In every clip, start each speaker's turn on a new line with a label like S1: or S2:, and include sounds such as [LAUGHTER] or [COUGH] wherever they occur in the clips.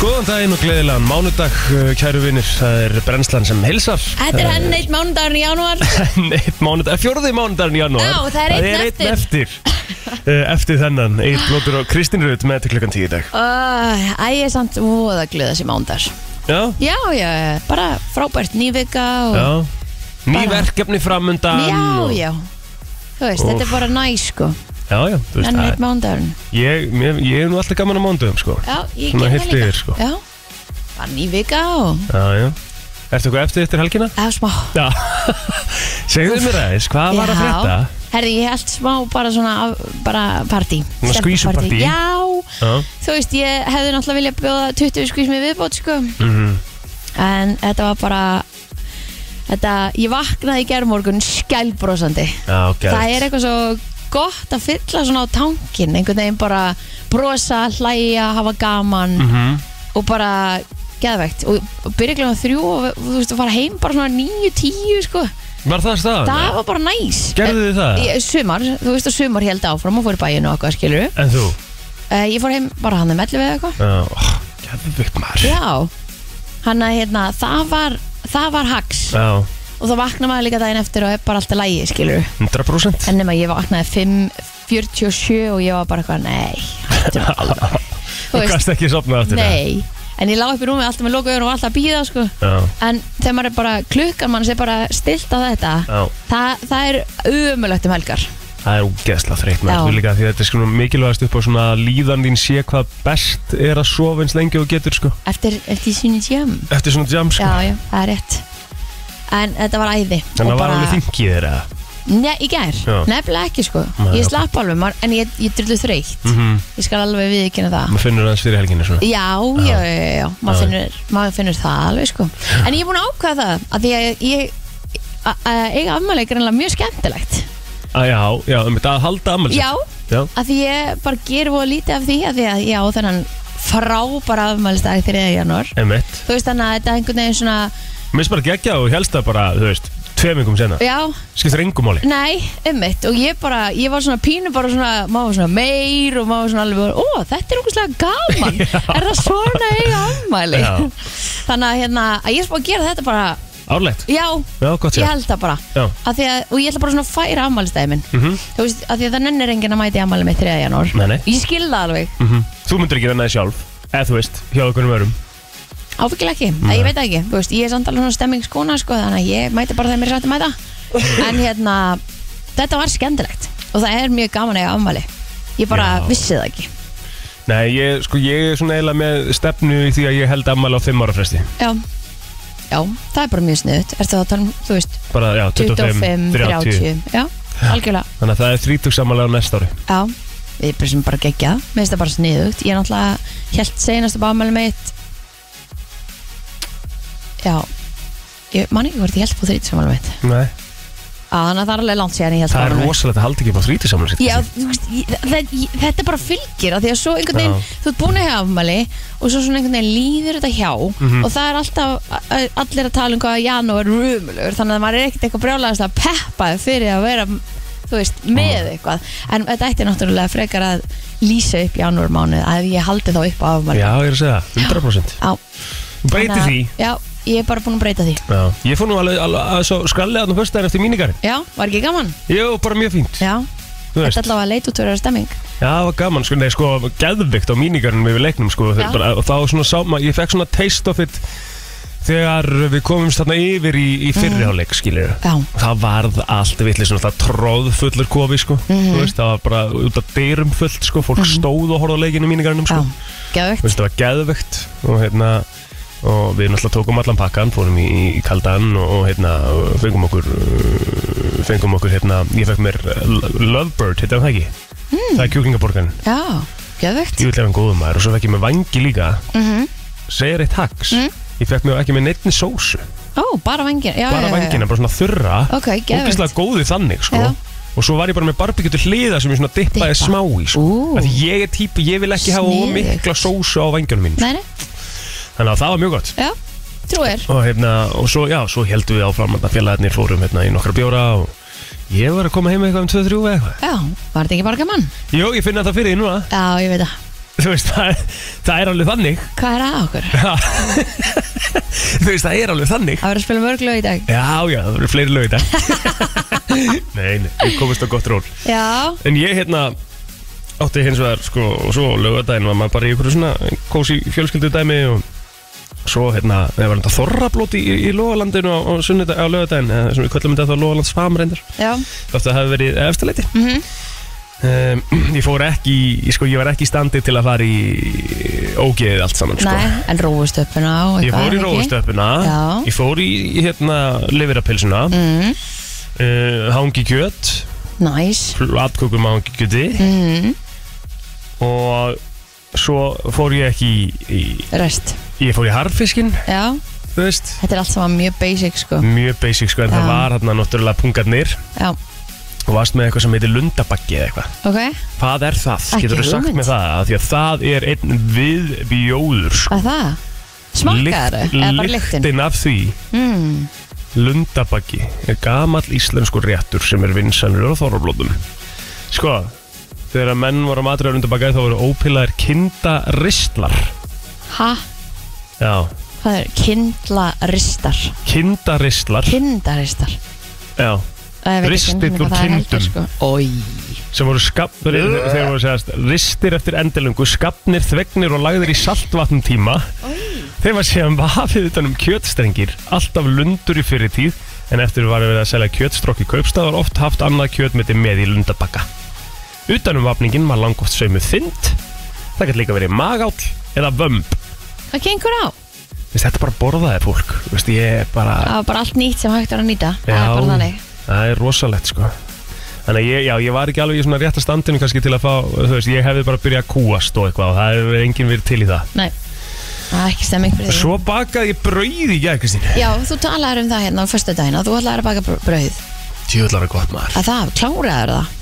S1: Góðan daginn og gleðilegan mánudag, uh, kæru vinnir. Það er brennslan sem hilsar.
S2: Þetta er enn eitt mánudagur í [LAUGHS] janúar
S1: [LAUGHS] Enn eitt mánudag, fjóruði mánudaginn í janúar.
S2: Já, það er einn
S1: einn eftir. Uh, eftir þennan, Eitt Blóttur og Kristín Rut með til klukkan tíu í dag.
S2: Æ, ég er samt múið að glöða sér mánudagur
S1: Já,
S2: Já, já, bara frábært nývika og...
S1: já. Ný
S2: Bara-
S1: verkefni framundan.
S2: Já,
S1: og-
S2: já Þú veist, þetta er bara næs sko
S1: Já, já, þú veist,
S2: Enn
S1: það,
S2: eitt mánudagur
S1: ég, mér, ég er nú alltaf gaman á mánudagum, sko.
S2: Já, ég
S1: Svona
S2: get
S1: heilt
S2: það líka
S1: yfir, sko.
S2: Já, bara nývika og
S1: Já, já. Ertu eitthvað eftir eftir helgina?
S2: Já, smá
S1: Já. Segðu mér aðeins, hvað var að frétta?
S2: Herði, ég held smá bara svona af- bara partí
S1: Svona
S2: Stelpupartí.
S1: skvísupartí?
S2: Já,
S1: Já.
S2: þú veist, ég hefði náttúrulega viljað bjóða 20 skvísum í viðbót sko
S1: Mhm.
S2: En þetta var bara Þetta, ég vaknaði í gerðmorgun skælbrósandi
S1: Já, gæt.
S2: Það er eitthvað svo gott að fylla svona á tankin einhvern veginn bara brosa, hlæja, hafa gaman
S1: Mhm.
S3: Mhm.
S2: og bara geðvegt og og byrja glöðum þrjú og við- þú veist að fara heim bara svona níu, tíu sko
S1: Var það staðan?
S2: það var bara næs
S1: Ah, Gerðu þið það?
S2: Ég- Sumar, þú veist að sumar held áfram og fór í bæinu og eitthvað skilur
S1: En þú?
S2: Ég fór heim bara hann að mellu við eitthvað
S1: Já, Gæðvikt maður
S2: Já, hann að hérna það var, það var hax
S1: Já,
S2: og þá vakna maður líka daginn eftir og er bara alltaf lægi skilur
S1: 100%
S2: En nema ég vaknaði 5.47 og ég var bara eitthvað, nei, hættu nú alveg. Þú
S1: Þú
S2: veist,
S1: gast ekki sopnað aftur
S2: nei. En ég lá upp í rúmi alltaf með loka augun og alltaf að býða, sko.
S1: það?
S2: En þegar maður er bara, klukkan mann sé bara stilt á þetta,
S1: Já, já
S2: það, það er umulögt um helgar.
S1: Það er ógeðslega þreytt
S2: Já.
S1: maður Þú líka því að þetta er sko mikilvægast upp á svona að líðan þín sé hvað best er að sofa eins lengi og getur sko
S2: Eftir, eftir sínu tjám.
S1: Eftir svona jam sko
S2: Já, já, það er rétt. En þetta var æði. Og
S1: Þannig að var
S2: bara-
S1: alveg þingið þér eða
S2: Nei, í gær.
S1: Já.
S2: Nefnilega ekki, sko.
S1: Nei,
S2: ég
S1: já.
S2: slapp alveg, maður, en ég, ég drullu þreytt.
S1: Mhm.
S2: Ég skal alveg viðkynna það.
S1: Maður finnur aðeins fyrir helginni svona
S2: Já, já, já, já, já. Maður, finnur, maður finnur það alveg sko En ég er búin að ákvæða það að Því að ég a- að eiga afmæli er greinlega mjög skemmtilegt
S1: Á, Já, já, um þetta að halda ammælis
S2: Já,
S1: Já,
S2: að því ég bara ger voða lítið af því að því að ég á þennan frábara afmælistag 3. janúar
S1: emitt
S2: Þú veist þannig að þetta einhvern veginn svona
S1: Mér finnst bara geggja og helst það bara, þú veist, tveimingum senna
S2: Já,
S1: Skiptir engum máli
S2: Nei, ummitt og ég bara, ég var svona pínu bara svona, maður var svona meir og maður var svona alveg, ó þetta er okkur gaman, [LAUGHS] er það svona eiga afmæli
S1: Já.
S2: Þannig að hérna, að ég er spáð að gera þetta bara,
S1: Árlegt
S2: já,
S1: Já, gott sér
S2: ég held það bara
S1: Já,
S2: að því að, og ég ætla bara svona að færa afmælistæði minn
S1: mhm
S2: þú veist, að því að það nennir enginn að mæti afmæli með 3. janúar
S1: Nei, nei.
S2: ég skil það alveg,
S1: Mhm. Þú myndir ekki þennan sjálf Eða þú veist, hjá okkur um örum
S2: ábyggilega ekki að ég veit það ekki, þú veist, ég er samt alveg svona stemmingskona sko, þannig að ég mæti bara þegar mér er satt að
S1: [LAUGHS]
S2: mæta en hérna, þetta var skemmtilegt og það er mjög gaman að eiga afmæli ég bara
S1: Já.
S2: vissi það ekki
S1: Nei, ég, sko, ég er svona eiginlega með stefnu í því að ég held ammæli á 5 ára fresti
S2: já, já, það er bara mjög sniðut ertu það að tala um, þú veist,
S1: Bara, já, 25,
S2: 25,
S1: 30.
S2: 30 já, algjörlega,
S1: Þannig að það er 30 sammæli á næsta ári
S2: já við pressum bara gegja, mér finnst það bara sniðugt ég er náttúrulega held seinast að bámæli mitt já ég man ekki hvort ég held på 30 sammæli mitt
S1: Nei
S2: að þannig að það er alveg langt sér en ég held
S1: Það er
S2: afmæli mitt.
S1: rosalegt að halda ekki upp á 30 sammæli sitt
S2: Já, þú veist, ég- það- ég- þetta bara fylgir að því að svo einhvern veginn,
S1: Já.
S2: þú ert búin að hafa afmæli og svo svona einhvern veginn líður þetta hjá
S1: Mhm.
S2: og það er alltaf a- allir að tala um hvað janú er rumulur þannig að maður er ekkert eitthvað brjálæðast að peppa fyrir að vera, þú veist, með eitthvað en þetta ætti náttúrulega frekar að lýsa upp janúarmánuð að ég haldi þá upp á afmæli
S1: Já, ég er að segja, 100%
S2: Já,
S1: Breyti
S2: þannig að-
S1: því
S2: Já, ég er bara búin að breyta því
S1: Já. Ég fór nú alveg, alveg að svo skrallið aðna fyrstæðin eftir mínigarinn
S2: Já, var ekki gaman?
S1: Jú, bara mjög fínt
S2: Já,
S1: Þú
S2: þetta
S1: veist,
S2: allavega leit út fyrir að stemming
S1: já, var gaman, sko, nei, sko, geðvikt á mínigarinn við leiknum, sko
S2: Já.
S1: bara, Og þá svona sáma, ég fekk svona taste of it Þegar við komumst þarna yfir í, í fyrriháleik,
S2: Mm.
S1: skilur
S2: Já,
S1: það varð allt vitlis það tróð fullur kofi sko.
S2: Mhm.
S1: Þú veist, það var bara út af dyrum fullt sko. fólk stóð og horfði á leikinu mínigarnum sko.
S2: já,
S1: Þú
S2: geðvögt
S1: veist, það var geðvegt og, hérna, og við náttúrulega tókum allan pakkan fórum í, í kaldan og hérna, fengum okkur uh, fengum okkur, hérna, ég fekk mér uh, Lovebird, hérna það ekki
S2: Hmm.
S1: það er kjúklingaborgarinn,
S2: Já, geðvögt
S1: ég vil lefa en góðum maður og svo fekk ég mér vangi líka
S2: mm
S1: segir eitt hags ég fekk mér ekki með neittni sósu
S2: Ó, bara vangina Hmm. já, já, já,
S1: bara
S2: já.
S1: vangina, bara svona þurra
S2: Ok, geðvægt
S1: ógeðslega góði þannig sko.
S2: Já.
S1: og svo var ég bara með barbekju til hliða sem ég svona
S2: Dippa.
S1: dippaði smá í sko.
S2: Ú.
S1: Af því ég er típu, ég vil ekki hafa
S2: Sniðugt.
S1: ómikla sósu á vengjónum mín
S2: Nei, nei,
S1: þannig að það var mjög gott
S2: já, trúir
S1: og, hérna, og svo, já, svo heldum við áfram að félagarnir fórum hérna, í nokkra bjóra og ég var að koma heim með eitthvað um 2-3 eða eitthvað
S2: Já, var þetta ekki bara gaman?
S1: Jó, ég finna það fyrir því núna [LAUGHS]
S2: Já, ég veit það
S1: þú veist, það er, það er alveg þannig [LAUGHS]
S2: Hvað er að okkur?
S1: Já. [LAUGHS] Þú veist, það er alveg þannig
S2: Að vera að spila mörg lög í dag
S1: Já, já, það verður fleiri lög í dag [LAUGHS] Nei, nei, við komumst á gott ról
S2: Já,
S1: En ég hérna átti hins vegar sko og svo lögadaginn var maður bara í einhverju svona kósi fjölskyldu dæmi og svo hérna, það var þetta þorrablót í, í Lóalandinu á, á, sunnudag- á lögadaginn eða sem við köllum þetta þá Lóalands famreindur
S2: já, Mhm.
S1: þótt að það hafi verið efstaleiti mm um, [CLEARS THROAT] Ég fór ekki, í- sko ég var ekki í standi til að fara í ógeðið allt saman sko
S2: nei, en róustöppuna og
S1: Ég
S2: eitthvað
S1: fór í
S2: ekki?
S1: róustöppuna,
S2: Já.
S1: ég fór í hérna liverapilsuna, mm.
S2: mm,
S1: uh, hangi kjöt,
S2: Næs
S1: flatkökum hangi kjöti
S2: mm,
S1: og svo fór ég ekki í, í
S2: Rest,
S1: ég fór í harfiskinn,
S2: já
S1: þú veist
S2: Þetta er allt saman mjög basic sko
S1: mjög basic sko, en
S2: Já.
S1: það var hérna náttúrulega pungarnir
S2: Já,
S1: og varst með eitthvað sem heitir lundabaggi eða eitthvað
S2: ok
S1: hvað er það?
S2: Ekki
S1: Getur þú sagt
S2: hugmynd.
S1: með það? Af Því að það er einn viðbjóður sko.
S2: Að það? Smakkaður?
S1: Lykt-
S2: Eða bara lyktin?
S1: lyktin af því
S2: Mm,
S1: lundabaggi er gamall íslensku réttur sem er vinsanur og þorrablótum sko þegar að menn voru að matriða lundabaggi þá voru ópilaðir kindaristlar
S2: ha?
S1: já,
S2: Hvað er? Kindlaristar
S1: kindaristlar
S2: Kindaristar
S1: já
S2: Það veit ekki
S1: Ristill
S2: hvernig
S1: úr
S2: það er heldur,
S1: kindum.
S2: sko. Oj.
S1: sem voru skapnir þegar voru segast ristir eftir endilöngu, skapnir, þvegnir og lagðir í saltvatnum tíma þeir var síðan vafið utan um kjötstrengir alltaf lundur í fyrir tíð en eftir var verið að selja kjötstrokk í kaupstað var oft haft annað kjötmeti með í lundabakka utanum vafningin var langoft saumuð þynd það gæti líka verið magáll eða vömb
S2: Hvað gengur á?
S1: Vist, þetta bara borðaði fólk Vist, ég er bara,
S2: Það var bara allt nýtt sem hægt er að nýta Það
S1: Já.
S2: er bara þannig
S1: það er rosalegt sko Þannig að ég, já, ég var ekki alveg í svona rétta standinu kannski til að fá, þú veist, ég hefði bara byrjað að kúast og eitthvað og það hefur enginn verið til í það.
S2: Nei, það er ekki stemming fyrir því
S1: Svo bakaði ég brauð í gæð, Kristín.
S2: Já, þú talaðir um það hérna á fyrstu daginn að þú ætlaðir að baka br- brauð
S1: Tjóðlar að gott maður.
S2: að það, kláraðir það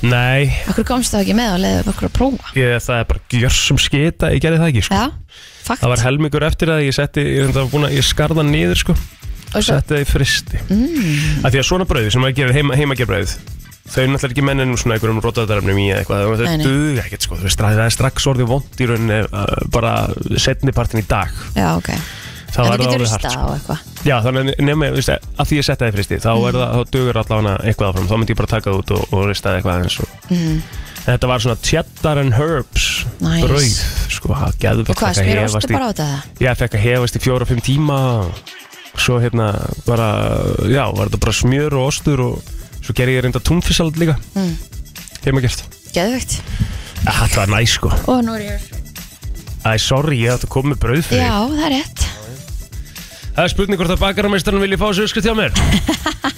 S1: Nei,
S2: Okkur komst það ekki með og leiðið okkur að prófa
S1: ég, það er bara gjörsum skita, ég gerði það ekki, sko.
S2: Já, fakt
S1: Það var helmingur eftir það, ég setti, ég, þetta var búin að, ég skarða hann niður, sko,
S2: Og svo,
S1: setti það í fristi. Mm. Því að svona brauði sem maður gerir heima, heima þau eru náttúrulega ekki menninum svona einhverjum rotaðaröfnum í eða eitthvað,
S2: Nei,
S1: þau
S2: nei.
S1: duga ekkert sko, þú veist, það er strax orðið vond í rauninni uh, bara setnipartin í dag,
S2: já, ok En þú
S1: þá er það
S2: getur
S1: orðið hart
S2: ristað
S1: sko.
S2: á eitthvað
S1: Já, þannig að nema, þú veist, að því ég setja það í fristi þá, er
S2: Mm.
S1: það, þá dugur allavega eitthvað áfram þá myndi ég bara taka það út og, og rista það eitthvað eins og
S2: mm.
S1: Þetta var svona cheddar and herbs
S2: Nice.
S1: brauð, sko, það geðvögt
S2: Og hvað, spyrir ostu bara á þetta?
S1: Já, fekk að hefast í fjóra-fimm tíma og svo hérna bara, já, var þetta bara smjör og ostur og svo gerði ég reynda túnfissalat líka
S2: Mm.
S1: heima gert
S2: Geðvögt
S1: Ja, Þetta var næ, sko
S2: Og nú er ég
S1: Æ, sorry, ég átti að koma með brauð fyrir
S2: Já,
S1: þig.
S2: það er rétt [LAUGHS]
S1: Það er spurning hvort að bakarameistarann vilji fá þessu öskut hjá
S2: [LAUGHS]
S1: mér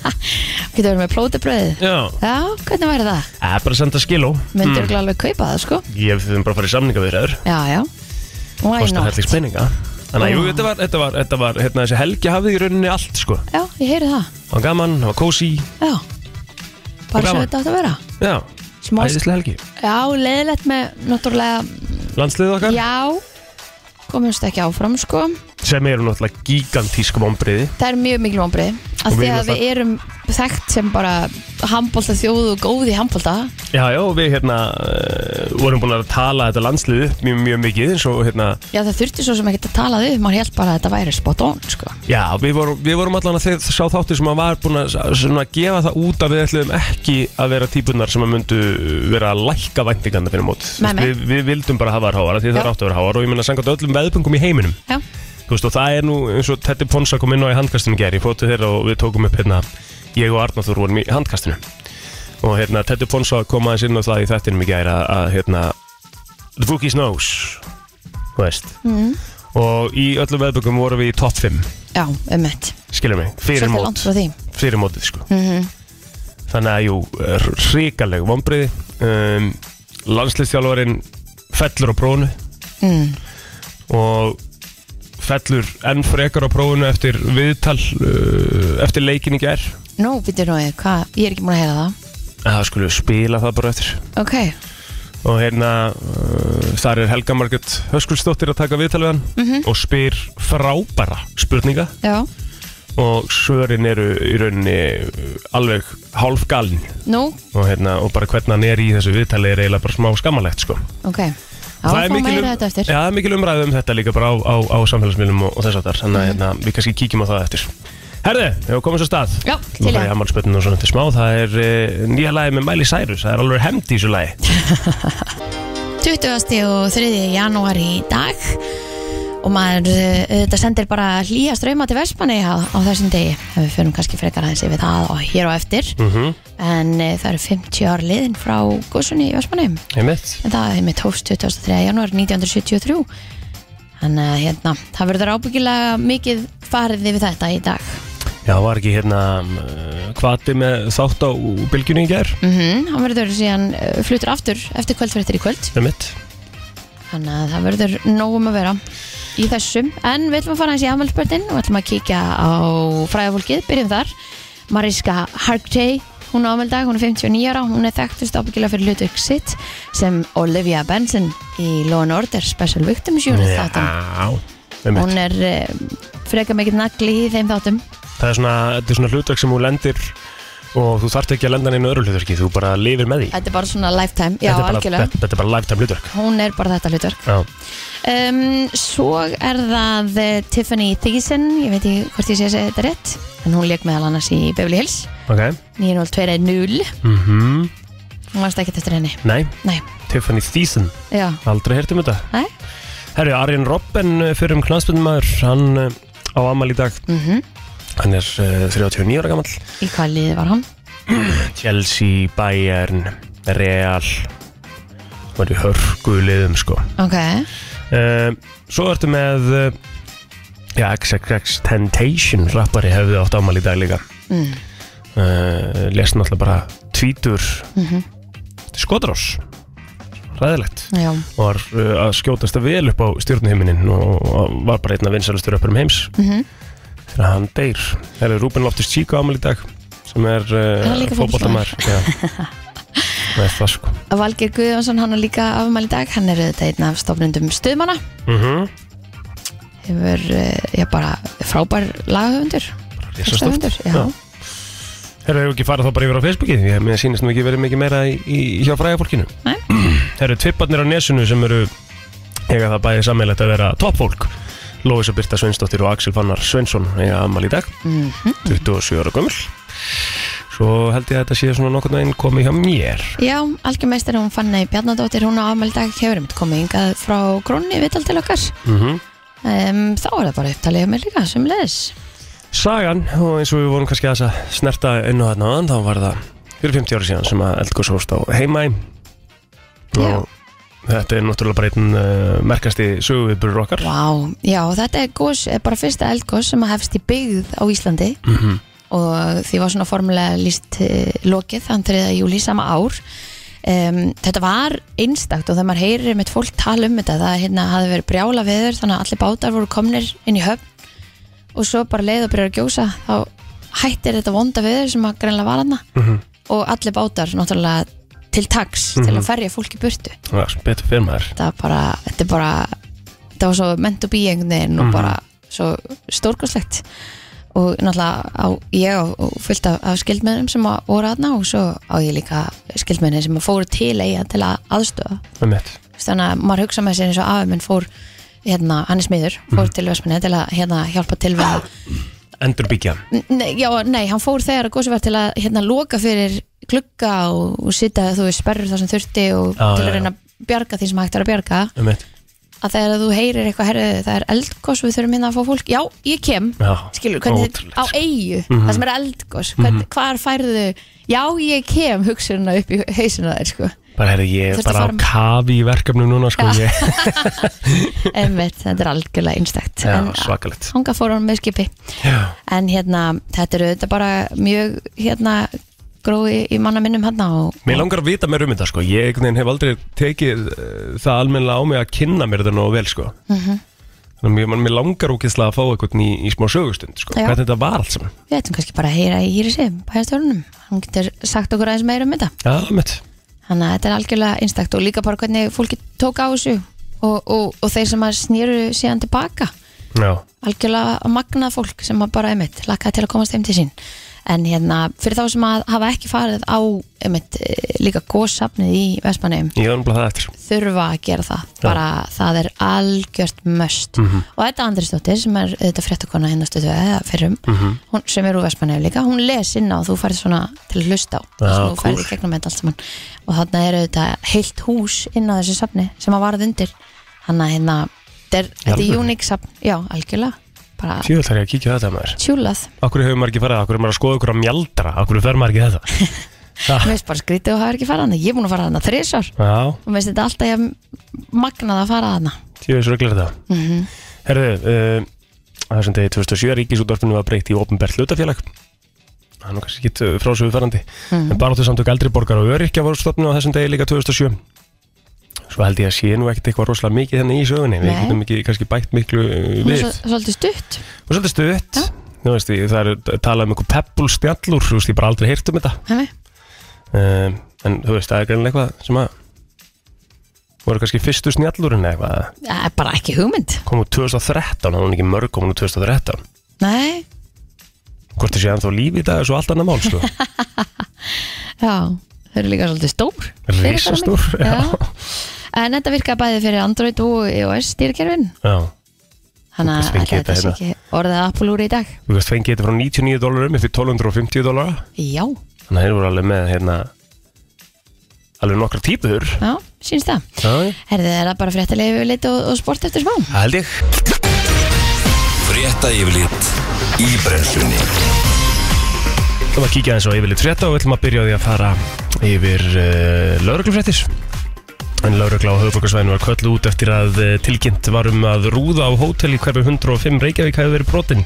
S2: Getur verið með plótabrauð
S1: Já,
S2: Já, hvernig væri það?
S1: það er bara að senda skiló
S2: Myndir mm. alveg kaupa það, sko
S1: Ég við þurfum bara að fara í samninga við þér
S2: Já, já Why
S1: Kostar
S2: not?
S1: helling spenninga Þannig að jú,
S2: Já.
S1: þetta var, þetta var, þetta var hérna, þessi helgi hafði í rauninni allt sko
S2: Já, ég heyri það
S1: Það var gaman, það var kósi,
S2: Já Bara
S1: gaman.
S2: svo þetta átt að vera
S1: já,
S2: Smá
S1: æðislega helgi
S2: Já, leiðilegt með náttúrulega
S1: Landsliðið okkar,
S2: Já Komumst ekki áfram sko
S1: sem eru náttúrulega gigantísk vombriði
S2: Það er mjög mikil vonbrið
S1: Og
S2: Af því
S1: við
S2: að við erum þekkt sem bara handbólta þjóð og góð í handbólta
S1: Já, já, og við hérna uh, vorum búin að tala þetta landslið upp mjög, mjög mikið eins og hérna,
S2: Já það þurfti svo sem ekkert að tala þau Maður held bara að þetta væri spot on sko
S1: já, við vorum, við vorum allan að þeir sá þáttir sem að var búin að svona, gefa það út að við ætluðum ekki að vera típunar sem að myndu vera að lækka væntingarna fyrir mót
S2: Nei, nei.
S1: við, við vildum bara hafa þær háar, af því
S2: Já.
S1: það er átt að vera háar og ég menna sangat öllum veðböngum í heiminum
S2: Já,
S1: Þú veist, og það er nú eins og Teddy Ponsa kom inn á í handkastinu ger, ég fótið þeirra og við tókum upp hérna, ég og Arnáþur vorum í handkastinu og hérna Teddy Ponsa kom aðeins inn á það í þettinum í gæri að, að hérna The Bookies Knows þú veist
S2: mm.
S1: og í öllum veðbökum vorum við í top 5
S2: já um mitt
S1: skilum mig,
S2: Svolítið
S1: fyrir
S2: langt
S1: mót
S2: frá því
S1: fyrir mótið sko
S2: mm -hmm.
S1: þannig að jú, ríkaleg vombriði um, landslistjálfarin fellur á prófunu
S2: mm.
S1: og fellur enn frekar á prófunu eftir viðtal uh, eftir leikin í gær
S2: Nú, býttu nú ég, hvað, ég er ekki múin að heyra það
S1: að það skulle spila það bara eftir
S2: Ok,
S1: og hérna uh, þar er Helga Margrét Höskuldsdóttir að taka viðtal við hann
S2: Mhm.
S1: og spyr frábæra spurninga
S2: já
S1: og svörin eru í rauninni uh, alveg hálf galin
S2: Nú,
S1: og hérna og bara hvernig hann er í þessu viðtali er eiginlega bara smá skammalegt sko
S2: ok Já,
S1: Það er
S2: fá
S1: mikil
S2: meira
S1: um-
S2: þetta eftir.
S1: Já, það er mikil umræðum þetta líka bara á, á, á samfélagsmiðlum og, og þess að þar Þannig að hérna, við kannski kíkjum á það eftir Herði, við komum svo stað
S2: Mhm. Já,
S1: Til
S2: til
S1: það er
S2: ég
S1: ammálspötun og svona til smá Það er uh, nýja lagi með Miley Cyrus Það er alveg hefnd í þessu
S2: [LAUGHS]
S1: lagi
S2: 20. og 3. janúar í dag og maður eh, þetta sendir bara hlýja ströyma til versmanni á, á þessum degi við fyrir kannski frekar aðeins yfir það og hér á eftir en e, það eru 50 ár liðin frá góðsunni í versmanni
S1: Einmitt
S2: en það er mitt hófst 23. janúar 1973 þannig að hérna, það verður ábyggilega mikið farið yfir þetta í dag
S1: Já, var ekki hérna uh, Hvati með þátt á bylgjunni í gær
S2: mm hann verður síðan eh, fluttur aftur eftir kvöldfréttir í kvöld
S1: Einmitt
S2: Þannig að það verður nógum að vera í þessum. En við ætlum að fara hans í afmælspöldin og við ætlum að kíkja á fræðafólkið, byrjum þar. Mariska Hargitay, hún á afmældag, hún er 59 ára, hún er þekktust ábyggilega fyrir hlutverk sitt sem Olivia Benson í Law and Order Special Victims Unit þáttum.
S1: einmitt
S2: Hún er um, frekar mikill nagli í þeim þáttum.
S1: Það er svona, þetta er svona hlutverk sem hún lendir Og þú þarft ekki að lenda neina öðru hlutverki Þú bara lifir með því
S2: Þetta er bara svona lifetime, já,
S1: þetta, er bara,
S2: algjörlega.
S1: þetta, þetta er bara lifetime hlutverk
S2: Hún er bara þetta hlutverk.
S1: Já,
S2: Um, svo er það eh, Tiffany Thiessen, ég veit ekki hvort ég sé að segja þetta rétt, en hún leik meðal annars í Beverly Hills,
S1: ok
S2: 90210,
S1: mm
S2: hún varst ekki eftir henni.
S1: Nei,
S2: Nei,
S1: Tiffany Thiessen
S2: já,
S1: Aldrei heyrtum þetta
S2: Nei.
S1: Herru, Arjen Robben eh, fyrir um knansbundumæður Hann eh, á amal í dag
S2: mm
S1: Hann er uh, 39 ára gamall
S2: í hvað liði var hann?
S1: Chelsea, Bayern, Real Það er í hörgu liðum sko
S2: Ok,
S1: uh, Svo ertu með uh, Já, XXX Temptation Rappari hefði átt amal í dag líka
S2: mm.
S1: uh, Lest náttúrulega bara Tvítur
S2: Mm -hmm.
S1: Skotrós Ræðilegt
S2: já,
S1: var uh, að skjótast að vel upp á stjórnuhiminin og og var bara einn af vinsalustur uppurum heims
S2: mm -hmm.
S1: þegar hann deyr. Það er Rúben Loftus Chico ámæli í dag sem er
S2: Hann er
S1: uh,
S2: líka
S1: fótboltamaður. Já.
S2: [LAUGHS]
S1: Það er það sko.
S2: Valgeir Guðjónsson, hann er líka afmæli í dag, hann er auðvitað einn af stofnundum stuðmanna,
S1: Mm -hmm.
S2: hefur, eh, já, bara frábær lagahöfundur, textahöfundur, já.
S1: Herru, hefur ekki farið þá bara yfir á Facebookið? Ég mér sýnist nú ekki verið mikið meira í, í, hjá fræðafólkinu.
S2: Nei.
S1: Herru, tvipparnir á nesunu sem eru eiga það bæði sammeilegt að vera toppfólk. Lóisa Birta Sveinsdóttir og Axel Fannar Sveinsson eiga ammali í dag.
S2: Mm
S1: 27 ára gömul Svo held ég að þetta sé svona nokkurn veginn komið hjá mér
S2: Já, algjörmeistar hún Fanney Bjarnadóttir, hún á afmældag hefur um komið hingað frá Grónni viðtal til okkar.
S1: mm
S2: Um, þá er það bara upptalið mér líka, sem leðis.
S1: Sagan, og eins og við vorum kannski aðeins að snerta inn á þarna áðan, þá var það fyrir 50 ára síðan sem að eldgóðs hóst á heimæ
S2: Já.
S1: og þetta er náttúrulega bara einn uh, merkasti söguviburur okkar
S2: Vá, já, þetta er, gos, er bara fyrsta eldgós sem að hefst í byggð á Íslandi
S1: mm -hmm.
S2: og því var svona formulega líst eh, lokið þann 3. júli sama ár. Um, þetta var einstakt og þegar maður heyrir með fólk tala um þetta, það hérna, hafði verið brjála veður þannig að allir bátar voru komnir inn í höfn og svo bara leið og byrjar að gjósa þá hættir þetta vonda veður sem að greinlega var hana
S1: Mhm.
S2: og allir bátar náttúrulega til taks til að ferja fólk í burtu
S1: Já, betur fyrir maður
S2: þetta var bara, þetta er bara þetta var svo ment og bí einhvern veginn og
S1: Mhm.
S2: bara svo stórkoslegt og náttúrulega á, ég á á fullt af, af skildmennum sem að voru aðna og svo á ég líka skildmenni sem að fóru til eiga til að aðstöða
S1: með um mitt
S2: Þú veist, þannig að maður hugsa með sér eins og afi minn fór hérna, hann er smiður, fór
S1: Mhm.
S2: til Vestmanni til að hérna, hjálpa til við að
S1: Endur byggja
S2: Nei, já, nei, hann fór þegar að gósi var til að hérna loka fyrir glugga og, og sitja þú veist sperrur þar sem þurfti og
S1: Já,
S2: til
S1: já,
S2: að
S1: já.
S2: reyna að bjarga því sem hægt er að bjarga
S1: með um mitt
S2: að þegar þú heyrir eitthvað herðu, það er eldgós, við þurfum hérna að fá fólk já, ég kem,
S1: Já,
S2: skilur, hvernig
S1: Ótrúlegt. Mhm.
S2: á eigu, það sem er eldgós hvern, hvar færðu, já, ég kem hugsunna upp í hausuna þér, sko
S1: bara herri ég er
S2: Þurfti að
S1: bara á
S2: fara-
S1: kafi í verkefnum núna sko
S2: Já.
S1: ég,
S2: [LAUGHS] einmitt, þetta er algjörlega einstakt
S1: Já,
S2: en
S1: svakalegt
S2: þangað fór hann með skipi
S1: Já,
S2: en hérna, þetta eru þetta bara mjög, hérna grói í manna minnum hann og
S1: Mér langar að vita meira um þetta sko, ég einhvern veginn hef aldrei tekið uh, það almennilega á mig að kynna mér þetta nógu vel sko
S2: Mhm.
S1: Þannig að mér, man- mér langar ógeðslega að fá eitthvað í, í smá sögustund sko,
S2: Já.
S1: hvernig þetta var allt saman
S2: við ættum kannski bara að heyra í Írisi, bæjarstjórnum hann getur sagt okkur aðeins meira um þetta
S1: Já, mitt
S2: Þannig að þetta er algjörlega einstakt og líka bara hvernig fólki tók á þessu og, og, og þeir sem að snýru síðan tilbaka
S1: Já,
S2: algjörlega magnað fólk sem að bara einmitt lakkaði til að komast heim til sín en hérna, fyrir þá sem að hafa ekki farið á einmitt, eh, líka góðsafnið í Vestmanneum
S1: Ég var náttúrulega það eftir
S2: þurfa að gera það bara það er algjört möst og þetta Andrisdóttir sem er þetta fréttakona hérna stöðu eða fyrrum hún, sem er úr Vestmannaður líka, hún les inn á og þú færð svona til að hlusta á
S1: Já,
S2: þess að þú
S1: kúl.
S2: færð í gegnum þetta allt saman og þarna er þetta heilt hús inn á þessu safni sem að varð undir þannig að hérna, þetta er- þetta er
S1: alvöru?
S2: unik safn, já, algjörlega bara
S1: Tjóðal þarf ég að kíkja á þetta maður
S2: tjúlað,
S1: Akkur hefur maður ekki farað, akkur er maður að skoða okkur á mjaldra Akkur fer maður ekki þetta
S2: mér finnst bara skrítið og hafa ekki farað hana, ég er búin að fara hana þrísvar
S1: Já,
S2: og mér finnst þetta alltaf ég magnað að fara hana
S1: tjóðal svo reglar þetta
S2: mm -hmm.
S1: Herðu, uh, það er sem degi 2007 Ríkisútvarpinu var breytt í ofnbært hlutafélag Það er nú kannski ekki frásöfu farandi En baráttu samtök eldri borgar og öryrkja voru stofnum á þessum degi líka 2007 Svo held ég að sé nú ekkert eitthvað rosalega mikið þannig í sögunni Við
S2: Nei.
S1: getum ekki kannski bætt miklu eh, við
S2: svolítið stutt
S1: Og svolítið stuðt
S2: Já.
S1: Nú veist, ég- það er talað um eitthvað pebbulstjallur Þú veist, ég bara aldrei heyrt um þetta
S2: Hemi?
S1: um, En þú veist, það er greinlega eitthvað sem að voru kannski fyrstu snjallurinn eða eitthvað
S2: Það er bara ekki hugmynd
S1: kom úr 2013, það var ekki mörg kom úr 2013
S2: Nei,
S1: hvort það sé ennþá líf í dag er svo allt annað mál
S2: [LAUGHS]
S1: sko.
S2: já, þau eru líka svolítið stór Fyrir það
S1: risastór
S2: mikið. Já. En þetta virkaði bæði fyrir Android og iOS stýrkerfin
S1: já.
S2: Þannig
S1: Þú
S2: að
S1: fengið
S2: þetta
S1: þetta
S2: sé ekki orðið að Apple úr í dag
S1: þú veist fengið þetta frá 99 dólarum eftir 1250 dólara
S2: Já,
S1: þannig að þeir voru alveg með hérna, alveg nokkra típur
S2: já, sínst það
S1: það
S2: Herðið er það bara fréttilega yfir lit og, og sport eftir smá
S1: held ég
S3: Frétta yfirlit í brennslunni
S1: Þú maður kíkja aðeins á yfirleitt frétta og við ætlum að byrja á því að fara yfir uh, lauruglufréttis. En laurugla á höfuborgarsvæðinu var köllu út eftir að uh, tilkynnt varum að rúða á hótel í hverfi 105 Reykjavík hafi verið brotin.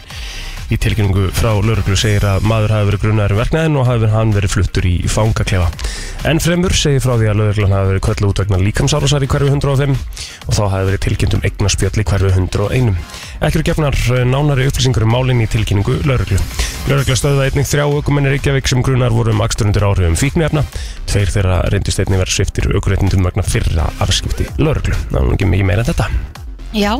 S1: Í tilkynningu frá lauruglu segir að maður hafi verið grunnar um verknæðin og hafi hann verið fluttur í fangaklefa. En fremur segir frá því að lauruglan hafi verið köllu út vegna líkamsárásar í hverfi 105 og þá hafi verið tilkynnt um eignaspjöll í hverfi 101. Ekki eru gefnar eh, nánari upplýsingur um málinn í tilkynningu lauruglu. Laurugla stöðuða einnig þrjá ökumenni Reykjavík sem grunar voru um akstur undir áhrifum fíknefna. Tveir þeirra reyndust einnig vera sviftir ökuréttindum vegna fyrra afskipti lauruglu. Það var nú ekki mikið meira en þetta.
S2: Já,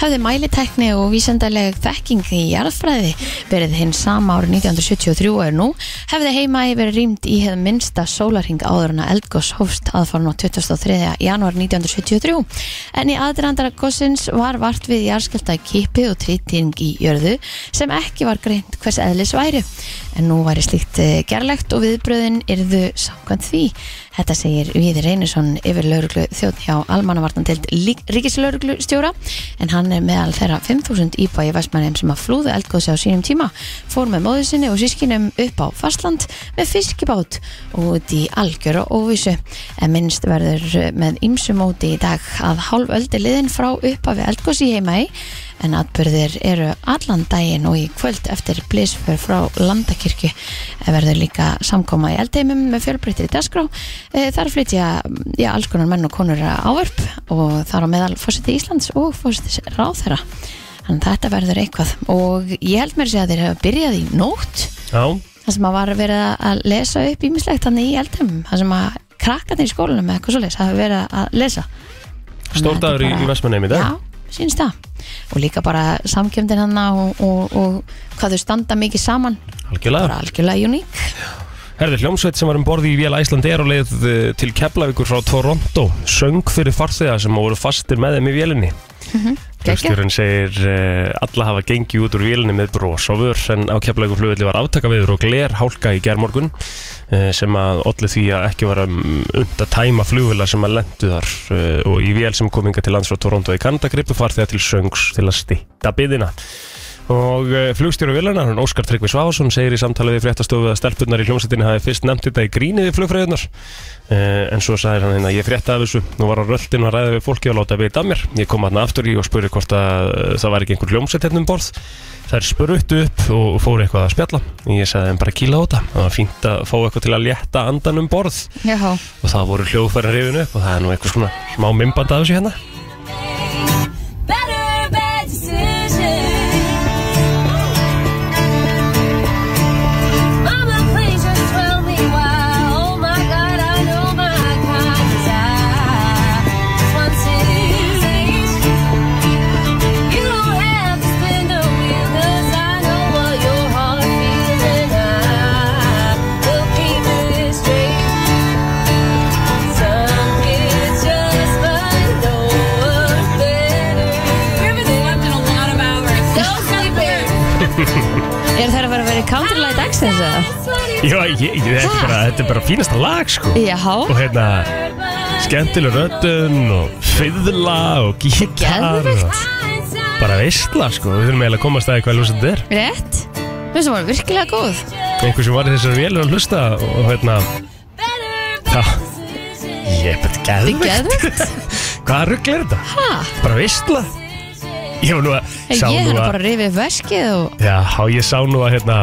S2: hefði mælitækni og vísendaleg þekking í jarðfræði verið hinn sama árið 1973 og er nú, hefði heima verið rýmt í hefð minnsta sólarhing áður en að eldgoss hófst aðfarn á 23. januar 1973. En í aðdrandara gossins var vart við jarðskjálta kipi og trýting í jörðu sem ekki var greint hvers eðlis væri. En nú væri slíkt eh, gerlegt og viðbröðin yrðu samkvæmt því. Þetta segir Viðir Reynisson yfir lauruglu þjóðn hjá almannavartandelt ríkislauruglu stjóra en hann er meðal þeirra 5.000 íbæ í Vestmannheim sem að flúðu eldgóðsi á sínum tíma fór með móðu sinni og sískinum upp á fastland með fiskibát og út í algjör og óvísu en minnst verður með ymsu móti í dag að hálf öldi liðin frá uppafi eldgóðsi heima í en atbyrðir eru allan daginn og í kvöld eftir blísför frá Landakirkju verður líka samkoma í eldheimum með fjölbreyttir í dagskrá Eh, þar flytja mm, já, alls konar menn og konur ávörp og þar á meðal fórseti Íslands og fórseti ráðherra þannig að þetta verður eitthvað og ég held mér að segja að þeir hafa byrjað í nótt
S1: Já,
S2: þar sem að var verið að lesa upp ímislegt þannig í eldheimum þar sem að krakkarnir í skólanum eða eitthvað svo leys hafa verið að lesa Þannig að
S1: stór
S2: þetta
S1: dagur í,
S2: bara-
S1: í Vestmannheim í dag.
S2: Já, sínst það. Og líka bara samkjöndin hann og, og, og hvað þau standa mikið saman.
S1: Algjörlega.
S2: Bara algjörlega uník.
S1: Herði Hljómsveit sem var um borði í Vél Æsland er á leið eh, til Keflavíkur frá Toronto söng fyrir farþega sem voru fastir með þeim í vélinni.
S2: Mhm. Gekja.
S1: Flugstjórinn segir uh, alla hafa gengið út úr vélinni með bros og vör en á keflægur flugvelli var aftaka viður og gler hálka í germorgun uh, sem að olli því að ekki var um, und að tæma flugvilla sem að lendu þar uh, og í vél sem kom hinga til lands frá Toronto í Kanada gripu farþega til söngs til að stitta byðina Og eh, flugstjóri Viljarnar, hann Óskar Tryggvi Svásson, segir í samtali við fréttastofu að stelpunnar í hljómsveitinni hafi fyrst nefnt þetta í gríni við flugfræðunar. En svo sagði hann hérna, ég frétta af þessu, nú var á röldinu að ræða við fólki og láta vita af mér. Ég kom hann aftur í og spurði hvort að eh, það var ekki einhver hljómsveit hérna um borð. Þær spuruttu upp og fóru eitthvað að spjalla. Ég sagði þeim bara kýla á þetta. Það var fínt að fá eitthvað til að létta andan um borð.
S2: Já.
S1: Og það voru hljóðfærin rifinu upp og það er nú eitthvað svona smá mymband af þessu hérna.
S4: better bad decision. Mama, please just tell me why. Oh my God, I know my conscience. I just want to You don't have to spin the wheel 'cause I know what your heart feels and I
S1: hérna. [LAUGHS]
S2: Er það að vera að vera í Counterlight Accents eða?
S1: Já, ég, ég, þetta, er bara, þetta er bara fínasta lag sko Og
S2: Já,
S1: hérna, skemmtileg röddun og fiðla og gítar og
S2: geðvikt
S1: bara veistla sko Við þurfum eiginlega að komast að því hvað ljósa þetta er
S2: Rétt Mér sem var virkilega góð
S1: Einhver sem var í þessari vél er að hlusta og hérna Það, ég er bara
S2: Þetta er
S1: geðvikt [LAUGHS]
S2: geðvikt
S1: Hvað rugl er þetta?
S2: Ha,
S1: Bara veistla Ég var nú að
S2: ég
S1: sá
S2: er
S1: nú
S2: bara
S1: að
S2: að rifja upp veskið og
S1: Já, ég sá nú að hérna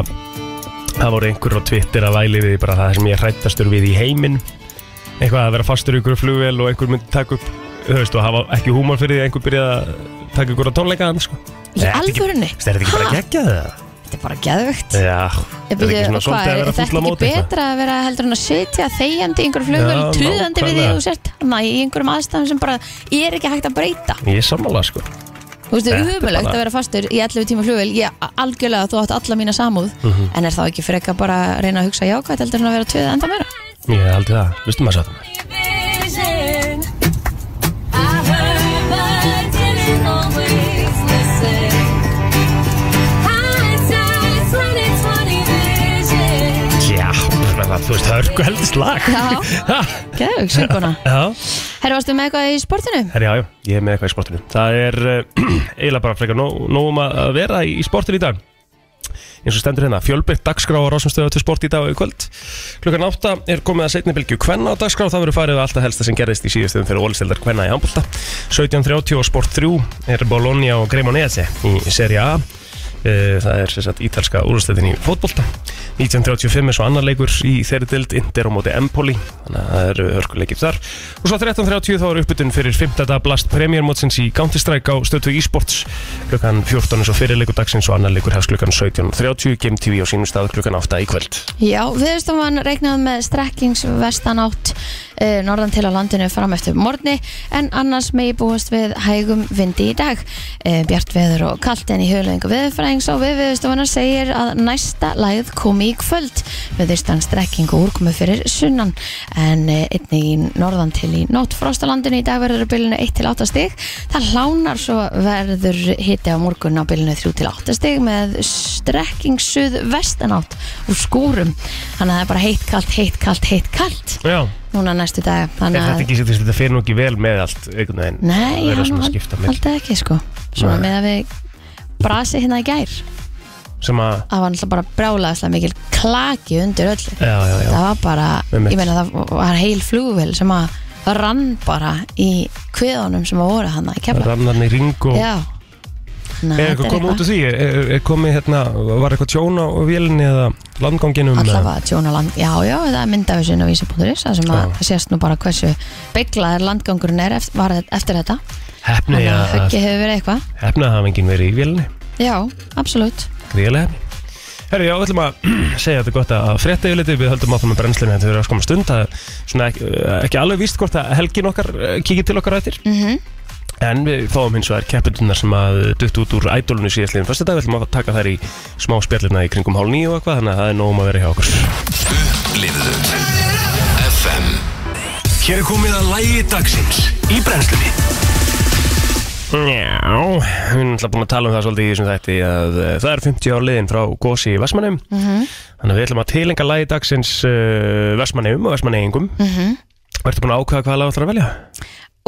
S1: Það voru einhver á Twitter að væli við bara það sem ég hrættastur við í heiminn Eitthvað að vera fastur í einhverju flugvél og einhver myndi taka upp Þú veist, og hafa ekki húmar fyrir því að einhver byrjaði að taka ykkur á tónleika hann, sko
S2: Í
S1: Er þetta ekki-
S2: alvörunni?
S1: Er þetta ekki bara
S2: Ha?
S1: geggjað það?
S2: þetta er bara geðvikt
S1: Já, er þetta ekki svona svolítið að vera
S2: þetta
S1: fulla
S2: ekki
S1: móti eitthvað?
S2: betra að vera heldur en að sitja þegjandi í einhverjum flugvel,
S1: Já,
S2: tuðandi við því
S1: nákvæmlega.
S2: að þú sért hana í einhverjum aðstæðum sem bara er ekki hægt að breyta
S1: Ég er sammála, sko
S2: Þú veist,
S1: Þetta er
S2: umulögt
S1: bara-
S2: að vera fastur í 11 tíma flugvel ég algjörlega þú átt alla mína samúð
S1: Mhm.
S2: en er þá ekki freka bara að reyna að hugsa jákvæmt heldur en að vera tuða enda meira
S1: Ég held það, veistu maður satt um það? Já, bara, þú veist, það er eitthvað heldist lag
S2: Já.
S1: Ha?
S2: Geðug, synguna
S1: [LAUGHS] Já
S2: Herra, varstu með eitthvað í sportinu?
S1: Herri, já, já, ég er með eitthvað í sportinu Það er uh, [CLEARS THROAT] eiginlega bara frekar nóg, nóg um að að vera í, í sportinu í dag eins og stendur hérna, fjölbyrgt dagskrá á rásumstöðu til sport í dag og í kvöld klukkan átta er komið að setni bylgju kvenna á dagskrá það verður farið við alltaf helsta sem gerðist í síðustöðum fyrir ólistildar kvenna í ámbólta 17.30 og sport 3 er Bologna og Cremonese í seri A Eh, það er sem sagt ítalska úrstöðin í fótbolta 1935 er svo annar leikur í þeirri dild, Inder á móti Empoli þannig að það eru hörkuleikir þar og svo 13.30 þá er uppbytun fyrir 5. dag blast premjörmótsins í Counter Strike á stötu e-sports klukkan 14 er svo fyrir leikur dagsins og annar leikur hefst klukkan 17.30 Game TV á sínum stað klukkan 8 í kvöld
S2: Já, viðstofan reiknað með strekkings vestanátt uh, norðan til á landinu fram eftir morgni en annars megi búast við hægum vindi í dag. Uh, bjart veður og kalt en í höflingu viðfræðings og við viðstofana segir að næsta læð komi í kvöld. Viðstan strekking og úrkomu fyrir sunnan en uh, einnig í norðan til í nótt frostalandinu í dag verður á bylunu 1 til 8 stig. Það hlánar svo verður hiti á morgun á bylunu 3 til 8 stig með strekking suð vestanátt og skúrum. Þannig að það er bara heitt, kalt, heitt, kalt, heitt, kalt
S1: Já,
S2: núna næstu dag.
S1: er
S2: Þannig
S1: þetta ekki sér þetta fyrir nú ekki vel með allt einhvern veginn
S2: Nei,
S1: það
S2: ég
S1: er
S2: hann
S1: svona að skipta með
S2: haldið ekki sko. Svona
S1: Nei.
S2: með að við brasi hérna í gær.
S1: sem að,
S2: Það var náttúrulega bara brjálaðislega mikil klaki undir öllu.
S1: já, já, já
S2: Það var bara,
S1: Einmitt.
S2: ég meina það var heil flugvél sem að rann bara í kviðunum sem að voru hann að kemla.
S1: Rannarni ring og
S2: Já. Ná,
S1: Er eitthvað komið út úr því? Er, er, er komið hérna, var eitthvað tjón á vélinni eða landganginum?
S2: Allavega tjónaland, já, já, það er mynd af þessu inn á vísi.is þar sem að
S1: Já.
S2: það sést nú bara hversu beiglaðir landgangurinn er eftir, var eftir þetta.
S1: Hefni
S2: Þannig að
S1: að
S2: höggið hefur verið eitthvað.
S1: hefnahafingin verið í vélinni,
S2: Já, absolutt.
S1: gríðilega hefni. Herru, já, við ætlum að [CLEARS THROAT] segja að þetta er gott að frétta yfir litið, við höldum áfram með brennslinu þetta verður að skoma stund, það er svona ekki, eh, ekki alveg víst hvort að helgin okkar eh, kíkir til okkar á eftir,
S2: Mm
S1: en við fáum hins vegar keppindunar sem að dutt út úr ædolunu síðastliðin fyrsta dag, við ætlum að taka þær í smá spjallina í kringum hálf níu og eitthvað, þannig að það er nóg um að vera hjá okkur.
S3: Lifðu FM Hér er komið að lægi dagsins Í brennslunni
S1: Já, við erum alltaf búin að tala um það svolítið í þessum þætti að eh, það er 50 ár liðin frá gósi í Vestmannum
S5: Mhm.
S1: þannig að við ætlum að tilenga lagi dagsins uh, Vestmannum og Vestmanneingum mm -hmm. Ertu búin að ákveða hvaða lag ætlar að velja?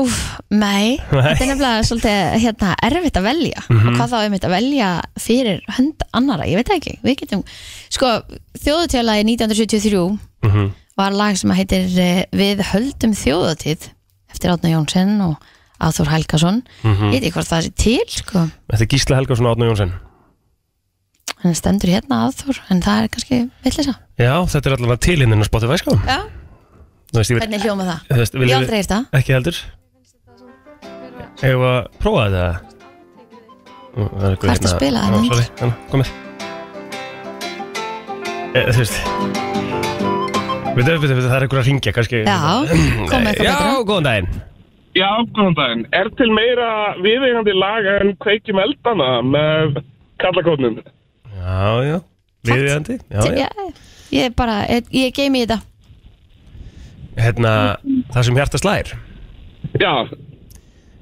S2: Úf, nei, þetta er nefnilega svolítið hérna, erfitt að velja
S1: Mhm.
S2: og hvað þá er mitt að velja fyrir hönd annara, ég veit það ekki, við getum sko, þjóðutjálagi 1973
S1: Mm
S5: Mhm.
S2: var lag sem heitir eh, Við höldum þjóðutíð eftir Átna Jónsson og Áþór Helgason
S1: Mhm.
S2: ég veit ekki hvort það er til sko,
S1: Þetta er Gísla Helgarsson og Átnú Jónsson
S2: hann stendur hérna Áþór en það er kannski villisa
S1: Já, þetta er allavega til hinn inn á Spotify sko
S2: Já,
S1: Þú veist, ég vil,
S2: hvernig hljóma það?
S1: þú veist, vil,
S2: Ég aldrei heyrt það.
S1: Ekki heldur Hefur að prófa þetta? Nú, Það er einhver
S2: Hvað ertu að
S1: hérna-
S2: spila
S1: Já,
S2: þarna?
S1: sorry, hérna, komið Eh, Þú veist Veitu, veitu, veitu, það er einhver að ringja, kannski
S2: Já, komið eitthvað
S1: Já,
S2: betra
S1: góðan daginn
S5: Já, góðan daginn. Er til meira viðeigandi lag en kveikjum eldana með kallakótnum?
S1: Já, já, viðvíðandi Já, já,
S2: Já, ég er bara, ég, ég geimi í þetta
S1: hérna, það sem hjarta slær
S5: Já,
S1: Já, Mhm.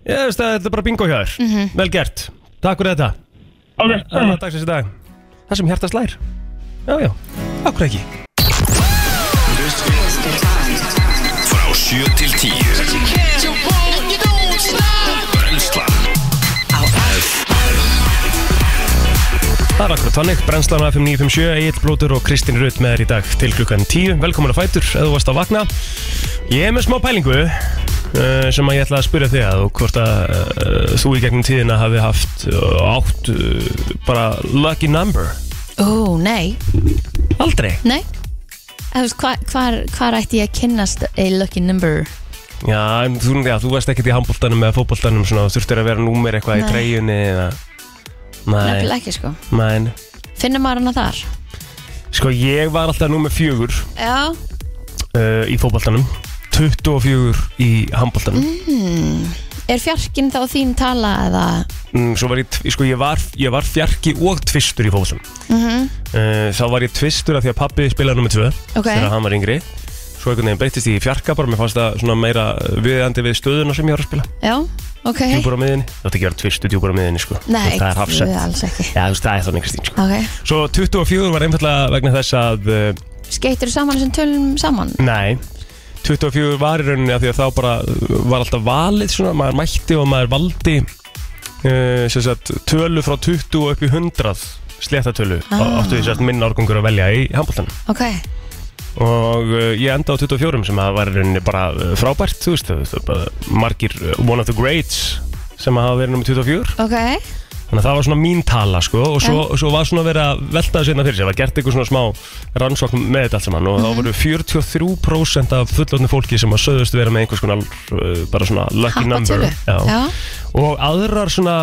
S1: þú veist, það- þetta er bara bingo hjá þér Vel gert, takk fyrir þetta
S5: ok.
S1: Það er dagsins í dag Það sem hjartast lær Já, já, okkur ekki
S3: Frá 7 til 10 Brenslan
S1: Það er akkurat þannig, brennslan af 5957, Egil Blótur og Kristín Rutt með þér í dag til klukkan 10. Velkomin að fætur, eða þú varst að vakna. Ég er með smá pælingu uh, sem að ég ætla að spyrja þig að og hvort að uh, þú í gegnum tíðina hafi haft uh, átt uh, bara lucky number.
S2: Ó, nei,
S1: Aldrei.
S2: nei Eða, þú veist, hva- hvar, hvar ætti ég að kynnast a lucky number?
S1: Já, en þú, já, þú varst ekkert í handbóltanum eða fótbóltanum svona, þú þurftir að vera númer eitthvað
S2: Nei.
S1: í treyjunni eða... Nei,
S2: Nefnilega ekki, sko
S1: mæn.
S2: Finnum maður hana þar?
S1: Sko, ég var alltaf númer fjögur
S2: Já
S1: uh, í fótbóltanum, 24 í handbóltanum.
S2: Mhm. Mm. Er fjarkinn þá þín tala eða
S1: mm, svo var ég, tv- sko, ég var, ég var fjarki og tvistur í fótboltum uh, þá var ég tvistur af því að pappi spilaði nummer 2
S2: Ok.
S1: þegar hann var yngri svo einhvern veginn breytist ég í fjarka bara, mér fannst það svona meira viðandi við stöðuna sem ég var að spila
S2: Já, ok
S1: djúpur á miðinni, þú ætti ekki að vera tvistur djúpur á miðinni sko.
S2: Nei,
S1: það er hafsett
S2: við alls ekki
S1: Já, þú veist, það er þannig Kristín sko.
S2: Ok,
S1: Svo 24 var einfallega vegna þess að uh,
S2: skeytir saman sem tölum saman
S1: Nei 24 var í rauninni af því að þá bara uh, var alltaf valið svona, maður mætti og maður valdi uh, sem sagt, tölu frá 20 og upp í 100 sléttatölu
S2: Ah.
S1: ah. áttu því sem sagt minn árgangur að velja í handbóltanum
S2: Ok,
S1: og uh, ég enda á 24 sem að var í rauninni bara uh, frábært þú veist, það, bara, margir uh, one of the greats sem að hafa verið nummer 24
S2: ok
S1: þannig að það var svona mín tala sko og svo, svo var svona verið að velta þessu einna fyrir sér var gert eitthvað svona smá rannsókn með þetta allt saman
S2: Mhm.
S1: og þá voru 43% af fullotnu fólki sem að söðust vera með einhvers konar uh, bara svona lucky
S2: Happa
S1: number
S2: tölu Já,
S1: og aðrar svona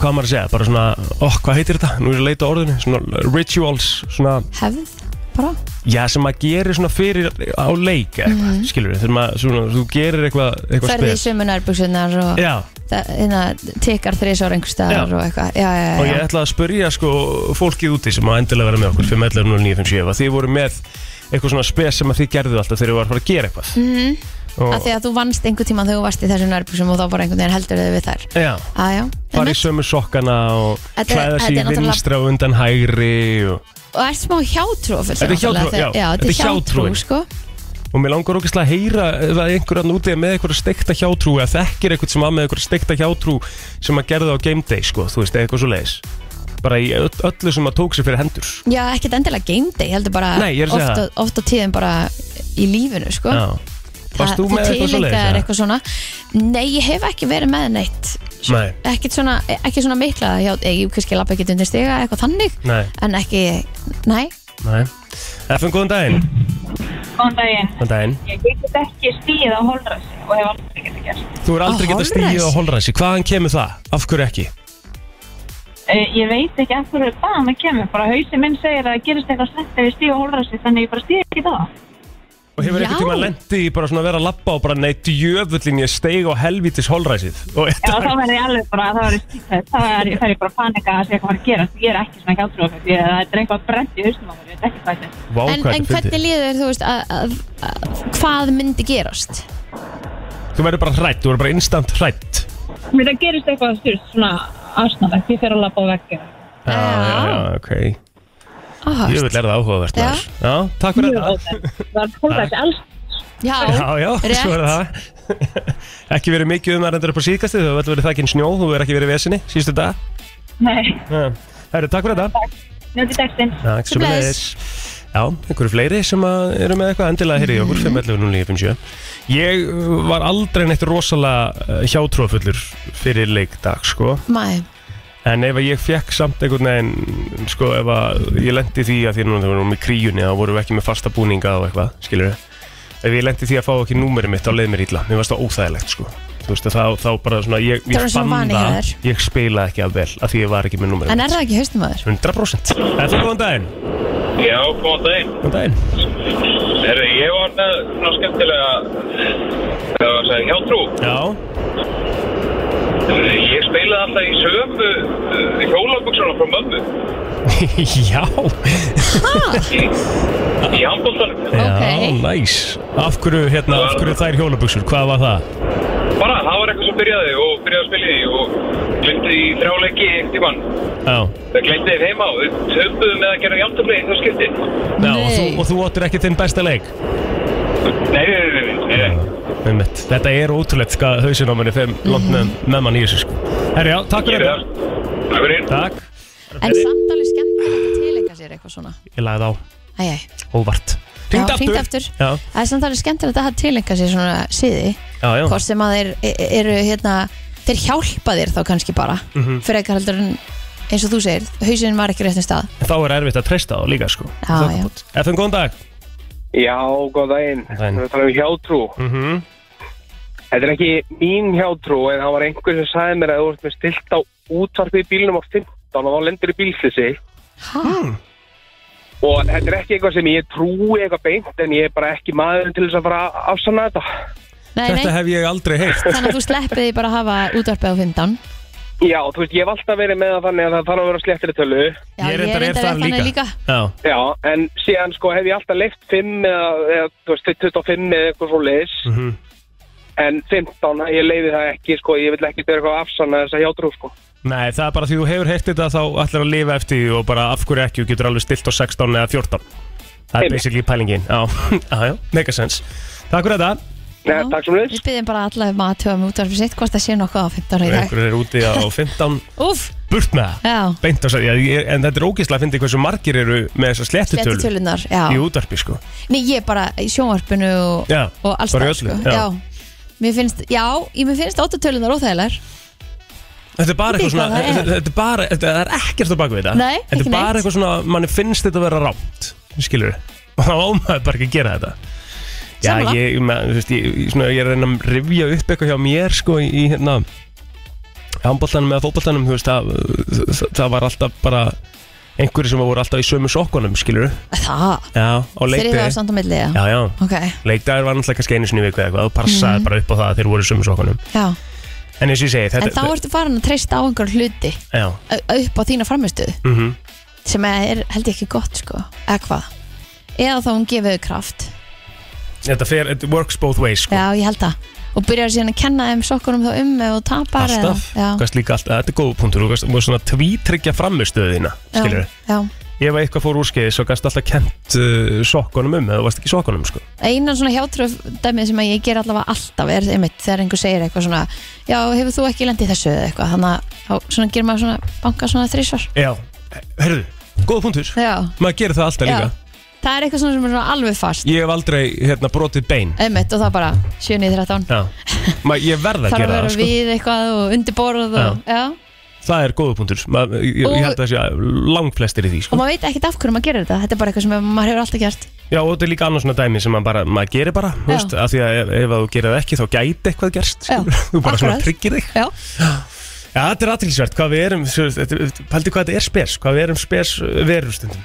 S1: hvað á maður að segja, bara svona oh, hvað heitir þetta, nú er ég að leita að orðinu svona rituals, svona
S2: hefð bara
S1: já sem maður gerir svona fyrir á leik eða eitthvað, skilur við, þegar maður svona, þú gerir eitthvað, eitthvað
S2: Ferði Mhm. í
S1: spes
S2: sömu nærbuksunar og
S1: já,
S2: það- hérna tikar þrísar einhvers staðar
S1: Já.
S2: og eitthvað Já, já,
S1: Og
S2: já,
S1: ég
S2: já.
S1: ætla að spyrja sko fólkið úti sem á endilega vera með okkur 511-0957 að þið voru með eitthvað svona spes sem að þið gerðu alltaf þegar þið var að fara að gera eitthvað mm
S2: Mhm. Af því að þú vannst einhver tíma þegar þú varst í þessum nærbuksum og þá bara einhvern veginn heldur þau við þær
S1: Já,
S2: Já, já,
S1: fara í
S2: Einmitt.
S1: sömu sokkana og
S2: Þetta er-
S1: klæða sig
S2: þetta
S1: í
S2: er náttúrulega-
S1: vinstra og undan hægri og,
S2: og ert smá hjátrúafull
S1: Þetta er hjátrú, já.
S2: Já, þetta er hjátrú,
S1: hjátrúin.
S2: sko
S1: og mér langar ógeðslega að heyra ef það er einhver annar úti er með eitthvað steikta hjátrú eða þekkir eitthvað sem var með eitthvað steikta hjátrú sem að gerða á game day sko, þú veist, eitthvað svo leiðis bara í ö- öllu sem að tók sér fyrir hendur
S2: Já, ekkert endilega game day, ég heldur bara
S1: Nei, ég er að segja
S2: oft,
S1: það.
S2: oft á tíðin bara í lífinu, sko
S1: Já, varst þú
S2: Það-
S1: með eitthvað svo
S2: tileinkar
S1: leiðis?
S2: eitthvað svona Nei, ég hef ekki verið með neitt
S1: Nei,
S2: Ekkert svona, ekki svona mikla hjá, eh, Ég kannski lappa ekki undir stiga eitthvað þannig
S1: nei,
S2: En ekki, nei
S1: nei FN, góðan daginn
S6: Góðan daginn.
S1: Góðan daginn
S6: Ég get ekki stíð á holræsi og hef aldrei getið gert.
S1: Þú er aldrei
S2: Á
S1: getað
S2: holræsi?
S1: stíðið á holræsi Hvaðan kemur það? Af hverju ekki?
S6: Uh, ég veit ekki af hverju hvaðan það kemur, bara hausin minn segir að það gerist eitthvað slæmt ef ég stíð á holræsi, þannig ég bara stíð ekki það.
S1: Og hefur
S2: Já.
S1: einhvern tíma lendi í bara svona að vera að labba og bara nei, djöfullin ég steig á helvítis holræsið og
S6: Já,
S1: þetta
S6: þá verður ég alveg bara, þá verður ég stíð, þá er ég, fer ég bara að panika að segja hvað var að gerast. Ég er ekki svona gáttrúafell, ég það er eitthvað brent í hausnum á mér, ég veit ekki hvað þetta er.
S2: En, en
S1: vákvæði
S2: hvernig
S1: fyndi
S2: líður þér, þú veist, að, að, að, hvað myndi gerast?
S1: Þú verður bara hrætt, þú verður bara instant hrætt
S6: Mér það gerist eitthvað styrst, svona asnalegt, ég fer að labba á veggina.
S1: Já, já, já, ok
S2: Ah,
S1: Djöfull er það áhugavert
S2: Já.
S1: maður. Já, takk fyrir
S6: Mjög
S1: þetta
S6: óþægt. Það er holræsi alls
S2: já,
S1: Já, já,
S2: rétt.
S1: svo er það [LAUGHS] Ekki verið mikið um að renda upp á síðkasti Þú verður verið þakkinn snjó, þú verður ekki verið vesinni Síðustu dag
S6: Nei,
S1: Herru, takk fyrir þetta
S6: njóti dagsinn.
S1: Takk sem
S2: Bless.
S1: Já, einhverju fleiri sem að eru með eitthvað endilega heyrið í okkur, 5.11.09.57 Ég uh, var aldrei neitt rosalega uh, hjátrúafullur fyrir leikdag, sko
S2: Mæ,
S1: en ef að ég fekk samt einhvern veginn sko, ef að ég lendi því að því núna þegar við vorum í kríunni, þá vorum við ekki með fasta búninga og eitthvað, skilur við ef ég lendi því að fá ekki númerið mitt, þá leið mér illa mér varst það óþægilegt, sko þú veist, þá, þá bara svona, ég,
S2: Það var
S1: ég
S2: svona
S1: fann
S2: vani hjá
S1: það
S2: þér.
S1: ég spilaði ekki af vel, af því ég var ekki með númerið
S2: en
S1: mitt.
S2: er það ekki haustum aður?
S1: 100% Eftir góðan daginn
S5: Já, góðan daginn.
S1: Góðan daginn
S5: Herri, ég var með svona skemmtilega, eh, hvað var að segja, hjátrú.
S1: Já,
S5: Ég spilaði alltaf í sömu uh, hjólabuxuna frá mömmu
S1: [LAUGHS] Já
S5: í, í handbóltanum.
S1: Já,
S2: Ok.
S1: næs Af hverju, hérna, af hverju þær hjólabuxur, hvað var það?
S5: Bara, það var eitthvað sem byrjaði og byrjaði að spila í því og
S7: glemdi í þrjáleiki einhvern tímann.
S1: Já,
S7: Það glemdi þér heima og við töfbuðum með að gera játtöfli í það skipti.
S1: já og, þú,
S2: Nei.
S1: og þú áttir ekki þinn besta leik
S7: Nei, nei, nei, nei, nei, nei.
S1: Einmitt. Þetta er ótrúlegt sko, hvað hausinámanni fer
S2: Mhm.
S1: langt með, með mann í þessu sko. Herri, já, takk
S7: Ég
S1: fyrir
S7: er
S1: þetta
S7: það. Takk fyrir.
S1: Takk,
S2: En samt alveg skemmtilegt að tilenga sér eitthvað svona
S1: ég lagði á
S2: Æjæ,
S1: óvart
S2: Já,
S1: Hringdu
S2: hringdu aftur.
S1: Já,
S2: það er samt alveg skemmtilegt að tilenga sér svona siði
S1: já, já
S2: Hvort sem að þeir e- e- eru hérna Þeir hjálpa þér þá kannski bara
S1: Mhm.
S2: Fyrir eitthvað heldur en eins og þú segir Hausinn var ekki réttum stað
S1: Þá er erfitt að treysta á líka sko
S2: Já,
S1: Það er
S2: já.
S1: gott. FM, góðan dag
S7: Já, góð daginn.
S1: Góðan daginn.
S7: Við erum um hjátrú.
S1: Mhm.
S7: Þetta er ekki mín hjátrú, en það var einhver sem sagði mér að þú ert með stilt á útvarpið í bílnum á 15 og þá lendir í bílslýsi.
S2: Hæ?
S1: Hmm.
S7: Og þetta er ekki eitthvað sem ég trúi eitthvað beint, en ég er bara ekki maður til þess að fara að afsanna þetta.
S2: Nei, nei,
S1: Þetta hef ég aldrei heilt
S2: þannig að þú sleppið því bara að hafa útvarpið á 15
S7: Já, þú veist, ég hef alltaf verið með það þannig að það þarf að vera sléttri tölu.
S2: Já,
S1: Ég reyndar er þar
S2: þannig
S1: líka.
S2: líka
S1: Já,
S7: Já, en síðan sko hef ég alltaf leift 5 eða, eða þú veist, 25 eða eitthvað svo leiðis.
S1: Mhm.
S7: En 15, ég leiði það ekki, sko, ég vil ekki vera eitthvað að afsanna þessa hjátrú, sko.
S1: nei, það er bara því þú hefur heilt þetta þá ætlar að lifa eftir því og bara af hverju ekki og getur alveg stilt á 16 eða 14 Það er
S7: Einmitt.
S1: basically pælingin Já, [LAUGHS] já, já, make a sense Takk fyrir þetta
S7: Nei, takk sem leiðis.
S2: Við byggjum bara allavega maður að tjóða með útvarpið sitt Hvort það sé nokkuð á 15 í dag
S1: Einhverjur er úti á 15
S2: Úff,
S1: Burt með það
S2: já,
S1: Beint á sæti, já, ég- en þetta er ógeðslega að fyndi hversu margir eru með þessar
S2: letti
S1: slettutölu
S2: tölunar Já,
S1: í útvarpi sko
S2: Nei, ég bara í sjónvarpinu og,
S1: Já,
S2: og alls
S1: bara í
S2: það
S1: öllu,
S2: sko.
S1: já.
S2: já. Mér finnst, já, ég mér finnst óttatölunar óþægilegar
S1: Þetta er bara
S2: Ég veit
S1: eitthvað svona,
S2: hvað það er.
S1: þetta er bara, þetta það er ekkert á baku þetta
S2: Nei,
S1: Þetta
S2: ekki
S1: er bara
S2: neitt.
S1: eitthvað svona, manni finnst þetta að vera rámt, [LAUGHS] skilur við Og þá ámaður bara ekki að gera þetta Já,
S2: Sammála.
S1: ég, með, þú veist, ég, ég- svona, ég er að reyna að rifja upp eitthvað hjá mér, sko, í, í hérna Handbóltanum eða fótbóltanum, þú veist, það, það, það var alltaf bara Einhverju sem voru alltaf í sömu sokkunum, skilur við
S2: Það,
S1: Já, á
S2: þegar það
S1: leikdegi
S2: var samt á milli já.
S1: Já, já,
S2: Ok,
S1: leikdagur var náttúrulega kannski einu sinni í viku eða eitthvað Þú passaði
S2: Mhm.
S1: bara upp á það að þeir voru í sömu sokkunum
S2: já
S1: En eins og ég segi, þetta
S2: En þá ertu farin að treysta á einhver hluti
S1: Já,
S2: ö- upp á þína framistuð
S1: mhm
S2: sem er held ég ekki gott sko eða hvað, eða þá hún gefið þau kraft
S1: Þetta fer, it works both ways sko.
S2: Já, ég held það og byrjar síðan að kenna þeim sokkunum þá um ef þú tapar eða-
S1: Alltaf,
S2: já,
S1: gæst líka alltaf, þetta er góð punktur Þú gæst þú gast svona tvítryggja frammistöðina Skilur
S2: já, já.
S1: Ef eitthvað fór úrskeiðis og gæst alltaf kent uh, sokkunum um eða þú varst ekki í sokkunum sko.
S2: Einan svona hjátröf dæmið sem að ég ger allavega alltaf er einmitt þegar einhver segir eitthvað svona já, hefur þú ekki lendið þessu eða eitthvað þannig að þá svona gerir maður svona banka svona þrísvar
S1: Já, herðu, góð punktur
S2: Já,
S1: Maður gerir það alltaf
S2: já
S1: líka
S2: Það er eitthvað svona sem er svona alveg fast
S1: Ég hef aldrei hérna, brotið bein
S2: einmitt og það bara 7.13
S1: Já, maður, ég verð
S2: þarf
S1: að
S2: að
S1: gera
S2: vera
S1: það sko.
S2: við eitthvað og undirborð og, já.
S1: Það er góð punktur maður, ég, ég
S2: Og-
S1: held að það sé langflestir í því
S2: og
S1: sko.
S2: maður veit ekkert af hverju maður gerir þetta þetta er bara eitthvað sem maður hefur alltaf gert
S1: Já, og þetta er líka annars svona dæmi sem maður, bara, maður gerir bara þú
S2: Já.
S1: veist, af Því að ef, ef að þú gerir það ekki þá gæti eitthvað gerst
S2: Já,
S1: skilur. [LAUGHS] Þú bara svona
S2: akkurat.
S1: tryggir þig
S2: Já,
S1: Já, þetta er aðtilsvært, hvað við erum svo- þetta- Pældi hvað þetta er spes, hvað við erum spes uh, verur stundum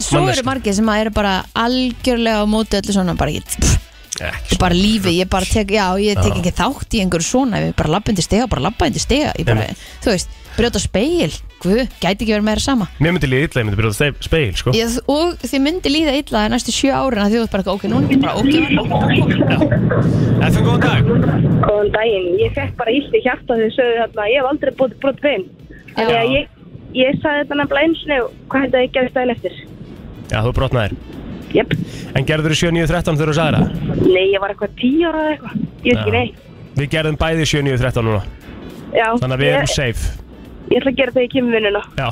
S2: svo
S1: Manneskja.
S2: eru margir sem að eru bara algjörlega á móti öllu svona bara, ég, pff,
S1: Ekki
S2: þetta er bara lífi, ég bara tek já, ég tek ekki þátt í einhverju svona ég bara labba undir stiga, bara labba undir stiga ég bara,
S1: Einmitt.
S2: þú veist, brjóta speil guð, gæti ekki verið meira sama
S1: Mér myndi líða illa, ég myndi byrja á ste- speil, sko
S2: ég, og þið myndi líða illa í næstu sjö árin að þið út bara, eitthvað, ok, nú er þetta bara ok
S1: FM, góðan dag
S8: Góðan daginn, ég fekk bara illt í hjarta þegar þau sögðu þarna, ég hef aldrei búið brott bein. Þannig að ég, ég sagði þetta nefnilega eins og hvað þetta ég gerði daginn eftir.
S1: Já, þú brotnaðir
S8: Jöp,
S1: En gerður þú 7.9.13 þegar þú sagði það?
S8: nei, ég var eitthvað tíu ára eða eitthvað, ég veit ekki
S1: Já.
S8: nei.
S1: Við gerðum bæði 7.9.13 núna
S8: Já,
S1: Þannig að við erum
S8: ég,
S1: safe
S8: ég ætla að gera þetta í kymvinuna. [LAUGHS]
S1: Já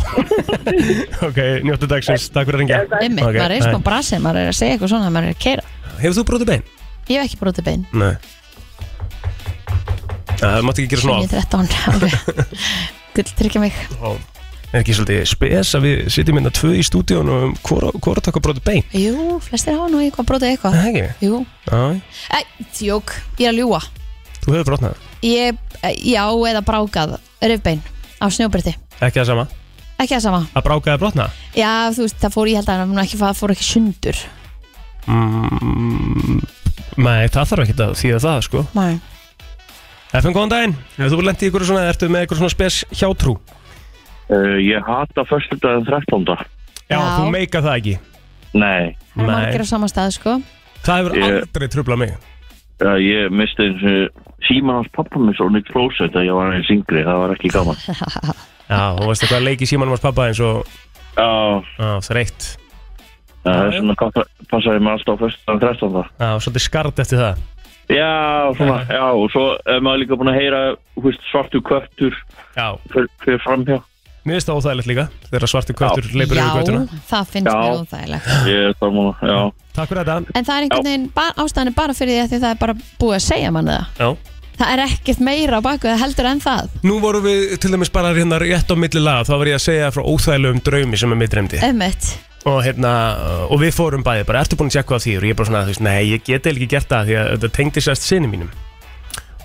S1: Ok, njóttu dagsins, takk fyrir að ringja
S2: einmitt,
S1: Ok,
S2: maður er
S1: nei.
S2: smá brasið, maður er að segja eitthvað svona maður er að keira,
S1: Hefur þú brotið bein?
S2: ég hef ekki brotið bein
S1: Nei Það mátti ekki gera svona
S2: Ég er
S1: [LAUGHS]
S2: 13 ok. gull tryggja mig
S1: á Er ekki svolítið spes að við sitjum hérna tvö í stúdíun og hvora hvora okkar brotið bein?
S2: jú, flestir hafa nú eitthvað brotið eitthvað
S1: Það ekki?
S2: jú,
S1: Já,
S2: e, tjók, ég er að ljúa
S1: þú hefur brotnað
S2: Ég, eh, já, eða brákað rifbein á snjóbretti
S1: Ekki það sama
S2: Ekki það sama
S1: Að bráka eða brotna?
S2: Já, þú veist, það fór, ég held að hann ekki, það fór ekki sundur
S1: Mm, nei, það þarf ekki að þýða það sko
S2: Nei.
S1: FM, góðan daginn Hefur þú lendið ykkur svona, ertu með ykkur svona spes hjátrú?
S9: Uh, ég hata föstudaginn 13.
S1: Já,
S2: Já.
S1: þú meika það ekki
S9: Nei,
S2: Það er margir á sama stað, sko
S1: Það hefur
S9: Ég-
S1: aldrei trublað mig
S9: Já, Eh, ég misti eins og síma hans pappa minn svo nýtt klósett að ég var eins yngri, það var ekki gaman.
S1: Já, og veistu hvað leik í símanum hans pappa eins og
S9: Já,
S1: á, þreytt
S9: það er svona gott að passaði mig alltaf á föstudag 13.
S1: Já, og svolítið skart eftir það
S9: Já, svona, já, og svo er maður líka búin að heyra þú veist, svartu kvöttur
S1: Já,
S9: fyrir, fyrir framhjá.
S1: mér finnst það óþægilegt líka þegar svartu kvötur leipur yfir
S2: Já,
S1: kvötuna
S2: það
S9: Já.
S2: finnst mér óþægilegt
S9: Ég er það múna, já.
S1: Takk fyrir þetta
S2: En það er einhvern veginn, ba- ástæðan er bara fyrir því að því það er bara búið að segja manni það
S1: Já.
S2: Það er ekkert meira á baku það heldur en það
S1: Nú vorum við til dæmis bara hérna rétt á milli laga þá var ég að segja frá óþægilegum draumi sem er mitt reymdi
S2: Ömmett
S1: og, hérna, og við fórum bæði bara, ertu búin að tjekka á því og ég bara svona, þú veist, nei, ég geti ekki gert það því að þetta tengdi sérst sinni mínum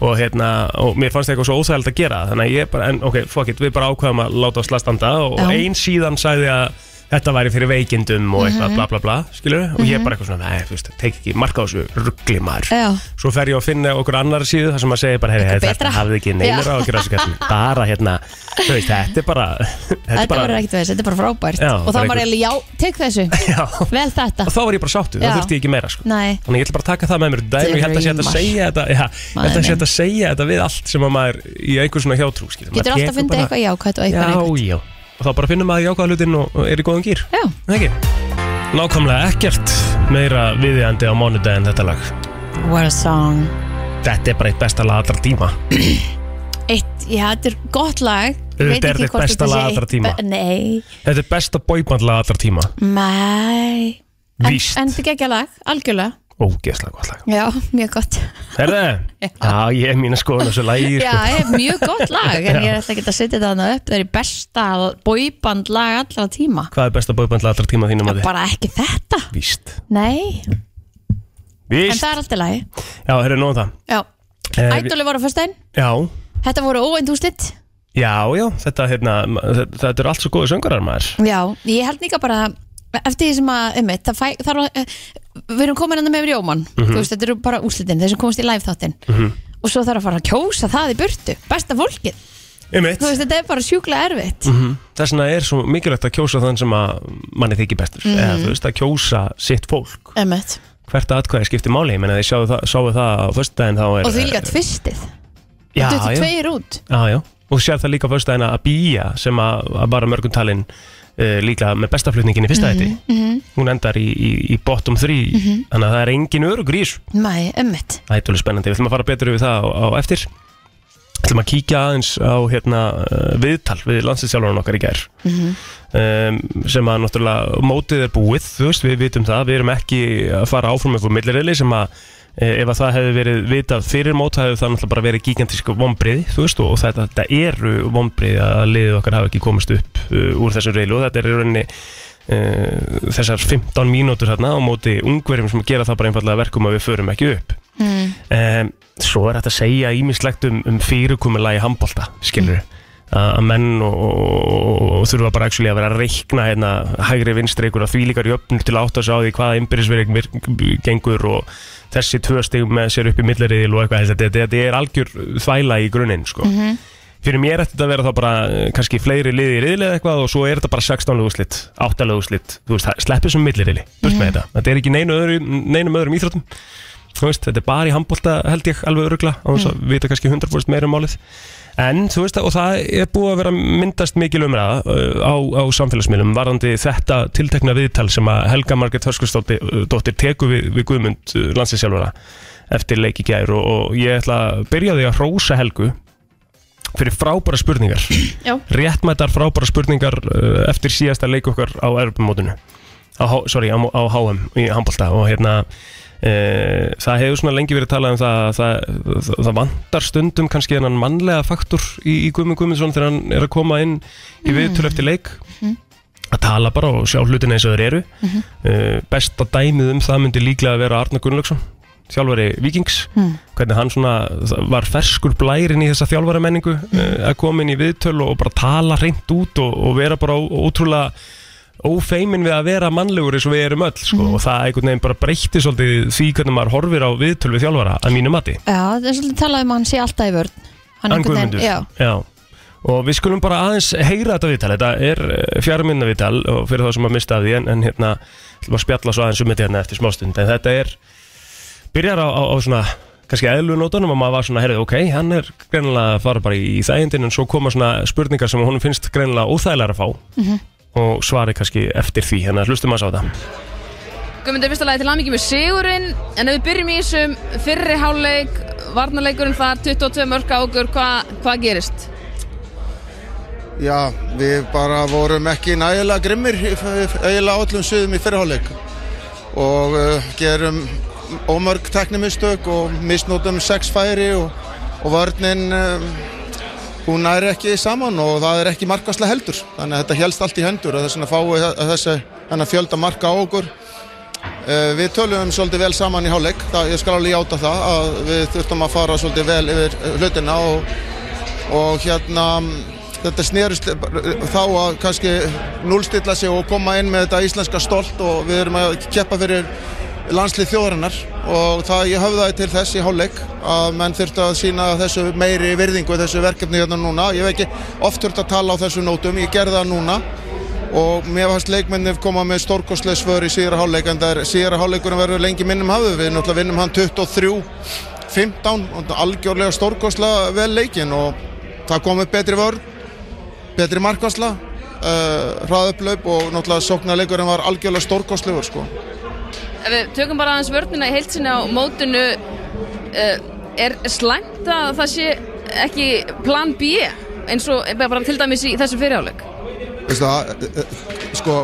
S1: og hérna, og mér fannst eitthvað svo óþægilegt að gera það, þannig að ég bara, en ok, fuck it við bara ákvæðum að láta á slastanda og
S2: Já.
S1: ein síðan sagði að þetta væri fyrir veikindum og
S2: Mhm.
S1: eitthvað bla bla bla skilur, og ég bara eitthvað svona, nei, þú veist, tek ekki marka á þessu ruggli maður
S2: Já,
S1: svo fer ég að finna okkur annar síðu þar sem að segja bara, heyri,
S2: Eitthvað
S1: þetta
S2: betra."
S1: hafði ekki neynir
S2: Já.
S1: á að gera þessu kæftin bara hérna, þú veist, þetta er bara þetta er
S2: þetta verður
S1: bara,
S2: ekkert veist, þetta er bara frábært
S1: Já,
S2: Og þá
S1: bara
S2: var
S1: einhver-
S2: ég alveg, já, tek þessu
S1: [LAUGHS] já
S2: Vel þetta
S1: og þá var ég bara sáttu,
S2: Já.
S1: það þurfti ég ekki meira sko.
S2: Nei,
S1: þannig ég ætla bara að taka það með mér út í daginn og ég held að sé hægt að
S2: Draumar.
S1: segja þetta já, ég held að sé hægt að segja þetta við allt sem að maður í einhver svona hjátrú skilur. Maður
S2: getur alltaf
S1: tekur
S2: fundið
S1: bara-
S2: eitthvað jákvæmt og eitthvað neikvætt.
S1: já, já, og þá bara finnum maður jákvæða hlutin og, og er í góðum gýr
S2: Já,
S1: ekki? nákvæmlega ekkert meira viðjandi á mánudaginn þetta lag
S2: what a song
S1: þetta er bara eitt besta lag allra tíma
S2: Eitt, já, þetta er gott lag
S1: Þetta
S2: Veit
S1: er
S2: ekki
S1: þitt
S2: hvort
S1: besta
S2: þetta sé
S1: lag allra
S2: eitt
S1: tíma.
S2: be- Nei,
S1: þetta er besta boyband lag allra tíma
S2: mæ En,
S1: víst,
S2: en þetta gekkja lag, algjörlega
S1: ógeðslega gott lag
S2: Já, mjög gott
S1: herðu, já, ég er mína skoðun á þessu
S2: [LAUGHS]
S1: lagi
S2: Já,
S1: sko.
S2: ég hef mjög gott lag
S1: [LAUGHS]
S2: En ég ætla ekki að setja þetta þannig upp Það er í besta bóiband lag allra tíma
S1: hvað er besta boyband lag allra tíma þínum að
S2: Bara ekki þetta
S1: víst,
S2: Nei, en
S1: víst
S2: það er alltaf lagi
S1: já, herðu, nóðum það
S2: Já,
S1: Eh, við-
S2: ædoli voru á föstudaginn
S1: já,
S2: Þetta voru óveind úslitt
S1: Já, já, þetta, hérna, þetta, þetta er allt svo góði söngarar maður
S2: Já, ég held líka bara Eftir því sem að, um það fæ, þar var eh, Við erum komin ennum með Jóman
S1: Mhm.
S2: Þú veist, þetta eru bara úslitin, þeir sem komast í live þáttinn Og svo þarf að fara að kjósa það í burtu Besta fólkið,
S1: Einmitt Mhm.
S2: þú veist, þetta er bara sjúklega erfitt
S1: Þess vegna er svo mikilvægt að kjósa þann sem að manni þykir bestur
S2: Mhm.
S1: eða þú veist að kjósa sitt fólk
S2: Emmett
S1: hvert atkvæði skiptir máli, ég meina þið sjáu það, sjáu það á föstudaginn þá er
S2: Og því líka tvistið,
S1: já,
S2: þetta er
S1: já,
S2: tveir út
S1: já, já, og sér það líka á föstudaginn að Bía sem að, að bara mörgum talin uh, líka með bestaflutningin í fyrsta
S2: Mhm.
S1: mm hún endar í, í, í bottom 3 þannig að það er engin örugur í þessu
S2: Mæ, ömmit
S1: Það er tólið spennandi, við ætlum að fara betur yfir það á, á eftir Við ætlum að kíkja aðeins á hérna, uh, viðtal við landsinsjálfarinn okkar í gær um, sem að náttúrulega mótið er búið, þú veist, við vitum það við erum ekki að fara áfram með fór millirili sem að e, ef að það hefði verið vitað fyrir mót, það hefði það náttúrulega bara verið gigantísk vombrið, þú veist, og, og þetta, þetta eru vombrið að liðið okkar hafa ekki komist upp uh, úr þessum reilu og þetta er í rauninni uh, þessar 15 mínútur hérna á móti ungverjum sem gera það bara einfallega að verkum að við förum ekki upp
S2: Hmm.
S1: um, svo er þetta að segja ímislegt um, um fyrirkomulagi handbolta skilur að menn og, og, og, og þurfa bara actually að vera að reikna hérna, hægri vinstri ykkur að þvílíkar jöfnur til að átta sig á því hvaða ymbirðisverið gengur og þessi tvö stigum með sér upp í millariðil og eitthvað þetta, þetta, þetta er algjör þvæla í grunninn sko.
S3: Mhm.
S1: fyrir mér ætti þetta að vera þá bara eh, kannski fleiri liði í riðli eða eitthvað og svo er þetta bara 16 löguslitt, 8 löguslitt þú veist, það- sleppið sem milliriðli,
S2: Mhm.
S1: burt með þetta þetta er ekki neinu öðru, neinum öðrum íþróttum þú veist, þetta er bara í handbólta held ég alveg örugla og þess að vita kannski 100% meira um málið en þú veist, og það er búið að vera myndast mikil umræða uh, á, á samfélagsmiðlum varðandi þetta tiltekna viðtal sem að Helga Margrét Hörskustóttir teku við, við Guðmund landsinsjálfara eftir leiki gær og, og ég ætla að byrja á því að hrósa Helgu fyrir frábæra spurningar
S2: Já.
S1: réttmætar frábæra spurningar uh, eftir síðasta leik okkar á Europamótinu á, H- sorry, á, á HM í handbólta og hérna e, það hefur svona lengi verið talað um það að það, það, það vantar stundum kannski þennan mannlega faktor í, í Guðmund Guðmundsson þegar hann er að koma inn í viðtölu eftir leik að tala bara og sjá hlutina eins og þeir eru mm besta dæmið um það myndi líklega vera Arnar Gunnlaugsson þjálfari Vikings, hvernig hann svona var ferskur blærin í þessa þjálfara menningu að koma inn í viðtölu og bara tala hreint út og, og vera bara ó- ótrúlega ófeimin við að vera mannlegur eins og við erum öll sko, og það einhvern veginn bara breytti svolítið því hvernig maður horfir á viðtölu við þjálfara að mínu mati
S2: Já, það er svolítið talað um að hann sé alltaf í vörn Hann
S1: Hann
S2: einhvern veginn-
S1: Guðmundur
S2: Já,
S1: Og við skulum bara aðeins heyra þetta viðtal Þetta er fjárminna viðtal og fyrir þá sem að mista af því en, en hérna, ætlum að spjalla svo aðeins um þetta hérna eftir smástund en þetta er, byrjar á, á, á svona kannski eðlu nótunum að maður var svona, herrið, ok, hann er greinilega að fara bara í þægindin en svo koma svona spurningar sem hún finnst greinilega óþægilega að fá
S10: Mhm.
S1: og svari kannski eftir því, þannig að hlustum að sá það.
S10: Guðmundur, fyrsta lagi til aðmyggjum með Sigurinn En ef við byrjum í þessum fyrri hálfleik Varnarleikurinn þar, 22 mörg á okkur Hvað hva gerist?
S11: Já, við bara vorum ekki nægilega grimmir í- eiginlega á öllum suðum í fyrirháleik og uh, gerum ómörg teknimistök og misnótum sex færi og, og vörnin um, hún næri ekki saman og það er ekki markaslega heldur þannig að þetta helst allt í hendur og þess vegna fáum við þe- þessi hennar fjölda marka á okkur uh, Við töluðum svolítið vel saman í hálfleik það, ég skal alveg játa það að við þurftum að fara svolítið vel yfir eh, hlutina og, og hérna þetta snerist þá að kannski núlstilla sig og koma inn með þetta íslenska stolt og við erum að keppa fyrir landslið þjóðarinnar og það ég höfðaði til þess í hálfleik að menn þurfti að sína þessu meiri virðingu þessu verkefni hérna núna ég hef ekki oft þurfti að tala á þessu nótum ég gerði það núna og mér fannst leikmennir koma með stórkostlega svör í síðara hálfleik en það er síðara hálfleikurinn verður lengi minnum hafðu við náttúrulega vinnum hann 23-15 og algjörlega stórkostlega vel leikin og það kom upp betri vörn betri markvarsla uh, hraðuplaup og náttúrulega sóknarleikurinn var algjörlega stórkostlegur sko.
S10: Ef við tökum bara aðeins vörnina í heilsinni á mótinu uh, Er slæmt að það sé ekki plan B eins og bara bara til dæmis í þessum fyrirháleik
S11: Veistu það, eh, eh, sko,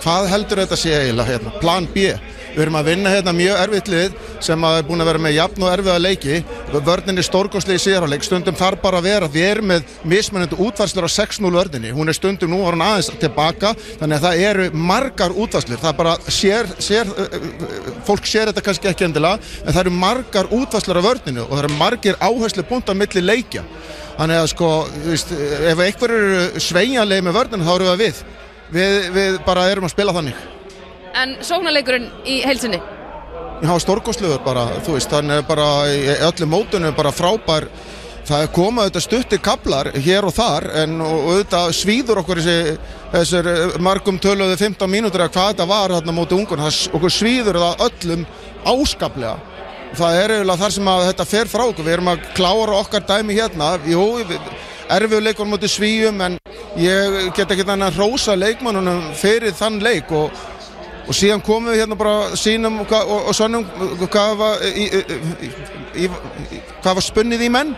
S11: hvað heldur þetta sé eiginlega hérna? Plan B. Við erum að vinna hérna mjög erfitt lið sem að er búin að vera með jafn og erfiða leiki. Vörninni stórkostlið í síðarháleik, stundum þarf bara að vera. Við erum með mismunandi útvarslur á 6-0 vörninni. Hún er stundum nú var hún aðeins tilbaka, þannig að það eru margar útvarslur. Það bara sér, sér, eh, eh, fólk sér þetta kannski ekki endilega, en það eru margar útvarslur á vörninni og það eru margir áherslu búnt á milli leikja. Þannig að sko, þú veist, ef einhver eru sveigjanlega með vörnum þá eru það við. við. Við bara erum að spila þannig.
S10: En sóknarleikurinn í heilsinni
S11: Já, stórkostlegur bara, þú veist, hann er bara í öllum mótunum bara frábær Það er komað auðvitað stuttir kablar hér og þar en og auðvitað svíður okkur þessi, þessir eh, margum töluðu 15 mínútur eða hvað þetta var þarna móti ungun það, s- okkur svíður það öllum áskaplega það er eiginlega þar sem að þetta fer frá okkur við erum að klára okkar dæmi hérna Jú, erfiðu leikunum móti svíjum en ég get ekki þannig að rósa leikmannunum fyrir þann leik og og síðan komum við hérna bara sínum og, og, og sönnum hvað var, í, í, í, í, hvað var spunnið í menn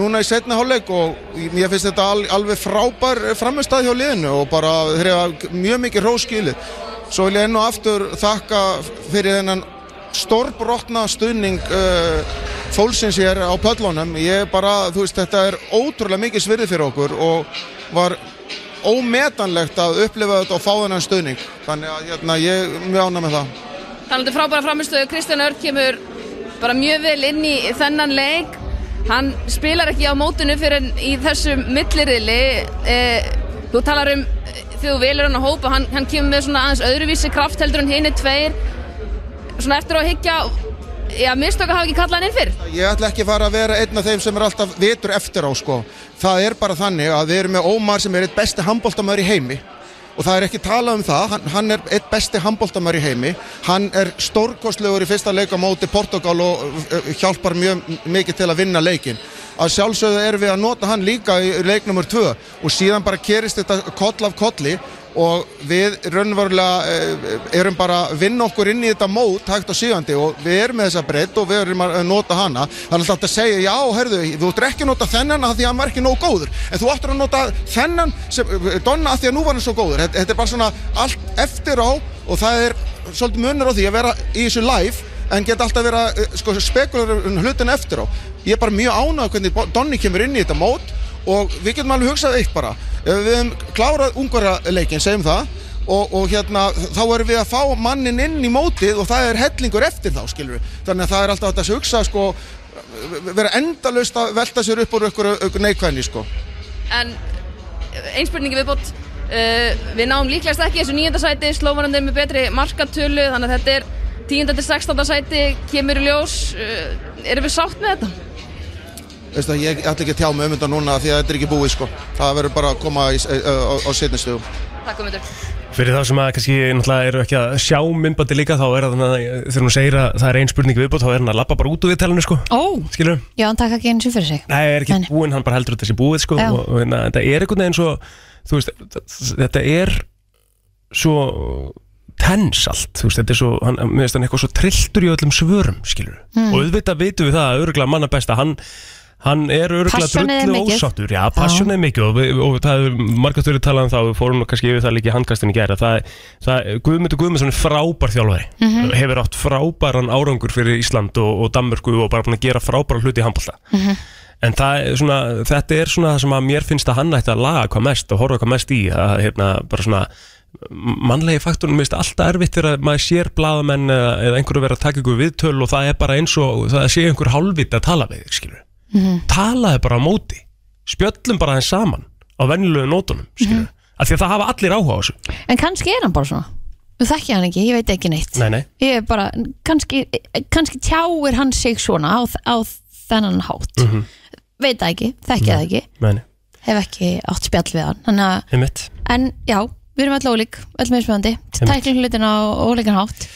S11: núna í setna hálfleik og ég finnst þetta al, alveg frábær framistæð hjá liðinu og bara hrefa mjög mikið róskilið svo vil ég enn og aftur þakka fyrir þennan stórbrotna stuðning uh, fólksins hér á pöllunum ég bara, þú veist, þetta er ótrúlega mikið svirðið fyrir okkur og var ómetanlegt að upplifa þetta og fá þennan stuðning þannig að hérna, ég er mjög ána með það
S10: Talandi um frábæra framistöðu, Kristján Örn kemur bara mjög vel inn í þennan leik. Hann spilar ekki á mótinu fyrir en í þessum millirriðli. Eh, þú talar um eh, þegar þú velur hann að hópa, hann, hann kemur með svona aðeins öðruvísi kraft heldur en hinn er tveir. Svona eftir á að higgja, já, mistöka hafa ekki kallað hann inn fyrr.
S11: Ég ætla ekki að fara að vera einn af þeim sem er alltaf vitur eftir á sko. Það er bara þannig að við erum með Ómar sem er eitt besti handbóltamöður í heimi og það er ekki talað um það, hann, hann er eitt besti handbóltamöður í heimi hann er stórkostlegur í fyrsta leik á móti Portugal og uh, hjálpar mjög m- mikið til að vinna leikin að sjálfsögðu erum við að nota hann líka í leik nummer 2 og síðan bara kerist þetta koll af kolli og við raunverulega eh, erum bara að vinna okkur inn í þetta mót hægt og sígandi og við erum með þessa breytt og við erum að nota hana það er alltaf hægt að segja, já, herðu, þú ættir ekki að nota þennan af því að hann var ekki nóg góður en þú áttur að nota þennan sem, donna af því að nú var hann svo góður þetta, þetta er bara svona allt eftir á og það er svolítið munur á því að vera í þessu live en geta alltaf verið að eh, sko, spekulara um hlutin eftir á ég er bara mjög ánað hvernig Bo- Donni kemur inn í þetta mót og við getum alveg hugsað eitt bara ef við hefum klárað ungverðarleikin segjum það og, og hérna þá erum við að fá mannin inn í mótið og það er hellingur eftir þá skilur við þannig að það er alltaf hægt að hugsa sko, vera endalaust að velta sér upp úr ykkur, ykkur neikvæðni sko.
S10: En einspurningi viðbót uh, Við náum líklegast ekki þessu nýjönda sæti Slóvarandi er með betri markatölu Þannig að þetta er tíunda til sextanda sæti Kemur í ljós uh, Erum við sátt með þetta?
S11: Veistu að ég ætla ekki að tjá mig um þetta núna því að þetta er ekki búið sko. það verður bara að koma í, á, á, á setnistu
S10: Takk um þetta
S1: Fyrir þá sem að kannski náttúrulega eru ekki að sjá myndbandi líka þá er það þannig að þegar hún segir að það er ein spurning viðbútt þá er hann að labba bara út úr viðtælinu sko
S2: Ó,
S1: Skilur?
S2: já, hann taka ekki eins og fyrir sig
S1: Nei, er ekki búinn, hann bara heldur þetta sé búið sko
S2: Já.
S1: og, og hérna, þetta er einhvern veginn svo þú veist, þetta er svo tens allt, þú veist, þetta er svo hann, mér finnst hann eitthvað svo trilltur í öllum svörum skilur,
S2: Mm.
S1: og auðvitað vitum við það að örgulega manna best að hann Hann er örgulega
S2: Passionið er
S1: drullu
S2: mikið.
S1: ósáttur Já, passionið er mikið og, við, og það er margast verið talað um það og við fórum nú kannski yfir það líka í handkastinu í gæra það, það, Guðmundur Guðmundsson er frábær þjálfari
S2: Mhm.
S1: hefur átt frábæran árangur fyrir Ísland og, og Danmörku og bara búin að gera frábæra hluti í handbólta
S2: Mhm.
S1: En það, er svona, þetta er svona það sem að mér finnst að hann ætti að laga hvað mest og horfa hvað mest í að hérna, bara svona mannlegi faktorinn mér finnst alltaf erfitt þegar að maður sér blaðamenn eða, eða einhverju verið að taka ykkur viðtöl og það er bara eins og það sé einhver hálfvit að tala við þig skilur.
S4: Mhm.
S1: Talaði bara á móti spjöllum bara þeim saman á venjulegu nótunum skilur.
S2: Mhm.
S1: Af því að það hafa allir áhuga á þessu.
S2: En kannski er hann bara svona Þú þekki hann ekki, ég veit ekki neitt
S1: Nei, nei.
S2: Ég er bara, kannski, kannski tjáir hann sig svona á, á þennan hátt
S1: Mm
S2: Veit það ekki, þekki það ekki
S1: Nei, nei.
S2: Hef ekki átt spjall við hann Þannig að,
S1: Einmitt.
S2: en já, við erum öll ólík Öll meðspjöðandi,
S1: Einmitt.
S2: tækling hlutin á ólíkan hátt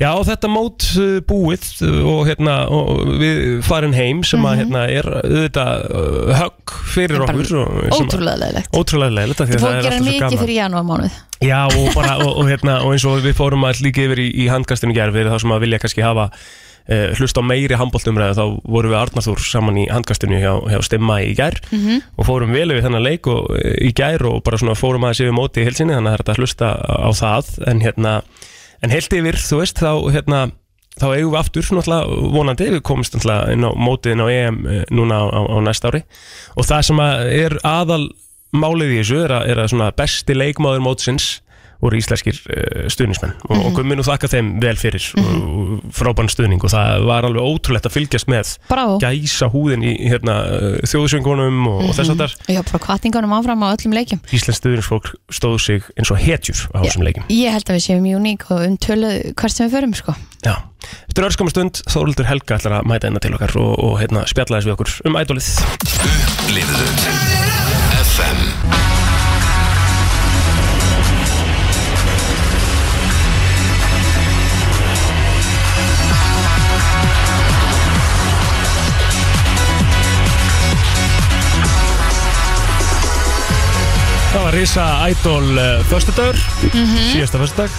S1: Já, þetta mót uh, búið uh, og, hérna, og við farin heim sem að hérna, er auðvitað uh, högg fyrir
S2: Mhm. bara
S1: okkur og- sem að-
S2: ótrúlega leiðilegt.
S1: Ótrúlega leiðilegt af því
S2: Þú
S1: að
S2: fór að
S1: það er
S2: gera
S1: alltaf svo
S2: mikið
S1: gaman
S2: fyrir janúarmánuð
S1: Já, og, bara, og, og, hérna, og eins og við fórum að líka yfir í, í handkastinu gerð fyrir þá sem að vilja kannski hafa uh, hlust á meiri handbóltumræði þá vorum við Arnarþór saman í handkastinu hjá, hjá Stimma í gerð
S4: Mhm.
S1: og fórum vel yfir þennan leik og, eh, í gær og bara svona fórum aðeins yfir móti í hilsinni þannig að það er hægt að hlusta á það en hérna, en heilt yfir þú veist þá hérna þá eigum við aftur náttúrulega vonandi við komumst náttúrulega inn á mótið inn á EM eh, núna á, á, á næsta ári og það sem að er aðal málið í þessu er að, er að svona besti leikmaður mótsins voru íslenskir uh, stuðnismenn og, og Gummi nú þakka þeim vel fyrir mm og frábæn stuðning og það var alveg ótrúlegt að fylgjast með
S2: Bravo.
S1: gæsa húðin í hérna, eh, þjóðsöngunum og, og
S2: Mhm.
S1: þess að þar
S2: Já, bara kvartingunum áfram á öllum leikjum
S1: Íslensk stuðnisfólk stóðu sig eins og hetjur á þessum leikum
S2: Ég held að við séum uník og umtöluð hvert sem við förum sko.
S1: Já, eftir örskamma stund Þóruldur Helga ætlar að mæta einna til okkar og, og hérna, spjalla þess við okkur um ædolið
S3: Lifðu FM
S1: Það var risa ædol uh, föstudagur, síðasta föstudag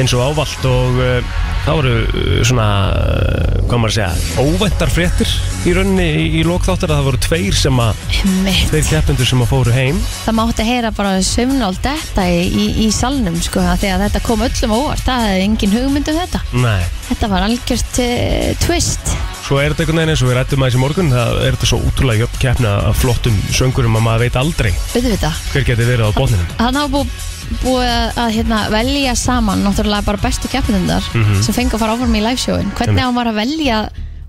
S1: eins og ávallt og uh, það voru uh, svona uh, hvað maður að segja, óvæntar fréttir í rauninni í, í lokþáttar að það voru tveir sem að,
S2: Einmitt.
S1: tveir keppendur sem að fóru heim
S2: Það mátti heyra bara sömnál detta í, í, í salnum sko, af því að þetta kom öllum á óvart það hefði engin hugmynd um þetta
S1: Nei,
S2: Þetta var algjört uh, twist
S1: svo er þetta einhvern veginn eins og við rættum aðeins í morgun, það er þetta svo útrúlega jöfn keppna af flottum söngurum að maður veit aldrei
S2: auðvitað
S1: hver geti verið á botninum
S2: Þannig hafa búið, búið að, að hérna, velja saman náttúrulega bara bestu keppinundar
S1: Mhm.
S2: sem fengu að fara áfram í liveshowin hvernig
S1: Einmitt.
S2: hann var að velja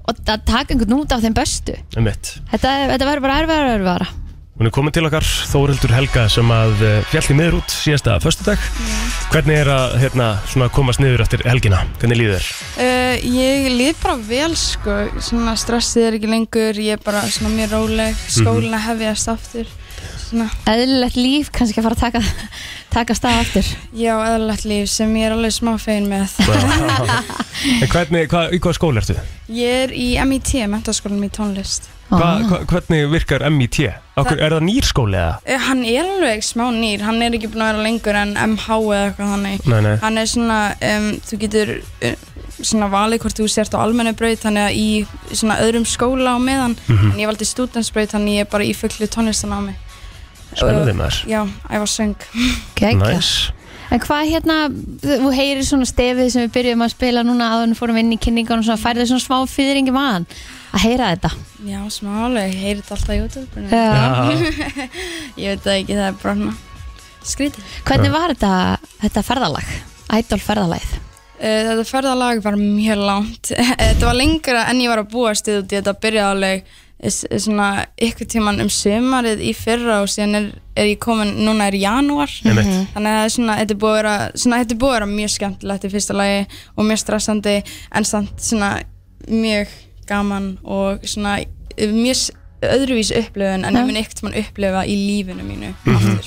S2: og að taka einhvern út af þeim bestu
S1: um mitt.
S2: Þetta, þetta verður bara erfiðar og erfiðara
S1: Hún er komin til okkar, Þórhildur Helga sem að eh, féll í miður út síðasta föstudag Hvernig er að hérna, svona, komast niður eftir helgina? Hvernig líður þér?
S12: [LAUGHS] Uh, ég lið bara vel sko, svona stressið er ekki lengur, ég er bara svona mjög róleg, skólinn að hefjast aftur, svona.
S2: Eðlilegt líf kannski að fara að taka, taka stað aftur.
S12: Já, eðlilegt líf sem ég er alveg smá fegin með.
S1: En hvernig, hva, í hvað skóla ertu?
S12: [LAUGHS] Ég er í MIT, mentaskólanum í tónlist.
S1: Hva, hva, hvernig virkar MIT? Akkur, er það nýr skóli eða?
S12: Uh, hann er alveg smá nýr, hann er ekki búinn að vera lengur en MH eða eitthvað þannig.
S1: Nei, nei.
S12: Hann er svona, um, þú getur uh, svona valið hvort þú sért á almennu braut, þannig að í svona öðrum skóla á meðan,
S1: Mhm.
S12: en ég valdi studentsbraut, þannig ég er bara í fullu tónlistan á mig.
S1: Spennandi, maður.
S12: Já, æfa söng. [LAUGHS]
S2: Geggjað.
S1: Nice.
S2: En hvað hérna, þú heyrir svona stefið sem við byrjum að spila núna áður en fórum inn í kynningan og svona færði svona smá fyrringi maðan að heyra þetta.
S12: Já, smá alveg, ég heyri þetta alltaf í YouTube. [LAUGHS]
S2: Já.
S12: ég veit það ekki, það er bara hana skrítið.
S2: Hvernig var þetta, þetta ferðalag? Ædol ferðalagið.
S12: Eh, Þetta ferðalag var mjög langt. [LAUGHS] þetta var lengra en ég var að búast við út í þetta byrjaði alveg eh, s- svona ykkur tíman um sömarið í fyrra og síðan er, er ég komin, núna er janúar
S4: Einmitt.
S12: þannig að það er svona, þetta er búið að vera svona, þetta er búið að vera mjög skemmtilegt í fyrsta lagi og mjög stressandi en samt svona mjög gaman og svona eh, mjög s- öðruvís upplöfun en
S2: Já.
S12: ég mun ekkert mann upplifa í lífinu mínu
S1: Mm -hmm.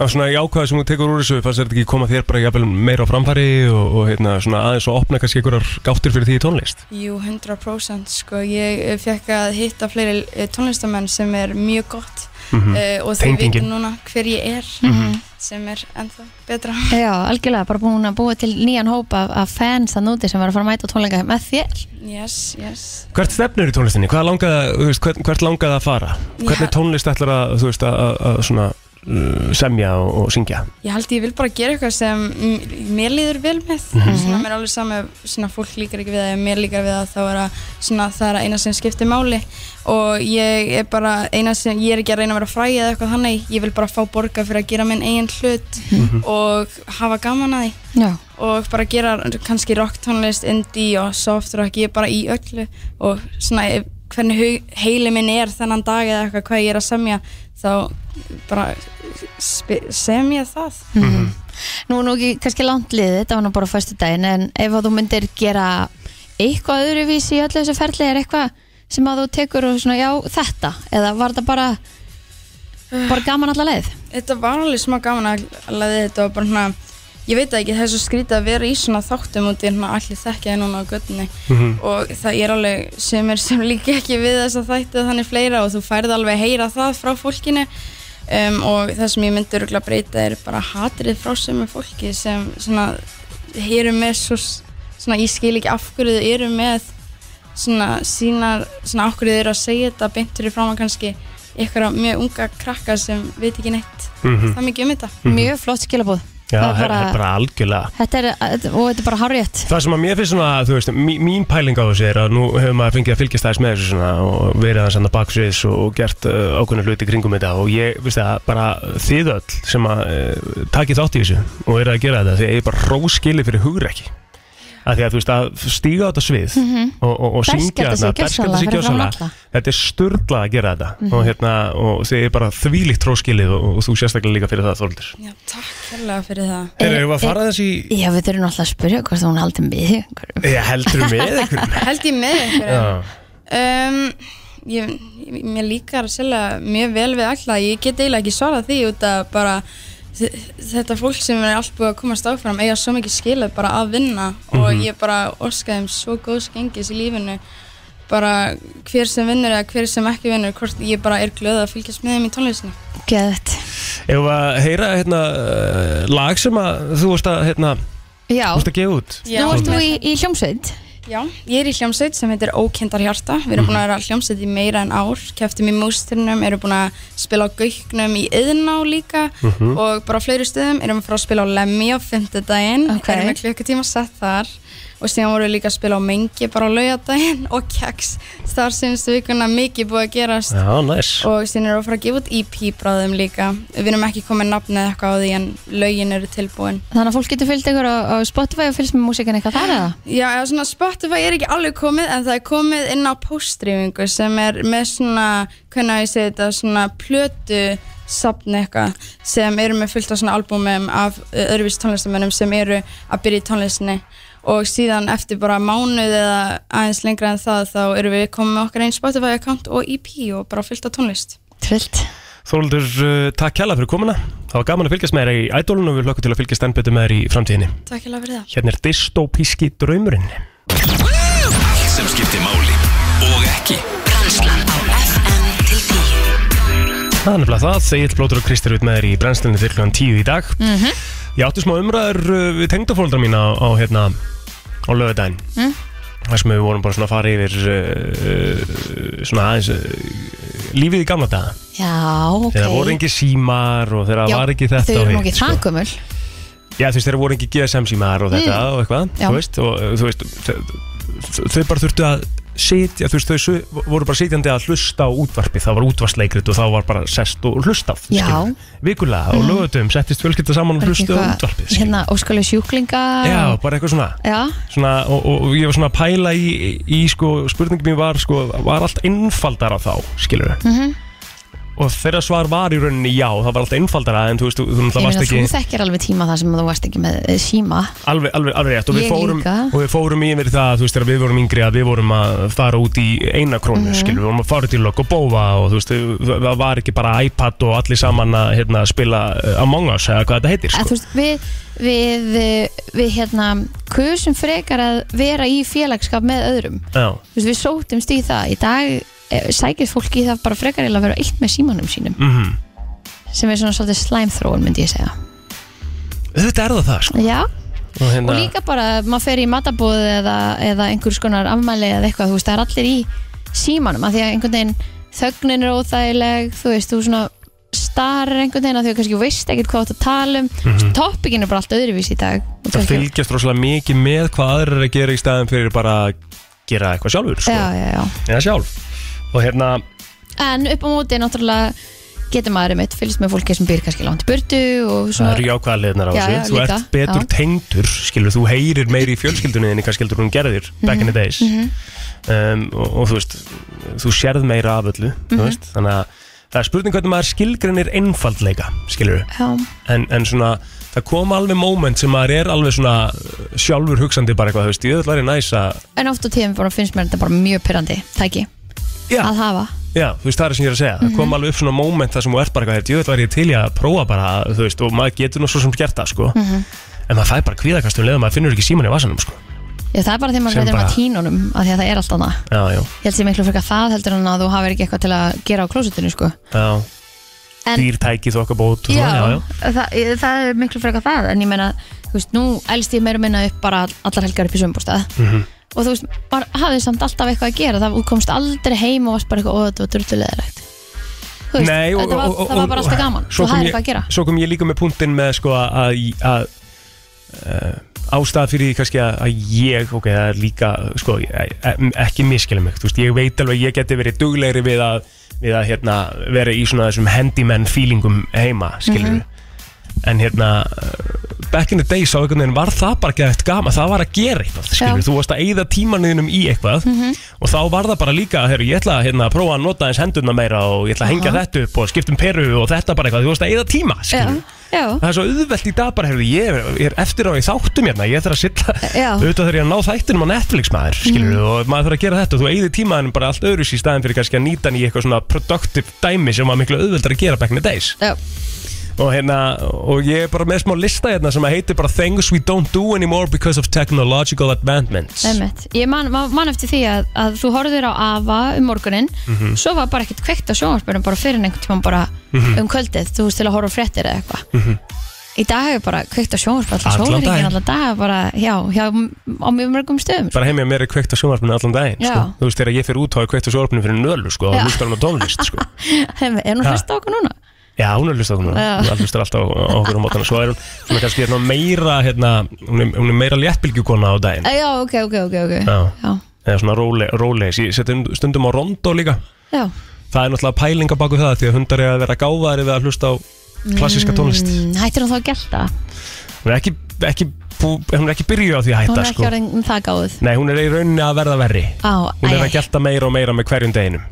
S1: á svona jákvæða sem þú tekur úr þessu fannst þetta ekki koma þér bara jafnvel meira á framfæri og, og hérna, svona aðeins og opna kannski einhverjar gáttir fyrir því í tónlist
S12: Jú, 100% sko, ég fekk að hitta fleiri eh, tónlistamenn sem er mjög gott
S1: Mhm.
S12: eh, og þeir
S1: Tengingin.
S12: vita núna hver ég er
S2: Mhm.
S12: sem er ennþá betra
S2: Já, algjörlega, bara búin að búa til nýjan hóp af, af fans þann úti sem var að fara að mæta á tónleika með þér
S12: Yes, yes
S1: Hvert stefnir í tónlistinni? Hvað langaði, þú veist, hvert, hvert langaði að fara? Hvernig tónlist ætlar að, þú veist, að, að, að svona, uh, semja og, og syngja?
S12: Ég held ég vil bara gera eitthvað sem m- mér líður vel með
S1: Mhm.
S12: svona, mér er alveg sama ef svona, fólk líkar ekki við það ef mér líkar við það þá er að, svona, það er að eina sem skiptir máli og ég er bara eina sem ég er ekki að reyna að vera fræði eða eitthvað þannig ég vil bara fá borga fyrir að gera minn eigin hlut
S2: Mhm.
S12: og hafa gaman að því
S2: Já.
S12: og bara gera kannski rocktónlist, indie og soft rock ég er bara í öllu og svona ef- hvernig hug- heili minn er þennan dag eða eitthvað hvað ég er að semja þá bara spe- semja það
S2: Mhm. Nú er nú ekki kannski langt liðið, þetta var nú bara fyrstu daginn en ef að þú myndir gera eitthvað öðruvísi í öllu þessu ferli er eitthvað sem að þú tekur og svona já þetta eða var þetta bara bara gaman alla leið
S12: Þetta var alveg smá gaman að að þetta var bara svona ég veit það ekki, það er svo skrítið að vera í svona þáttum út í hérna allir þekkjaði núna á göttinni
S4: Mhm.
S12: og það er alveg sumir sem líka ekki við þess að þætti þannig fleira og þú færð alveg að heyra það frá fólkinu um, og það sem ég myndi örgulega breyta er bara hatrið frá sumir fólki sem svona heyrum með svo s- svona ég skil ekki af hverju þau eru með svona sínar, svona af hverju þau eru að segja þetta beint fyrir fram að kannski ykkur mjög unga krakka sem veit ekki neitt
S1: Mhm.
S12: það mikið um þetta
S1: Mhm.
S2: Mjög flott skilabóð
S1: Já,
S2: Það er
S1: það
S2: bara-
S1: er bara algjörlega
S2: Þetta er, og þetta er bara harrið
S1: Það sem að mér finnst svona, þú veist, mí- mín pæling á þessu er að nú hefur maður fengið að fylgjast aðeins með þessu svona og verið aðeins hann að baksviðs og, og gert uh, ákveðna hluti í kringum þetta og ég, veist það, bara þið öll sem að uh, takið þátt í þessu og eru að gera þetta því að ég er bara róskili fyrir hugrekki að því að þú veist að stíga á þetta svið
S2: Mhm.
S1: og, og, og syngja
S2: Berskjalda sig
S1: þarna,
S2: gjörsamlega
S1: berskjalda sig
S2: fyrir framan
S1: gjörsamlega.
S2: alla.
S1: þetta er sturdla að gera þetta
S12: Mhm.
S1: og, hérna, og þið er bara þvílíkt róskilið og, og þú sérstaklega líka fyrir það Þorldur
S12: Já, takk kærlega fyrir það
S1: Heyrðu, eigum við að fara þessi
S2: Eh, Já, við þurfum alltaf að spyrja hvort hún haldi með þig
S1: Ég heldur með einhverjum
S12: [LAUGHS] held ég með einhverjum
S1: Já.
S12: um, ég, ég- mér líkar sérlega mjög vel við alla ég get eiginlega ekki svarað því út að bara þ- þetta fólk sem er allt búið að komast áfram eiga svo mikið skilið bara að vinna og
S4: Mhm.
S12: ég bara orskaði um svo góðs gengis í lífinu bara hver sem vinnur eða hver sem ekki vinnur hvort ég bara er glöð að fylgjast með þeim í tónlistinu
S2: Geðvett
S1: Ef að heyra hérna, uh, lag sem að þú varst að, hérna,
S2: Já,
S1: varst að gefa út
S12: Já.
S2: nú ertu í, í hljómsveit
S12: Já, ég er í hljómsveit sem heitir Ókendar Hjarta. Við erum búin að vera hljómsveit í meira en ár, keftum í músturinnum, erum búin að spila á Gauknum í Yðná líka
S4: Mhm.
S12: og bara á fleiri stöðum. Erum að fara að spila á Lemmi á fymtudaginn,
S2: Ókei.
S12: erum með klukkutíma sett þar og síðan vorum við líka að spila á Mengi bara á laugardaginn [LAUGHS] og Keks. Þar sínstu vikuna mikið búið að gerast
S1: Já, næs
S12: og síðan erum við að fara að gefa út EP bráðum líka. Við erum ekki komið nafn eða eitthvað á því en lögin eru tilbúin.
S2: Þannig að fólk getur fylgt ykkur á, á Spotify og fylgst með músikan eitthvað þar eða?
S12: Já, eða svona Spotify er ekki alveg komið en það er komið inn á postdreyfingu sem er með svona, hvernig að ég segi þetta, svona plötu safn eitthvað sem eru með fullt af svona albúmum af öðruvís tónlistamönnum sem eru að byrja í tónlistinni og síðan eftir bara mánuð eða aðeins lengra en það þá eru við komið með okkar einn Spotify account og EP og bara fullt af tónlist.
S2: Trillt
S1: Þorldur, uh, takk kjalla fyrir komuna Það var gaman að fylgjast með þér í ædólun og við hlökkum til að fylgjast enn betur með þér í framtíðinni
S12: Takk hella fyrir það.
S1: Hérna er dystopíski draumurinn
S3: Allt sem skiptir máli og ekki
S1: Það er nefnilega það, Egil Blótur og Kristir út með þér í brennslinni fyrir klukkan 10 í dag
S2: Mm
S1: Ég átti smá umræður uh, við tengdafóldra mína á, á, hérna, á lögudaginn
S2: Mm.
S1: þar sem við vorum bara svona að fara yfir uh, uh, svona aðeins uh, lífið í gamla daga
S2: Já, ok
S1: þegar voru engi símar og þegar
S2: Já,
S1: var ekki þetta
S2: Þau
S1: og
S2: eru nú
S1: hitt,
S2: ekki
S1: sko.
S2: það gömul
S1: Já, þú veist, þeirra voru ekki GSM símaðar og þetta
S2: Mm.
S1: og eitthvað,
S2: Já.
S1: þú veist, og uh, þú veist, þau- þau bara þurftu að sitja, þú veist, þau su- voru bara sitjandi að hlusta á útvarpi, það var útvarsleikrit og þá var bara sest og hlustað,
S2: Já.
S1: skilurðu. vikulega og
S2: Mm.
S1: lögutum, settist fjölskylda saman og
S2: Var ekki
S1: hlustuð á
S2: eitthvað-
S1: útvarpið, skilurðu.
S2: Hérna, óskalega sjúklinga
S1: já, bara eitthvað svona.
S2: Já,
S1: Svona, og, og, og ég var svona að pæla í, í, í sko, spurningin mín var, sko, var allt einfaldara þá, skilur
S2: mhm
S1: og þeirra svar var í rauninni já, það var alltaf einfaldara en þú veist, þú, þú
S2: Ég
S1: náttúrulega
S2: meina
S1: varst
S2: þú
S1: ekki
S2: þekkir alveg tíma þar sem þú varst ekki með eh, síma
S1: Alveg, alveg, alveg rétt og við,
S2: Ég
S1: fórum,
S2: líka.
S1: og við fórum yfir það þú veist þegar við vorum yngri að við vorum að fara út í eina krónu mm
S2: Mhm.
S1: við vorum að fara til lokk og bófa og þú veist það það var ekki bara iPad og allir saman að hérna, spila eh, Among Us eða hvað þetta heitir
S2: En þú
S1: sko.
S2: veist, við, við, eh, við hérna, kusum frekar að vera í félagskap með öðrum.
S1: Já,
S2: Þú veist, við sótumst í það. Í dag eh, sækir fólk í það bara frekar eiginlega að vera eitt með símanum sínum,
S1: mm
S2: sem er svona svolítið slæmþróun, myndi ég segja.
S1: þetta er það það sko.
S2: Já,
S1: og, hérna,
S2: og líka bara að maður fer í matabóð eða, eða einhvers konar afmæli eða eitthvað, þú veist, það er allir í símanum, af því að einhvern veginn þögnin er óþægileg, þú veist, þú svona starir einhvern veginn að því að kannski veist ekkert hvað þú átt að tala um, mm
S1: Mhm.
S2: toppikin er bara allt öðruvísi í dag. Og
S1: það
S2: kannski-
S1: fylgjast rosalega mikið með hvað aðrir er að gera í staðin fyrir bara að gera eitthvað sjálfur sko.
S2: Já, já, já.
S1: eða sjálf og hérna,
S2: En upp á móti, náttúrulega, getur maður einmitt fylgst með fólki sem býr kannski langt í burtu og
S1: það
S2: svona.
S1: eru jákvæða liðnar á
S2: Já,
S1: þessu
S2: já,
S1: þú
S2: líka,
S1: ert betur
S2: já.
S1: tengdur, skilur, þú heyrir meiri í fjölskyldunni en kannski heldur en hún gerðir back in the days
S2: Mhm.
S1: um, og, og þú veist, þú sérð meira af öllu þú
S2: Mhm.
S1: veist, þannig að það er spurning hvernig maður skilgrinir einfaldleika skilur,
S2: Já.
S1: en, en svona það kom alveg moment sem maður er alveg svona uh, sjálfur hugsandi bara eitthvað, þú veist, ég öll væri næs að
S2: En oft á tíðum bara finnst mér þetta bara mjög pyrrandi tæki
S1: Já.
S2: að hafa.
S1: Já, þú veist, það er sem ég er að segja Það
S2: Mhm.
S1: kom alveg upp svona moment þar sem þú ert bara eitthvað Jöfnveld væri ég til í að prófa bara, þú veist Og maður getur nú svo sem gert það, sko
S2: Mhm.
S1: En maður fæ bara kvíðakastum leðum, maður finnur ekki síman í vasanum, sko
S2: Já, það er bara þegar maður
S1: Sem
S2: veitir um
S1: bara-
S2: að tínunum af því að það er allt annað.
S1: Já, já,
S2: Ég held sér miklu frekar það heldur en að þú hafir ekki eitthvað til að gera á klósutinu, sko.
S1: já
S2: En-
S1: Dýrtæki, þokkabót
S2: Já,
S1: og svona, já, já
S2: Það, ég- það er miklu frekar það, en ég meina, þú veist, nú elst ég meira og minna upp bara allar helgar upp í sömbústað.
S1: Mhm.
S2: Og þú veist, bara hafið samt alltaf eitthvað að gera, það þú komst aldrei heim og varst bara eitthvað, ó, þetta var drullulegilegt. Þú veist,
S1: Nei, og-
S2: þetta var,
S1: og- og-
S2: það var bara alltaf gaman,
S1: svo
S2: þú
S1: kom
S2: hafið
S1: ég-
S2: eitthvað að gera.
S1: Svo kom ég líka með punktinn með, sko, að, að uh, ástæða fyrir því kannski að, að ég, ok, það er líka, sko, ég- e- ekki miskilum mig, þú veist, ég veit alveg að ég geti verið duglegri við að, við að, hérna, vera í svona þessum handyman feelingum heima, skilur
S2: Mhm.
S1: en hérna uh, back in the days á einhvern veginn var það bara ekki eftir gama, það var að gera eitthvað skilur,
S2: Já.
S1: þú varst að eyða tímanuðinum í eitthvað
S2: Mhm.
S1: og þá var það bara líka heru, ég ætla að hérna, prófa að nota eins hendurna meira og ég ætla að hengja
S2: Aha.
S1: þetta upp og skiptum peru og þetta bara eitthvað, þú varst að eyða tíma skilur.
S2: Já, já.
S1: það er svo auðvelt í dag bara heru, ég, er- ég er eftir á í þáttum hérna ég þarf að silla,
S2: Já. Mm.
S1: auðvitað þegar ég að ná þættinum á Netflix maður, skilur, og maður þarf að gera þetta og þú eyðir tímaðin bara allt öðruvísi í staðinn fyrir kannski að nýta hann í eitthvað svona productive dæmi sem var miklu auðveldar að gera back in the days
S2: Já.
S1: og hérna, og ég er bara með smá lista hérna sem að heitir bara Things we don't do anymore because of technological advancements
S2: Einmitt. Ég man, man, man eftir því að, að þú horfður á AFA um morgunin
S1: Mhm.
S2: svo var bara ekkert kveikt á sjónvarpunum bara fyrir einhvern tíma bara
S1: Mhm.
S2: um kvöldið þú veist til að horfa á fréttir eða eitthvað
S1: Mhm.
S2: í dag er bara kveikt á sjónvarpunum allan
S1: Allan
S2: sólringin,
S1: daginn.
S2: allan dag bara, já, já, á mjög mörgum stöðum sko. [LAUGHS]
S1: bara heim ég mér er kveikt á sjónvarpinu allan daginn sko.
S2: Já.
S1: þú veist þegar ég fyrir út þá er kveikt á sjónvarpinu fyrir nölu sko,
S2: Já.
S1: og hlustar hún á tónlist
S2: [LAUGHS]
S1: sko.
S2: Einmitt. er nú
S1: Ha.
S2: hlust á okkur núna?
S1: já, hún er hlustar hún
S2: Já.
S1: hún hlustar alltaf á á okkur á mótana svo er hún, hún er kannski hérna meira hérna, hún, er, hún er meira léttbylgjukona á daginn
S2: Eh, Já, ok, ok, ok, okay.
S1: já.
S2: Já.
S1: eða svona róleg, róleg. ég seti stundum á rondó líka
S2: Já.
S1: það er náttúrulega pælinga baku það því að hundar er að vera gáðari við að hlusta á klassíska tónlist
S2: mm, Hættir hún þá að gelta?
S1: hún er ekki, ekki, bú, hún er ekki byrjuð á því
S2: Hún
S1: að hætta
S2: er ekki
S1: sko.
S2: orðin um það gáð
S1: Nei, hún er í rauninni að verða verri
S2: Á,
S1: Hún er
S2: æ,
S1: að gelta meira og meira með hverjum deginum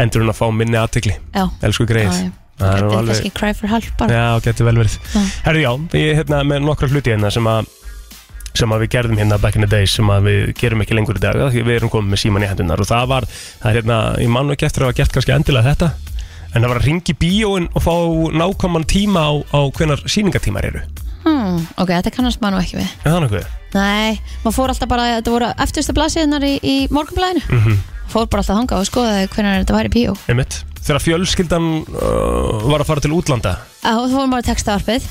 S1: Endur hún að fá minni aðtikli
S2: Ah. Já.
S1: Elsku greið
S2: Já, já.
S1: Það er nú
S2: þetta er
S1: alveg
S2: kannski cry for help bara
S1: Já, getur vel verið
S2: Já.
S1: Herri, já, ég er hérna með nokkra hluti hérna sem að sem að við gerðum hérna back in the days sem að við gerum ekki lengur í dag af því við erum komið með síman í hendunar og það var, það er hérna, ég man nú ekki eftir að hafa gert kannski endilega þetta en það var að ringi bíóin og fá nákvæman tíma á, á hvenar síningatímar eru
S2: hmm, Ok, þetta kannast maður nú ekki við
S1: Er það nokkuð?
S2: Nei, maður fór alltaf bara, þetta voru eftirstu blasiðnar í, í morgunblæðinu
S1: Mm
S2: Fór bara alltaf þangað og skoðaði hvernig þetta var í bíó
S1: Einmitt. Þegar fjölskyldan uh, var að fara til útlanda
S2: Á, Þú fórum bara textavarpið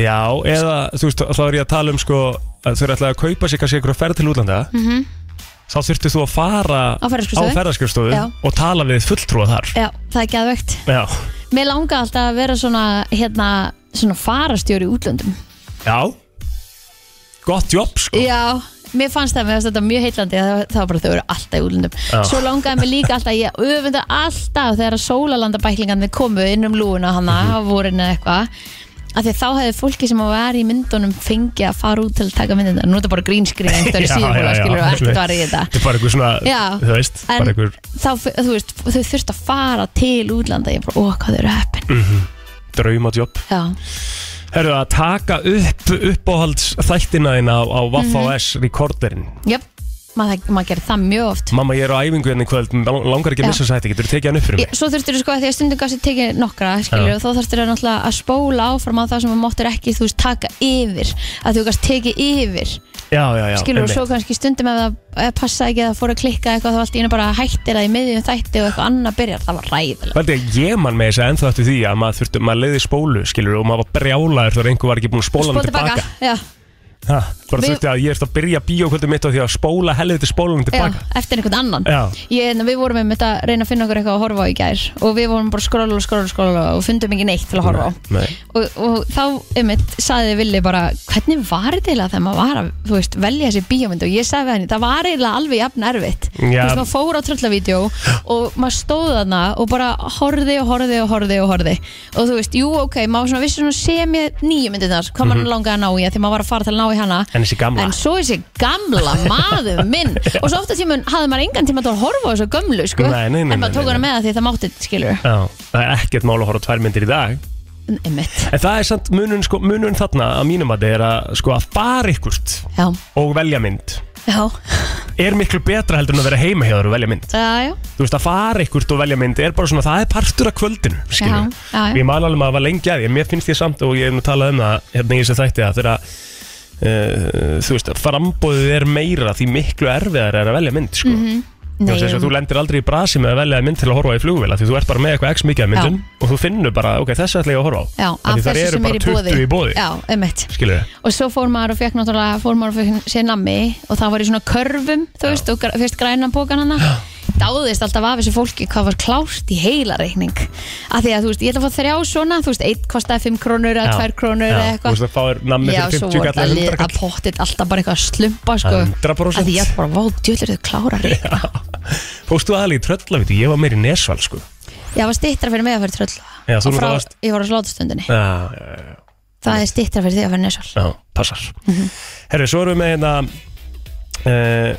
S1: Já, eða þú veist, þá er ég að tala um sko að þau eru ætlaði að kaupa sér kannski einhverja ferð til útlanda
S2: mm
S1: þá þurftu þú að fara
S2: Á ferðaskrifstofu.
S1: ferðaskrifstofu
S2: Já.
S1: og tala við fulltrúa þar
S2: Já, það er geðvögt
S1: Já,
S2: Mér langaði alltaf að vera svona, hérna, svona farastjóri í útlöndum
S1: já Gott jobb sko
S2: Já, mér fannst það, mér fannst þetta mjög heitlandi það, það var bara þau eru alltaf í útlöndum
S1: Já.
S2: Svo langaði mér líka alltaf, ég
S1: Mhm.
S2: öfunda alltaf þegar að sólalandabæklingarnir komu inn um lúuna hana á vorinu eða eitthvað Af því að þá hefði fólki sem var í myndunum fengið að fara út til að taka myndina Nú er þetta bara grínskriðin
S1: [LAUGHS]
S2: einhverju síðan og skilur og ekkert var í
S1: Þetta
S2: þetta
S1: er bara einhver svona,
S2: Já.
S1: þú veist,
S2: En-
S1: bara einhver
S2: Þá, þú veist, þau þurft að fara til útlanda Ég bara, ó, hvað þau eru heppin
S1: mm -hmm, draumadjobb.
S2: Já,
S1: Herru, að taka upp uppáhalds þættina þína á, á
S2: Mhm.
S1: Vaff.S rekorderinn.
S2: jöp, maður mað gerir það mjög oft
S1: Mamma, ég er á æfingu hérna í kvöld, mig lang- langar ekki
S2: Já.
S1: að missa þess að þetta, getur þú tekið hann upp fyrir mig?
S2: Ég- Svo þurftir þú sko að því að stundum gafst ég tekið nokkra skilur,
S1: Já.
S2: og þá þurftir þú náttúrulega að spóla áfram á það sem þú máttir ekki þú veist taka yfir að þú gafst tekið yfir
S1: Já, já, já.
S2: skilur og
S1: einmitt.
S2: svo kannski stundum ef það eh, passaði ekki eða fór að klikka eitthvað þá allt í einu bara hættir það í miðjum þætti og eitthvað annað byrjar það var ræðilega
S1: Veldi að ég man með þess að ennþá eftir því að maður þurfti, maður leiði spólu, skilur, og maður var brjálaður þegar einhver var ekki búin að spóla hann tilbaka.
S2: já,
S1: Ha, bara
S2: Við-
S1: þurfti að ég eftir að byrja bíókvöldu mitt á því að spóla helviti spólan
S2: já,
S1: tilbaka.
S2: eftir einhvern annan
S1: Já.
S2: Ég, hérna, við vorum einmitt að reyna að finna okkur eitthvað að horfa á í gær og við vorum bara að skrolla og skrolla og skrolla og fundum ekki neitt til að horfa á
S1: Nei.
S2: og, og þá einmitt saði Vili bara hvernig var þetta eiginlega þegar maður var að þú veist, velja þessi bíómynd og ég sagði við henni það var eiginlega alveg jafn erfitt
S1: Já.
S2: þú veist maður fór á tröllavídjó og maður stóð þarna og bara horði og horði og horði og horði og þú veist, jú ok, maður svona vissi svona sem ég nýju myndið þar, hvað
S1: Mhm.
S2: maður langaði að ná í að því maður var að fara til að ná í hana
S1: En þessi gamla.
S2: en svo þessi gamla maður
S1: [LAUGHS]
S2: minn og svo ofta tímun hafði maður engan tíma til að horfa á þessu gömlu sko
S1: Nei, nei, nei,
S2: en
S1: nei,
S2: maður tók
S1: nei,
S2: hana með það því það mátti skilur
S1: Já, það er ekkert mál að horfa á tvær myndir í dag
S2: Einmitt.
S1: En það er samt munun, sko, munun þarna að mínum að þið er að, sko, að fara ykkurt
S2: Já.
S1: og velja mynd
S2: Já,
S1: er miklu betra heldur en að vera heima hjá þér og velja mynd
S2: já, já,
S1: Þú veist, að fara ykkurt og velja mynd er bara svona, það er partur af kvöldinu
S2: já,
S1: skilur.
S2: já, já.
S1: Ég man alveg maður var lengi að því en mér finnst ég samt og ég hef nú talað um það hérna í þessu þætti að þegar að Uh, þú veist, frambóðið er meira því miklu erfiðar er að velja mynd sko.
S2: Mhm.
S1: Þú
S2: Nei,
S1: veist, þess að þú lendir aldrei í brasi með að velja mynd til að horfa í flugvila því þú ert bara með eitthvað x mikið af myndum og þú finnur bara, ok, þessu ætla ég að horfa á
S2: Já,
S1: Af
S2: af
S1: því þar
S2: þessu
S1: eru
S2: sem
S1: bara
S2: er í bóði
S1: 20 í boði.
S2: Já, einmitt
S1: skilur
S2: Og svo fór maður og fekk náttúrulega fór maður og fekk sér nammi og það var í svona körfum, þú veist, og gr- fyrst grænan pókan hana dáðist alltaf af þessu fólki hvað var klárt í heila reikning af því að, þú veist, ég ætla að fá þrjá svona þú veist, eitt kostaði 5 krónur eða 2 krónur eða
S1: Þú veist
S2: eitthvað
S1: að fáir nammi
S2: Já,
S1: fyrir
S2: svo
S1: 50
S2: voru
S1: kallar
S2: það lið
S1: 100
S2: að pottit alltaf bara eitthvað að slumpa sko,
S1: 100%.
S2: að því ég ætla bara, vá, djöðlir þau klárar Já,
S1: kallar Fóstu aðal í tröllavíti, ég var meir í Nesval sko
S2: ég var stittra fyrir mig að fyrir tröll
S1: Já, þú
S2: Og frá,
S1: náttúrulega varst-
S2: ég var á slátastundinni
S1: Já, já, já, já,
S2: það er stittra fyrir því að fyrir nesval
S1: já, Mhm. passar Herru, svo erum við með hérna Uh,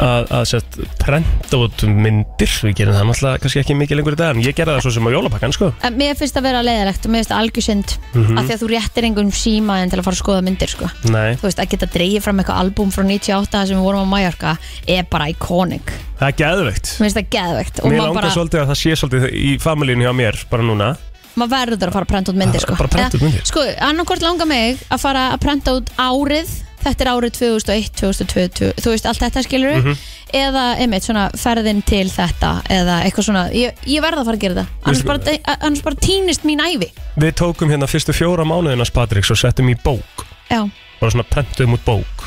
S1: að, að sett prenta út myndir við gerum það náttúrulega kannski ekki mikið lengur í dag en ég gerði það svo sem á jólapakkan sko
S2: En Mér finnst það vera leiðilegt og mér finnst það algjörsind mm
S1: Mhm.
S2: að því að þú réttir einhverjum síma en til að fara að skoða myndir sko.
S1: nei,
S2: Þú veist, að geta dreigið fram eitthvað albúm frá 98 þar sem við vorum á Mallorca er bara iconic.
S1: það er geðveikt
S2: Mér finnst það geðvegt og
S1: mér
S2: maður
S1: langar
S2: bara,
S1: svolítið að það sé svolítið í familíinu hjá mér bara núna
S2: maður verður að fara að prenta út myndir sko.
S1: Bara prenta út
S2: Eða,
S1: myndir.
S2: Sko, annarkort langar mig að fara að prenta út árið, þetta er árið 2001, 2002, þú veist, allt þetta skilur
S1: Mhm.
S2: eða einmitt svona ferðin til þetta eða eitthvað svona, ég, ég verð að fara að gera það annars
S1: Veistu-
S2: bara, annars bara týnist mín ævi
S1: við tókum hérna fyrstu fjóra mánuðinans Patriks og settum í bók
S2: Já,
S1: bara svona prentum út bók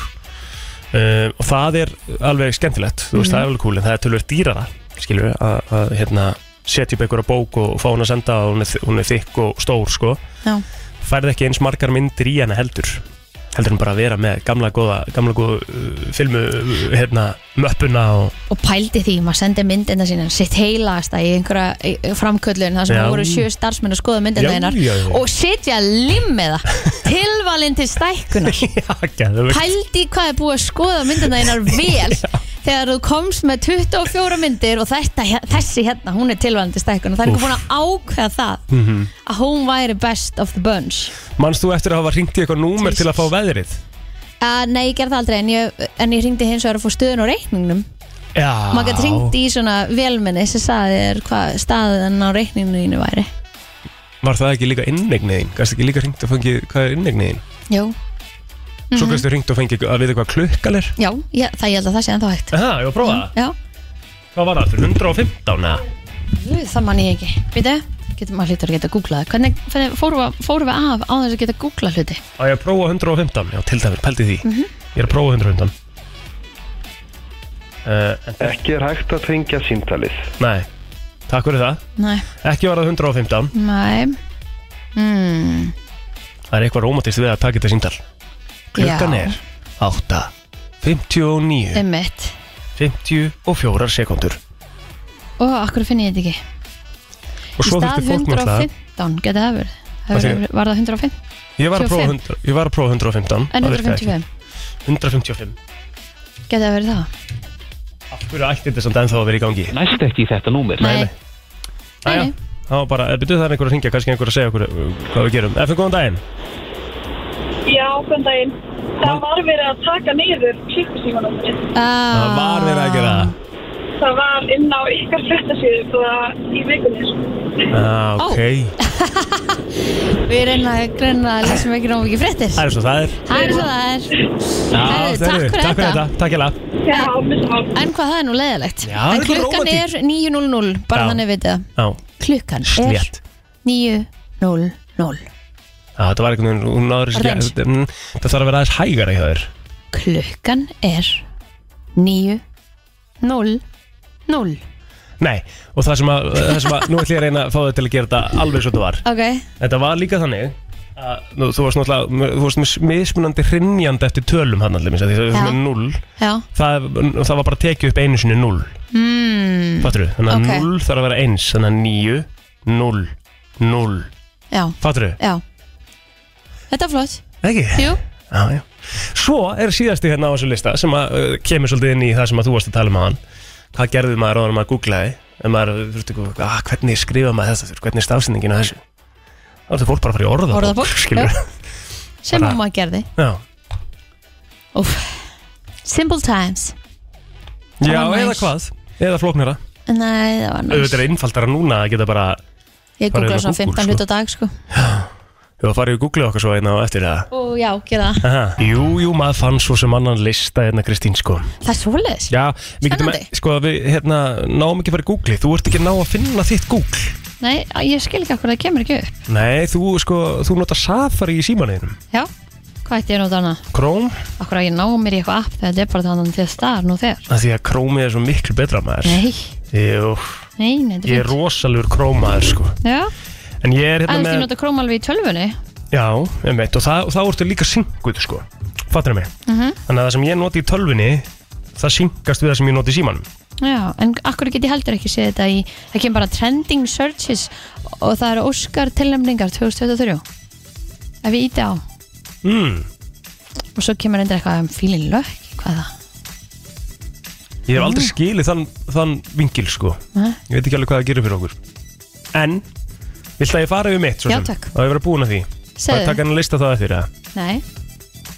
S1: uh, og það er alveg skemmtilegt þú veist,
S2: Mhm.
S1: það er alveg cool en það er tölvöld dýrara skilur við, að, að hérna, setja upp einhverja bók og fá hún að senda og hún er, þ- hún er þykk og stór sko
S2: já,
S1: færði ekki eins margar myndir í hana heldur heldur en bara að vera með gamla góða gamla góða uh, filmu uh, hérna, möppuna og
S2: og pældi því, maður sendi myndina sína sitt heilasta í einhverja í- í framköllun þar sem
S1: Já.
S2: voru sjö starfsmenn að skoða
S1: Já,
S2: myndina þínar
S1: já, já.
S2: og sitja limm með
S1: [LAUGHS]
S2: það tilvalinn til stækkunar
S1: geðveikt.
S2: pældi hvað er búið að skoða myndina þínar
S1: [LAUGHS]
S2: vel þegar þú komst með 24 myndir og þetta, hér- þessi hérna, hún er tilvalinn til stækkunar það er
S1: Úff.
S2: einhver búin að ákveða það
S1: mm
S2: að hún væri best of the bunch
S1: manst þú eftir að hafa ringt í eitthvað númer til að fá veðrið?
S2: uh, nei, ég gerði það aldrei en ég, en ég ringdi hins vegar að fá stöðun á reikningnum
S1: Já
S2: maður gæti ringt í svona velminni sem sagði þér hvað staðan á reikninginu þínu væri
S1: Var það ekki líka innegniðin? Gæst ekki líka ringt og fengið hvað er innegniðin?
S2: Jú
S1: Svo
S2: Mhm.
S1: gæstu ringt og fengið að vita hvað klukkal er?
S2: Já, ég, það ég held að það sé ennþá hægt
S1: Aha, ég var að prófa það
S2: Já,
S1: Hvað var það aftur? 115 eða?
S2: Guð, það mann ég ekki Býtu, getur maður hlýtur að geta að googla það Hvernig, hvernig fórum, við, fórum við af á þess að geta að googla hluti?
S1: Á ég að prófa 115? Já, til dæmis, pældi því
S2: Mhm.
S1: Ég er að prófa 115 uh, en,
S7: Ekki er hægt að tengja síntalið.
S1: Nei, takk fyrir það
S2: Nei,
S1: Ekki var það 115
S2: nei mm.
S1: Það er eitthvað rómatist við að taka þetta síntal Klukkan
S2: Já.
S1: er 8 59
S2: Einmitt
S1: 54 sekundur
S2: Og akkur finn ég þetta ekki
S1: Og
S2: Í
S1: svo þurfti
S2: stað
S1: fólk náttúrulega
S2: 115, geti það verið Það
S1: Af því-
S2: verður- Var það 105?
S1: Ég var að prófa
S2: 25.
S1: 100 ég var að prófa 115
S2: En
S1: það virkaði ekki.
S2: 155,
S1: 155
S2: getið að verið það?
S1: Af hverju ætti þetta samt ennþá að vera í gangi? Næst ekki í þetta númer Nei, nei Æja, þá bara, byrjuð það er einhver að ringja, kannski einhver að segja okkur uh, hvað við gerum Efum, góðan daginn
S13: Já, hvern daginn. Það var verið að taka niður klukkusímanúmerið.
S1: Það var verið að gera það
S13: Það var inn á ykkar fréttasíðu bara í vikunni. sko.
S1: Ah, ok
S2: Við reyna að greina að lesum ekki nógu mikið fréttir
S1: Það er svo það er
S2: Það er svo það er
S1: Já,
S2: Herðu, takk
S1: það eru.
S2: fyrir
S1: Takk fyrir
S2: þetta.
S1: þetta, takk ég
S2: En en hvað það er nú leiðilegt
S1: Já, það
S2: En
S1: er eitthvað
S2: klukkan er
S1: rómantík.
S2: 9.00 Bara
S1: Já.
S2: þannig við það
S1: Já,
S2: Klukkan er
S1: slétt
S2: 9.00
S1: Já, þetta var einhvern veginn, hún náður sér
S2: Rens.
S1: ekki mm, Það þarf að vera aðeins hægara í það þér
S2: Klukkan er 9.00
S1: Nei, og það sem að, það sem að nú ætlum ég að reyna að fá þau til að gera þetta alveg svo þetta var
S2: Ok
S1: Þetta var líka þannig að nú, þú varst náttúrulega, þú varst mis- mismunandi hrinnjandi eftir tölum hann allir minns því það
S2: Já.
S1: er svona 0
S2: Já
S1: það, það var bara tekið upp einu sinni 0
S2: mm,
S1: Fattur Þannig að
S2: Ok.
S1: 0 þarf að vera 1 Þannig að 9, 0, 0
S2: Já
S1: Fattur
S2: Já Þetta er flott
S1: Ekki?
S2: Jú
S1: Já, já Svo er síðasti hérna á þessu lista sem að, uh, kemur svolítið inn í það sem að þú varst að tala um hann Hvað gerði maður áður en maður googlaði en maður, þú veist ekki, ah, hvernig skrifa maður þetta hvernig er stafsendingin á þessu þá er þetta fólk bara að fara í orðabók
S2: Orðabók
S1: skilur
S2: já. Sem
S1: Bara-
S2: mamma gerði
S1: Já,
S2: Úf. Simple times
S1: já
S2: var
S1: eða
S2: næs.
S1: hvað Eða flóknara
S2: Nei, það var næst
S1: Auðvitað er einfaldara núna að geta bara
S2: Ég
S1: bara
S2: googla
S1: yfir
S2: svona
S1: Google,
S2: 15 hlut á dag sko
S1: Við varum að fara í að googla okkar svo einna á eftir það
S2: Ó já, gera það
S1: Aha. Jú, jú, maður fann svo sem annan lista hérna Kristín sko
S2: Það er svoleiðis
S1: Já, við getum,
S2: Spennandi.
S1: sko við hérna náum ekki að fara í Google Þú ert ekki að ná að finna þitt Google
S2: Nei, ég skil ekki okkur það kemur ekki upp
S1: Nei, þú sko, þú notar Safari í símaneginum
S2: Já, hvað ætti ég nú þarna?
S1: Chrome,
S2: Okkur að ég ná mér í eitthvað app þegar þetta er bara þannig til staðar nú þegar
S1: af því að Chrome er svo miklu betra maður
S2: Nei,
S1: Jú,
S2: nei, nei, þetta
S1: ég er
S2: er fint
S1: rosalegur Chrome maður sko
S2: Já,
S1: En ég er
S2: en
S1: hérna
S2: þú
S1: með
S2: nota Chrome alveg í tölvunni
S1: Já, einmitt, og það, og það ertu líka synguð sko Fattur mig
S2: Mhm.
S1: Þannig að það sem ég noti í tölvunni Það syngast við það sem ég noti í símanum
S2: Já, en akkur get ég heldur ekki séð þetta í Það kemur bara trending searches og það eru Óskar tilnefningar 2023 Ef ég íti á
S1: mm,
S2: og svo kemur endur eitthvað um fílin lökk hvað er það?
S1: Ég hef aldrei skilið þann, þann vingil sko
S2: Mm. Nei.
S1: Ég veit ekki alveg hvað það gerir fyrir okkur En, vilt að ég fara yfir mitt svo
S2: Já,
S1: sem?
S2: takk.
S1: Það hefur verið búin að því
S2: Segðu.
S1: Það taka hann að lista það eftir það
S2: Nei,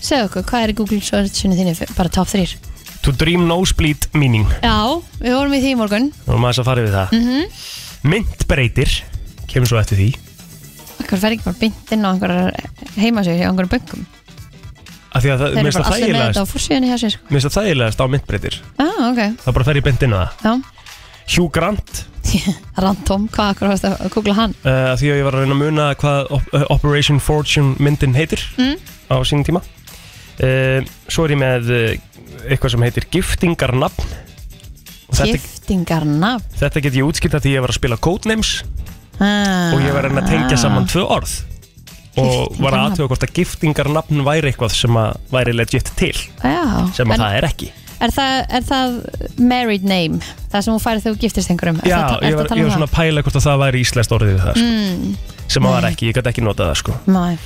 S2: segðu okkur, hvað er í Google searchinu þínu bara top 3?
S1: To dream nosebleed meaning
S2: Já, við vorum í því í morgun
S1: Og maður þess að fara yfir það
S2: mm -hmm.
S1: Mynd breytir, kemur svo eftir því
S2: Akkur fer ekki bara bynd inn á einhverjar heimasögur hjá einhverjum böngum
S1: Af því að það,
S2: Þeir eru
S1: mér finnst
S2: bara
S1: það
S2: allir með þetta á
S1: þægilegast
S2: fórsíðunni hjá sér sko.
S1: Mér finnst það þægilegast á myndbreytir
S2: ah, ok,
S1: Það bara fer ég beint inn á það
S2: já [LAUGHS]
S1: Hugh Grant,
S2: Random, hvað akkur varst að googla hann?
S1: uh, af því að ég var að reyna að muna hvað op uh, Operation Fortune myndin heitir
S2: Mm.
S1: á sínum tíma uh, Svo er ég með uh, eitthvað sem heitir giftingarnafn Og þetta,
S2: Giftingarna
S1: þetta get ég útskilt af því að ég var að spila Codenames
S2: ah.
S1: og ég var að reyna að tengja saman tvö orð og var að aðtöða hvort að giftingarnafn væri eitthvað sem að væri legit til
S2: Ah, Já,
S1: sem
S2: en
S1: að það er ekki
S2: Er það, er það married name? Það sem hún færi þegar þú giftist einhverjum? er
S1: Já,
S2: um það,
S1: ég var, ég var svona að pæla hvort að það væri íslenskt orðið við það sko.
S2: mm,
S1: sem að var ekki, ég gæti ekki notað það sko.
S2: Nei,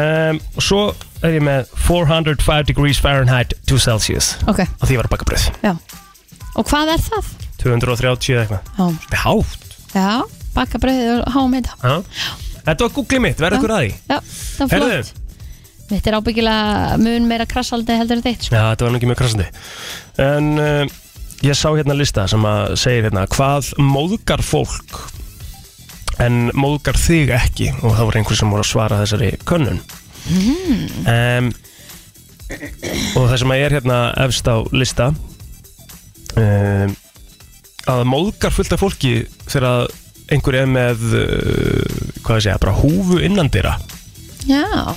S1: um, og svo er ég með 405 degrees Fahrenheit 2 Celsius
S2: ok,
S1: og því var að baka bröð
S2: já Og hvað er það?
S1: 230 eða eitthvað
S2: Já,
S1: Þetta er hátt
S2: já baka brauðið og háum heita
S1: ha? Þetta var googlið mitt, verður ykkur að því
S2: Já, það var flott
S1: Herðu,
S2: Mitt er ábyggilega mun meira krassaldi heldur en þitt sko.
S1: Já, þetta var nú ekki mjög krassandi En uh, ég sá hérna lista sem að segir hérna Hvað móðgar fólk en móðgar þig ekki Og það voru einhver sem voru að svara þessari könnun
S2: Mhm.
S4: Mm.
S1: um, Og það sem að er hérna efst á lista um, Að móðgar fullt af fólki þegar einhver er með uh, Hvað ég segja, bara húfu innandira
S2: Já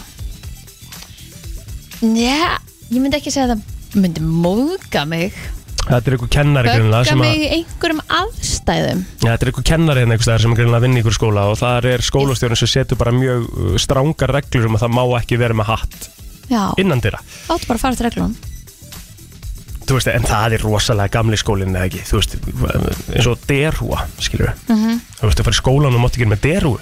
S2: Já, ég myndi ekki segja að það myndi móðga mig
S1: Þetta er einhver kennari greinilega
S2: Bögga
S1: sem að-
S2: mig í einhverjum aðstæðum
S1: Já, þetta er einhver kennari hérna einhvers staðar sem er greinlega að vinna í ykkur skóla og þar er skólastjórun sem setur bara mjög uh, strangar reglur um að það má ekki vera með hatt
S2: Já,
S1: innan dyrra.
S2: áttu bara að fara til reglum
S1: Þú veist, en það er rosalega gamli skólinn eða ekki, þú veist, eins og derúa, skilur við.
S2: mm -hmm.
S1: Þú veist, að fara í skólan og mátt ekki vera með derúu.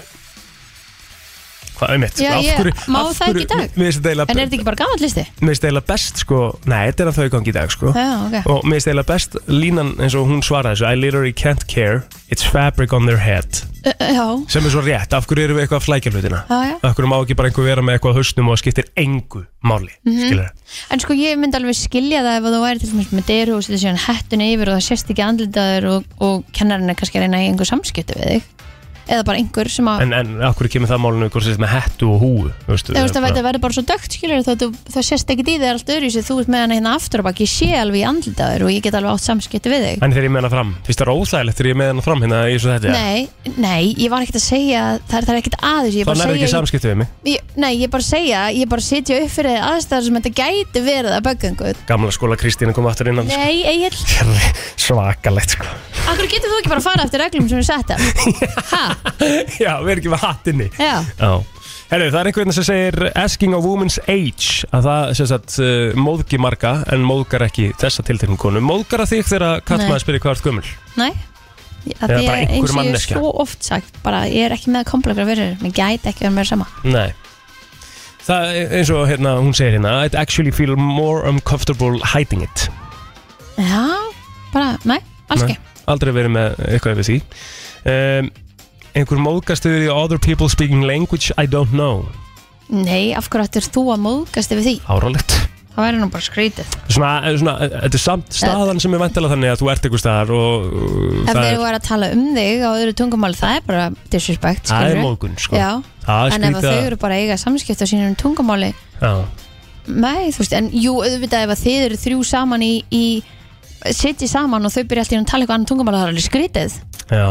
S1: hvað er mitt
S2: Já,
S1: Af
S2: ég-
S1: hverju-
S2: má
S1: af
S2: það ekki í
S1: hverju-
S2: dag?
S1: Mér finnst þetta
S2: En er
S1: eiginlega-
S2: þetta ekki bara gammal listi?
S1: mér finnst eiginlega best sko Nei, þetta er að þau gangi í dag sko
S2: Já, ok.
S1: Og mér finnst eiginlega best línan eins og hún svaraði þessu I literally can't care, it's fabric on their head
S2: Uh, uh, Já,
S1: Sem er svo rétt, af hverju erum við eitthvað að flækja hlutina?
S2: já, já
S1: Af hverju má ekki bara einhver vera með eitthvað á hausnum og það skiptir engu máli
S2: Mhm.
S1: Skilur
S2: En sko ég myndi alveg skilja það ef þú væri til dæmis með dyru og setja síðan hettuna yfir og það sést ekki andlitaður og, og kennarinn er kannski að reyna í einhver samskipti við þig eða bara einhver sem að
S1: En, en af hverju kemur það málinu hvort þetta með hettu og húu Þú veist,
S2: Þú veist að þetta verður bara svo dögt skilur það, það sést ekki í þig allt öðru þú ert með hann hérna aftur og bak ég sé alveg í andlitaður og ég get alveg átt samskipti við þig
S1: En þegar ég með hana fram, finnst það óþægilegt þegar ég er með hana fram hérna í svo þetta
S2: Nei, nei, ég var ekkert að segja það er, það er ekkert aðeins ég
S1: Það
S2: bara
S1: nærðu ekki
S2: segja-
S1: samskipti við mig
S2: ég, Nei, ég bara segja, ég bara setja upp fyrir aðstæður sem þetta gæti verið að böggungu
S1: Gamla skóla Kristína kom aftur innan sko.
S2: Nei, Egil,
S1: Svakalegt sko
S2: akkur getur þú ekki bara að fara eftir reglum sem við setja
S1: [LAUGHS] Já, við erum ekki með hattinni
S2: Já,
S1: Já Herru, það er einhvern veginn sem segir Asking a woman's age að það sem sagt uh, móðgi marga en móðgar ekki þessa tilteknum konu móðgar að þig þegar
S2: Nei.
S1: kallmaður spyrir hvað ert gömul
S2: Nei að
S1: Eða
S2: því
S1: bara
S2: að
S1: einhver
S2: eins og ég er
S1: manneskja.
S2: svo oft sagt bara ég er ekki með komplekra verður mér gæti ekki verið mér sama
S1: Nei Það er eins og hérna, hún segir hérna I'd actually feel more uncomfortable hiding it
S2: já, bara, nei, alls
S1: Nei,
S2: ekki
S1: Aldrei verið með eitthvað yfir því um, Einhver móðgast yfir því other people speaking language I don't know
S2: nei, af hverju ættir þú að móðgast yfir því
S1: Áralegt
S2: það væri nú bara skrítið
S1: Svona, eh, svona, þetta er samt staðan sem er vantilega þannig að þú ert einhver staðar og uh,
S2: ef
S1: það
S2: þeir
S1: er,
S2: eru að tala um þig á öðru tungumáli það er bara disrespect
S1: það er
S2: skilurðu.
S1: móðgun sko.
S2: já, en
S1: Það er
S2: ef að
S1: skrítið að-
S2: þau eru bara að eiga samskipt á sínum tungumáli
S1: Já,
S2: nei, þú veist, en jú, auðvitað ef að þið eru þrjú saman í, í sitji saman og þau byrja alltaf að tala eitthvað annan tungumáli það er alveg skrítið
S1: já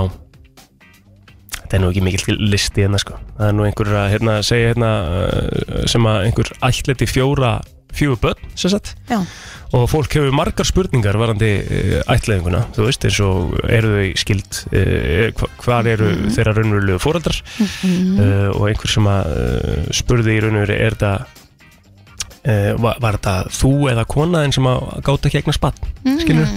S1: Þetta er nú ekki mikill listi hérna sko Það er nú einhver að hérna, segja hérna uh, sem að einhver ætleti fjóra fjögur börn sem sagt
S2: já
S1: og fólk hefur margar spurningar varandi uh, ætleðinguna, þú veist, eins og eru þau skild, uh, hva- hvar eru þeirra raunverulegu fóraldrar
S2: Mhm.
S1: uh, og einhver sem að uh, spurði í raunveru, er þetta uh, var, var þetta þú eða kona en sem að gáta ekki eignar spatt
S2: Mhm.
S1: skilur,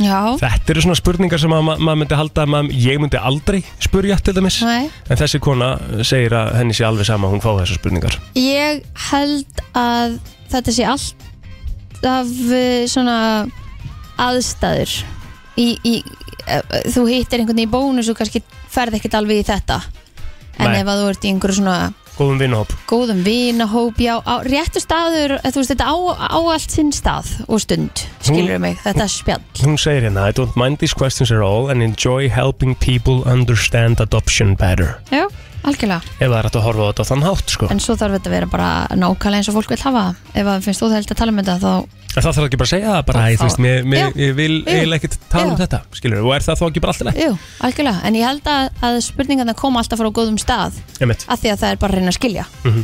S2: já,
S1: þetta eru svona spurningar sem að ma- maður myndi halda að maður, ég myndi aldrei spurja til dæmis,
S2: nei
S1: en þessi kona segir að henni sé alveg sama að hún fá þessar spurningar
S2: Ég held að þetta sé allt af eh, svona aðstæður í, í, eh, þú hittir einhvern í bónus og kannski ferð ekkert alveg í þetta en
S1: Nei.
S2: ef að þú ert í einhverju svona
S1: góðum vinahóp
S2: góðum vinahóp, já, á, réttu staður eh, þú veist, þetta á, á allt sinn stað og stund, skilur
S1: Hún-
S2: mig, þetta spjall
S1: Hún segir hérna I don't mind these questions at all and enjoy helping people understand adoption better
S2: Já, algjörlega
S1: Ef það er hægt að horfa á þetta á þann hátt sko
S2: En svo þarf þetta að vera bara nákvæmlega eins og fólk vil hafa það. ef að finnst þú þelt að tala um þetta þá
S1: En það þarf ekki bara að segja það bara Æ, þú veist, mér, mér, ég vil eiginlega ekkert tala um
S2: Já.
S1: þetta Skilur, og er það þá ekki bara alltaf leið?
S2: Jú, algjörlega, en ég held að, að spurningarna koma alltaf frá góðum stað
S1: Einmitt
S2: af því að það er bara að reyna að skilja
S1: Mhm.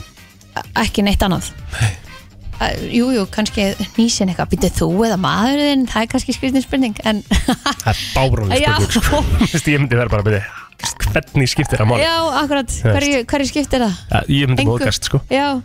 S2: A- ekki neitt annað Að- Jú, jú, kannski nýsin eitthvað býtið þú eða maðurinn, það er kannski skrifin spurning en
S1: Það er bárunni
S2: Ah. Já. [LAUGHS]
S1: spurning sko. Þú veist, Ég myndi vera bara að byrja Hvernig skiptir það máli?
S2: já, akkurat, hverju, hverju skiptir það?
S1: Ja, Ég myndi
S2: Engu.
S1: móðgast sko
S2: Já,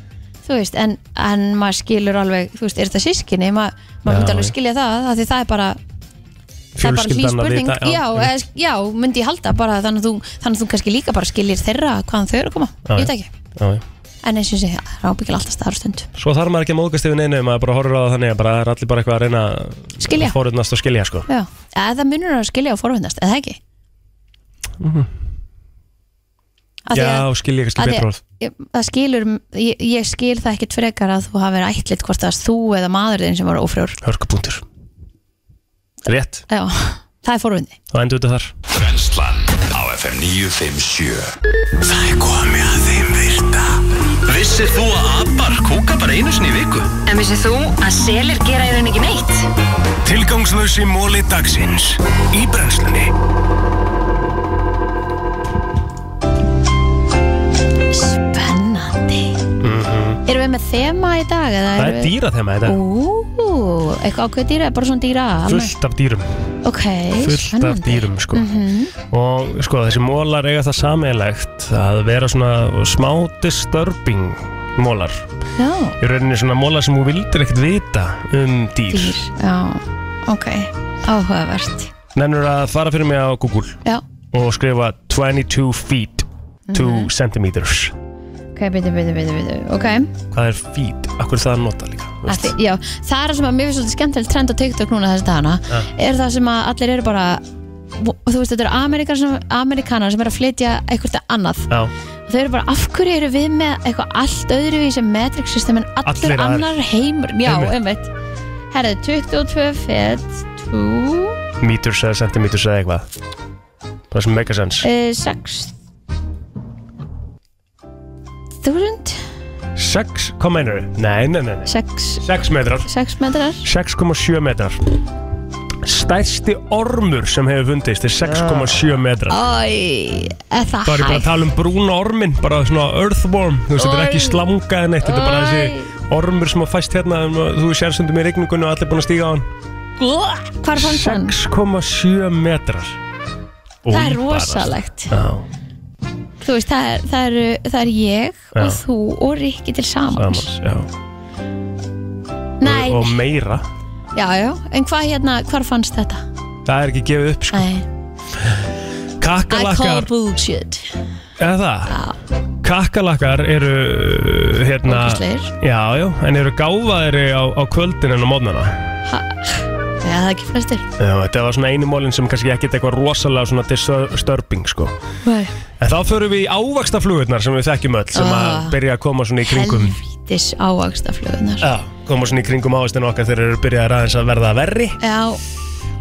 S2: þú veist, en, en maður skilur alveg, þú veist, er þetta sískinni Ma, maður
S1: Já,
S2: myndi alveg
S1: já.
S2: skilja það af því það er bara það er bara hlý
S1: Fjölskyldan að
S2: spurning
S1: vita, já,
S2: já,
S1: einmitt.
S2: eða- já, myndi ég halda bara þannig að þú, þannig að þú kannski líka bara skilir þeirra hvaðan þau eru að koma,
S1: Já,
S2: ég veit
S1: já.
S2: ekki
S1: Já, já.
S2: en eins og sé, það er ábyggjala alltaf staðar og stund
S1: Svo þarf maður ekki að móðgast yfir neinu maður bara horfir á það þannig að bara það er allir bara eitthvað að reyna að
S2: Skilja.
S1: forutnast og skilja sko
S2: Já, eða munur að skilja og forvindast, eða ekki?
S1: Mhm.
S2: Af því
S1: Já, skilja kannski
S2: af því
S1: betur orð
S2: ég- Það skilur, ég, ég skil það ekkit frekar að þú hafi verið ætlit hvort það er þú eða maður þinn sem var ófrjór
S1: Hörkupunktur Rétt
S2: Já, það er forvindi
S1: og endur þetta þar
S3: Brenslan á FM 957 Það er komið að þeim virta Vissir þú að abar kúka bara einu sinni í viku?
S14: En vissið þú að selir gera í rauninni ekki neitt?
S3: Tilgangslösi móli dagsins í brennslunni
S2: Spennandi Mhm. Erum við með þema í dag? eða
S1: Það
S2: erum
S1: er
S2: við-
S1: dýra þema þetta
S2: Ú, eitthvað ákveð dýra, bara svona dýra almennt?
S1: Fullt af dýrum
S2: Ok,
S1: Fullt af
S2: spennandi
S1: dýrum sko
S2: Mhm.
S1: Og sko þessi mólar eiga það sameiglegt að vera svona smá disturbing mólar
S2: Já,
S1: Í rauninni svona mólar sem þú vildir ekkert vita um dýr,
S2: dýr, já, ok Áhugavert
S1: Nennur að fara fyrir mig á Google
S2: Já, Mhm.
S1: og skrifa 22 feet 2 centimeters
S2: ok ok, byrju, byrju, byrju, byrju Ok,
S1: Hvað er feed? Akkur er það að nota líka þú veist?
S2: Ætli, já, það er sem að mér finnst svolítið skemmtilegt trend á TikTok núna þessi dagana
S1: Ja.
S2: er það sem að allir eru bara þú veist, þetta eru Amerikar sem, Amerikanar sem eru að flytja eitthvað annað
S1: Já,
S2: og þau eru bara, af hverju eru við með eitthvað allt öðruvísi metric system en allur
S1: Allir aðrir.
S2: annar heimur já,
S1: Einmitt.
S2: einmitt herðu, 22 fet 2
S1: meters eða centimeters eða eitthvað Það er sem make a sense
S2: eh, 6 1000
S1: 6, hvað meinar þau? Nei, nei, nei, nei
S2: 6
S1: 6 metrar
S2: 6 metrar
S1: 6,7 metrar Stærsti ormur sem hefur fundist er 6,7 metrar
S2: Æ, er það
S1: Það er ég bara að tala um brúna ormin, bara svona earthworm, þú veist, þetta er ekki
S2: Oj.
S1: slanga eða neitt, þetta er bara þessi ormur sem að fæst hérna, um, þú sér sundum í rigningunni og allir búin að stíga á hann.
S2: Hvar fannst hann?
S1: 6,7 metrar.
S2: Það er
S1: Oj, bara-
S2: rosalegt.
S1: Já,
S2: Þú veist, það er, það er, það er ég
S1: Já.
S2: og þú og Rikki til samans.
S1: samans, já.
S2: Nei,
S1: Og meira,
S2: já, já, en hvað hérna, hvar fannst þetta?
S1: það er ekki gefið upp, sko.
S2: Nei. I call
S1: Kakalakkar,
S2: bullshit.
S1: eða það? Já. Kakalakkar eru, uh, hérna...
S2: Ógeðslegir.
S1: Já, já, en eru gáfaðri á, á kvöldin en á mótnana.
S2: Ha, já, það er ekki flestir.
S1: Já, þetta var svona einu mólinn sem kannski ekkert eitthvað rosalega svona disturbing sko.
S2: Nei.
S1: En þá förum við í ávaxtaflugurnar sem við þekkjum öll sem
S2: Ah.
S1: að byrja að koma svona í kringum
S2: Helvítis ávaxtaflögunar.
S1: Já, koma svona í kringum ávastinu okkar þegar þeir eru byrjaðar aðeins að verða verri
S2: Já,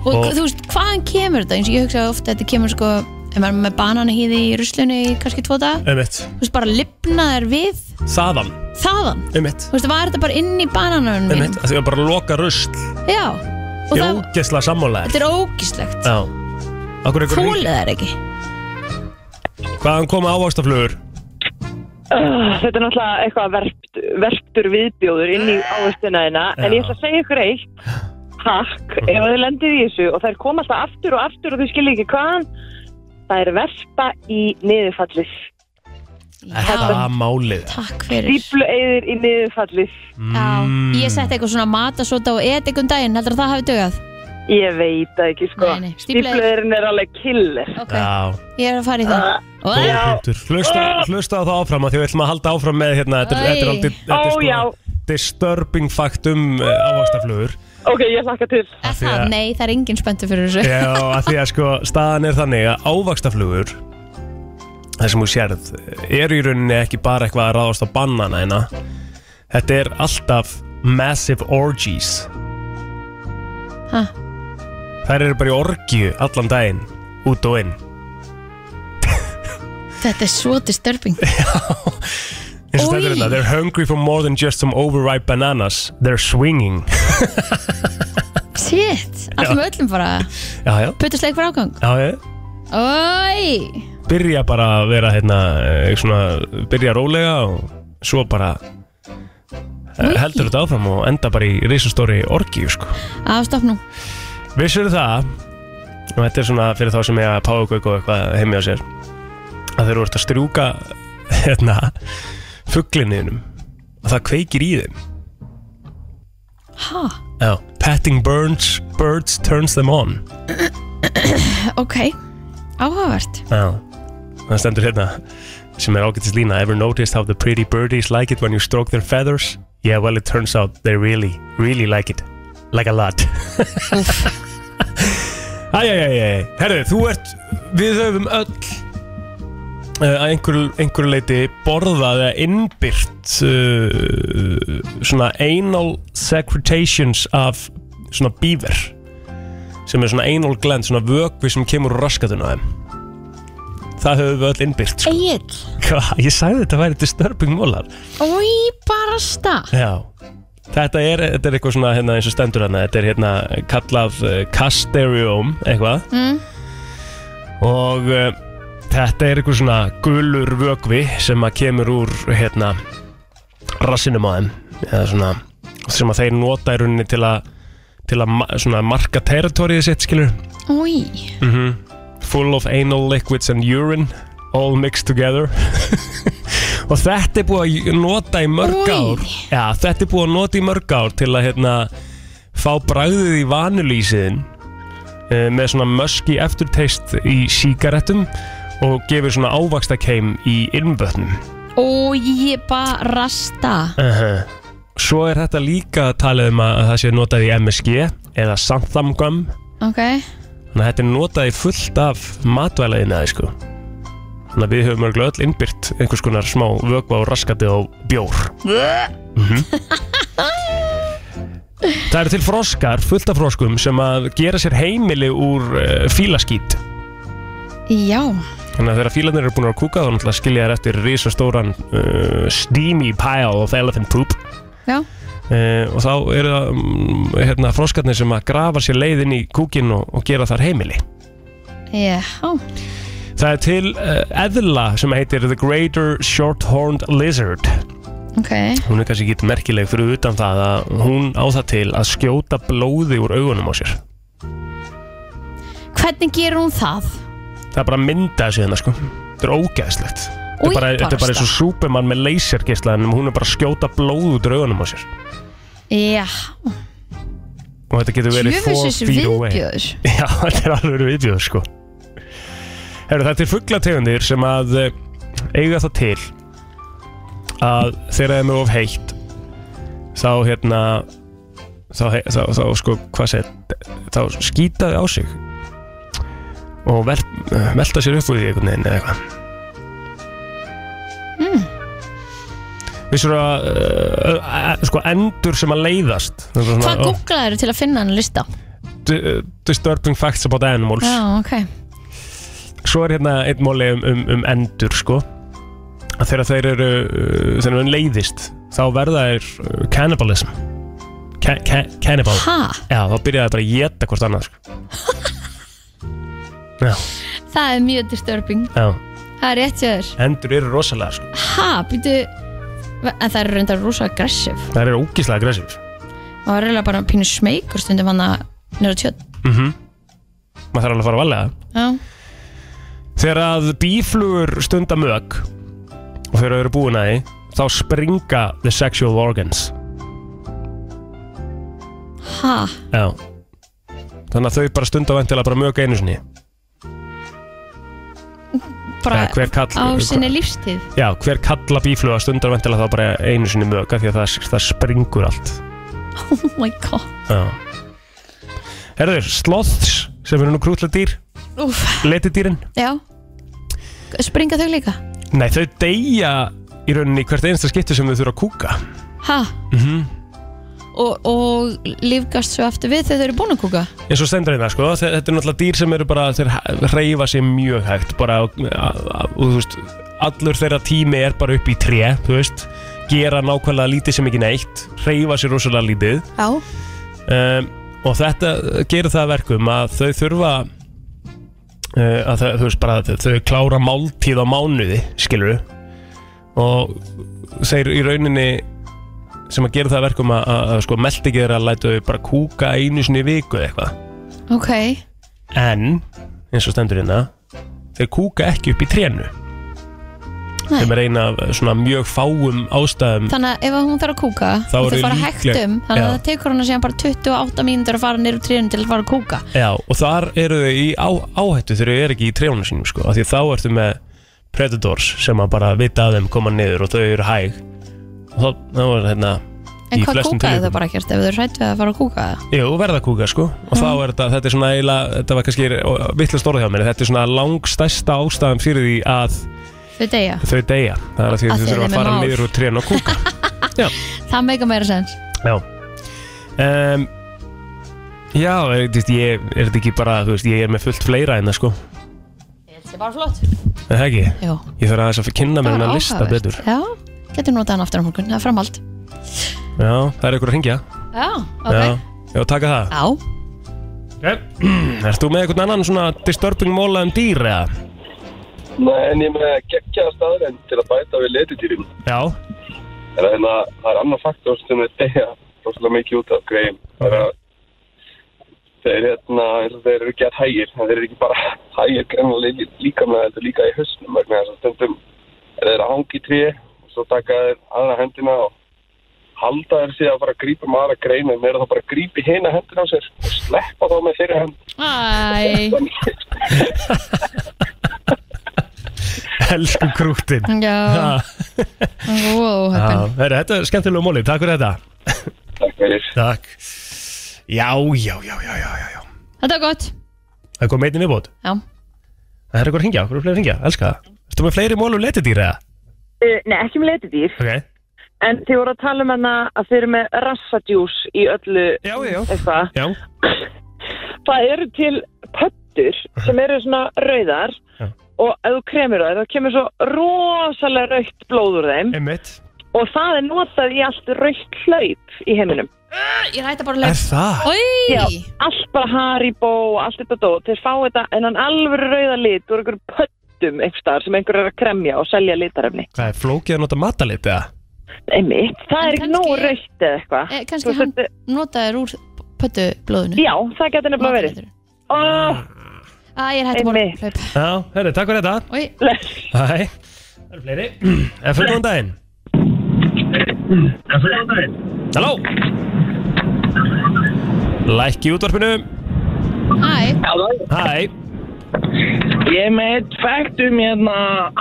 S2: og,
S1: Og-
S2: þú veist, hvaðan kemur þetta? Eins og ég hugsa ofta að þetta kemur sko, ef maður er með bananahýði í ruslunni í kannski tvo dag,
S1: Einmitt,
S2: þú veist, bara lifnaðar við
S1: þaðan,
S2: þaðan.
S1: einmitt,
S2: Þú veist, var þetta bara inn í bananunum mínum?
S1: einmitt að því að bara loka rusl
S2: Já, og
S1: Ég er
S2: það,
S1: ógeðslega sammálaðir
S2: þetta er ógíslegt.
S1: Já Akkur einhver
S2: Þólið það ekki.
S1: Hvaðan koma ávaxtaflugur?
S15: Uh, þetta er náttúrulega eitthvað verpt, verptur viðbjóður inn í áherstina þina en ég ætla að segja ykkur eitt takk, ef þau lendir í þessu og þær koma alltaf aftur og aftur og þau skilja ekki hvaðan það er verpa í niðurfallið
S1: Það er málið
S2: Takk
S15: stíplu eðir í niðurfallið
S1: mm.
S2: Ég setti eitthvað svona matasóta og etikun daginn, heldur það hafi dögað?
S15: ég veit það ekki sko
S2: Nei, nei, stíflu-
S15: stíplu eðirinn er alveg killer Ah,
S1: Já
S2: Ég er að fara í það.
S1: Góður punktur. Hlusta, hlusta á það áfram að því við ætlum að halda áfram með hérna, þetta, er- þetta er
S15: Æ.
S1: aldrei þetta
S15: Ó, já.
S1: er sko disturbing fact um uh, ávaxtaflugur
S15: ok, ég hlakka til
S1: Af því
S2: Það,
S1: að-
S2: nei, það er engin spöntu fyrir þessu.
S1: Já, að því að sko staðan er þannig að ávaxtaflugur það sem þú sérð er í rauninni ekki bara eitthvað að ráðast á bannana hérna þetta er alltaf massive orgies
S2: Ha.
S1: þær eru bara í orgju allan daginn út og inn
S2: [LAUGHS] Þetta er svo disturbing.
S1: eins og
S2: Oj.
S1: þetta er þetta they're hungry for more than just some overripe bananas they're swinging
S2: Shit, allum öllum bara.
S1: já, já,
S2: Puttu sleik fyrir ágang.
S1: já, já
S2: Ói,
S1: byrja bara að vera hérna, eh, svona, byrja rólega og svo bara eh, heldur þetta áfram og enda bara í risastóri orgíu sko.
S2: afstopp nú.
S1: Vissur það og þetta er svona fyrir þá sem ég að págauk og eitthvað heimi á sér að þeir eru að strjúka hérna fugglinniðinum að það kveikir í þeim
S2: Ha, [CLEARS THROAT]
S1: Já. Petting birds, birds turns them on
S2: ok. Áhugavert.
S1: Já, það stendur hérna sem er ágættist lína Ever noticed how the pretty birdies like it when you stroke their feathers? Yeah, well it turns out they really, really like it Like a lot [LAUGHS] Æjæjæjæj, herru, þú ert, við höfum öll eh, að einhverju einhver leiti borðað eða innbyrt uh, svona anal secretations af svona bíver sem er svona anal gland, svona vökvi sem kemur úr raskatuna á þeim það höfum við öll innbyrt sko.
S2: Egil,
S1: Hva? ég sagði þetta væri disturbing mólar
S2: ói, bara stað.
S1: Já Þetta er, þetta er eitthvað svona hérna, eins og stendur hérna Þetta er hérna kallað uh, Casterium eitthvað
S2: Mm.
S1: og uh, þetta er eitthvað svona gulur vögvi sem að kemur úr hérna rassinum á þeim eða svona sem að þeir nota í rauninni til að til að ma- svona marka territorið sitt skilur
S2: Ói,
S1: mm full of anal liquids and urine all mixed together [LAUGHS] og þetta er búið að nota í mörg
S2: Oj.
S1: ár já, þetta er búið að nota í mörg ár til að hérna, fá bragðið í vanulísiðin eh, með svona möski eftirteist í sígarettum og gefur svona ávaxtakeim í innvötnum
S2: ói, Og ég bara sta
S1: -huh. Svo er þetta líka talið um að það sé notað í MSG eða Santhamgum
S2: Ok
S1: Þannig að þetta er notað í fullt af matvælaðina sko. Þannig að við höfum örgulega öll innbyrt einhvers konar smá vögva og raskati og bjór mm Það eru til froskar, fullt af froskum sem að gera sér heimili úr uh, fílaskít
S2: Já
S1: Þannig að þegar fílarnir eru búin að kúka þá náttúrulega skilja þær eftir risastóran uh, steamy pile of elephant poop
S2: Já
S1: uh, og þá eru það um, hérna, froskarnir sem að grafa sér leiðin í kúkin og, og gera þar heimili
S2: Já
S1: Það er til uh, eðla sem heitir The Greater Short-Horned Lizard
S2: Ok
S1: Hún er kannski ekki merkileg fyrir utan það að hún á það til að skjóta blóði úr augunum á sér
S2: Hvernig gerur hún það?
S1: Það er bara að mynda þessu hérna sko Þetta er ógeðslegt Þetta
S2: Új,
S1: er bara, þetta er bara
S2: barasta.
S1: eins og Superman með lasergeisla en hún er bara að skjóta blóð út úr augunum á sér
S2: Já
S1: og þetta getur verið
S2: Djöfull
S1: 4
S2: þessi
S1: feet away
S2: viðbjóður.
S1: [LAUGHS] Já, þetta er alveg viðbjöður sko Herru, það er til fugglategundir sem að eh, eiga það til að þeirra þeim er of heitt þá hérna þá, þá, þá, þá sko, hvað segir þá skýta þau á sig og vel, velta sér upp úr því einhvern veginn eða eitthvað
S2: Hmm.
S1: Vissur að uh, uh, sko endur sem að leiðast Það er bara svona,
S2: Hvað
S1: ó.
S2: googlaður til að finna hann lista?
S1: D- eh, disturbing facts about animals
S2: Já, ok
S1: svo er hérna einn móli um, um, um endur sko að þegar þeir eru uh, þegar þeir leiðist þá verða þeir uh, cannibalism ca ca cannibal
S2: Ha?
S1: já þá byrja þeir bara að geta hvort
S2: [LAUGHS]
S1: annað sko. já,
S2: Það er mjög disturbing
S1: já
S2: Það er rétt hjá þér
S1: endur eru rosalega sko.
S2: Ha, býtu En það er reyndar rosa aggressiv
S1: það eru ógíslega aggressiv
S2: Það var reyndar bara pínu smeykur stundum hann að nýra tjöld
S1: mm maður þarf alveg að fara að valega
S2: Já
S1: Þegar að bíflugur stunda mög og þegar þau eru búin að því þá springa the sexual organs
S2: Ha,
S1: Já Þannig að þau bara stunda vendilega bara mög einu sinni
S2: bara
S1: Eða hver kall,
S2: á sinni lífstíð
S1: Já, hver kalla bífluga stundar vendilega þá bara einu sinni mög af því að það, það springur allt
S2: Oh my god
S1: Já Herður, sloths sem eru nú krútlega dýr
S2: Úf,
S1: letidýrin
S2: já Springa þau líka?
S1: Nei, þau deyja í rauninni í hvert einsta skipti sem þau þurfa að kúka
S2: Ha,
S1: mm
S2: og, og lífgast svo aftur við þegar þau eru búin að kúka?
S1: eins og stendur hérna sko, þe- þetta er náttúrulega dýr sem eru bara þeir reyfa sér mjög hægt bara, og, og þú veist allur þeirra tími er bara upp í tré þú veist, gera nákvæmlega lítið sem ekki neitt reyfa sér rosalega lítið
S2: Já
S1: um, og þetta gerir það að verkum að þau þurfa uh, að þau, þú veist bara þau, þau klára máltíð á mánuði skilur og þeir í rauninni sem að gera það að verkum að, að, að sko, meldi ekki þeirra að læta þau bara kúka einu sinni í viku eða eitthvað
S2: Ok,
S1: en eins og stendur hérna þeir kúka ekki upp í trénu
S2: Nei.
S1: sem er eina af svona mjög fáum ástæðum
S2: Mm. þannig að ef að hún þarf að kúka
S1: Þá
S2: og
S1: eru
S2: þau fara
S1: líkleg-
S2: hægt um þannig að
S1: Já.
S2: það tekur hana síðan bara 28 mínútur að fara niður úr tríðinu til að fara að kúka
S1: Já, og þar eru þau í á, áhættu þegar þau eru ekki í trénu sínum sko, af því að þá ertu með predators sem að bara vita að þeim koma niður og þau eru hæg og þá, þá er hérna
S2: En hvað kúkaði þau bara ekkert ef þau rættu að fara að kúka það?
S1: Jú, verða að kúka sko og þá er þetta, þetta er svona eiginlega, þetta var kannski vittlust orðið hjá mér, þetta er svona langstæsta ástæðum fyrir því að
S2: Þau deyja
S1: þau deyja, það er að því
S2: Af því
S1: að þau
S2: að
S1: þurfa
S2: þeim
S1: að
S2: er
S1: fara
S2: mál.
S1: niður úr trénu og kúka
S2: Ah, Það meika meira sens
S1: Já um, Já, er, þú veist, ég er þetta ekki bara, þú veist, ég er með fullt fleira en það sko
S2: Þetta er bara flott
S1: Er það ekki?
S2: Jó.
S1: Ég þarf aðeins að kynna mér
S2: Það var
S1: hennar lista
S2: áhugavert.
S1: betur
S2: Já, getur notað hann aftur á morgun, það er framhald
S1: Já, það er ykkur að ringja
S2: Já, ok
S1: Já, já taka það
S2: Já
S1: okay. [CLEARS THROAT] Ert þú með einhvern annan svona disturbing móla um dýr eða?
S16: Nei, en ég er með geggjaða staðrenn til að bæta við letidýrum.
S1: Já [LAUGHS]
S16: En það er hérna- það er annar faktor sem er degja rosalega mikið út af greiðum. Það er að þeir, hérna, eins og þeir eru ekki að hægir, en þeir eru ekki bara [LAUGHS] hægir grannlega líkamlega heldur líka í hausnum. Vegna þess að stundum er þeir að hangi í trí og svo taka þeir aðra hendina og halda þeir síðan að fara að grípa um aðra grein en þeir eru þá bara að grípa í hina hendina á sér og sleppa þá með þeirra hend.
S2: Æ
S1: Elsku krúttin [LAUGHS]
S2: Já.
S1: Ah.
S2: Wow,
S1: Já, herri, þetta er skemmtilega móli, takk fyrir þetta Takk
S16: fyrir
S1: Takk Já, já, já, já, já, já, já
S2: Þetta er gott
S1: Það er komið einn viðbót
S2: Já.
S1: Það er eitthvað að ringja, hvað er fleiri að ringja, elska það Ertu með fleiri um mólum letidýra?
S15: Uh, Nei, ekki með letidýr
S1: Ok
S15: En þið voru að tala um hana að þið eru með rassadjús í öllu já, já. eitthvað.
S1: Já.
S15: Það eru til pöttur sem eru svona rauðar og ef þú kremur þær, þá kemur svo rosalega raukt blóð úr þeim.
S1: Einmitt.
S15: Og það er notað í allt raukt hlaup í heiminum.
S2: Ah, Ég ræta bara leik
S1: Er það?
S2: Oi.
S15: Já, allt bara Haribo og allt þetta dót. Þeir fá þetta en hann alvöru rauða lit úr einhverjum pöttum einhver staðar sem einhver er að kremja og selja litarefni.
S1: Hvað er flókið að nota matalit eða?
S15: Einmitt, það er ekki nógu raukt eða eitthvað.
S2: Eh, kannski hann notaður úr pöttu blóðinu
S15: Já, það getur nefnilega verið oh.
S2: Æ, ég er hægt að bóla hlaup
S1: Já, herri, takk fyrir þetta
S2: Oi.
S1: Hæ Það eru fleiri En fyrir góðan daginn En fyrir góðan daginn Halló Lækki í útvarpinu
S2: Hæ
S1: Hæ
S17: Ég er með eitt fakt um hérna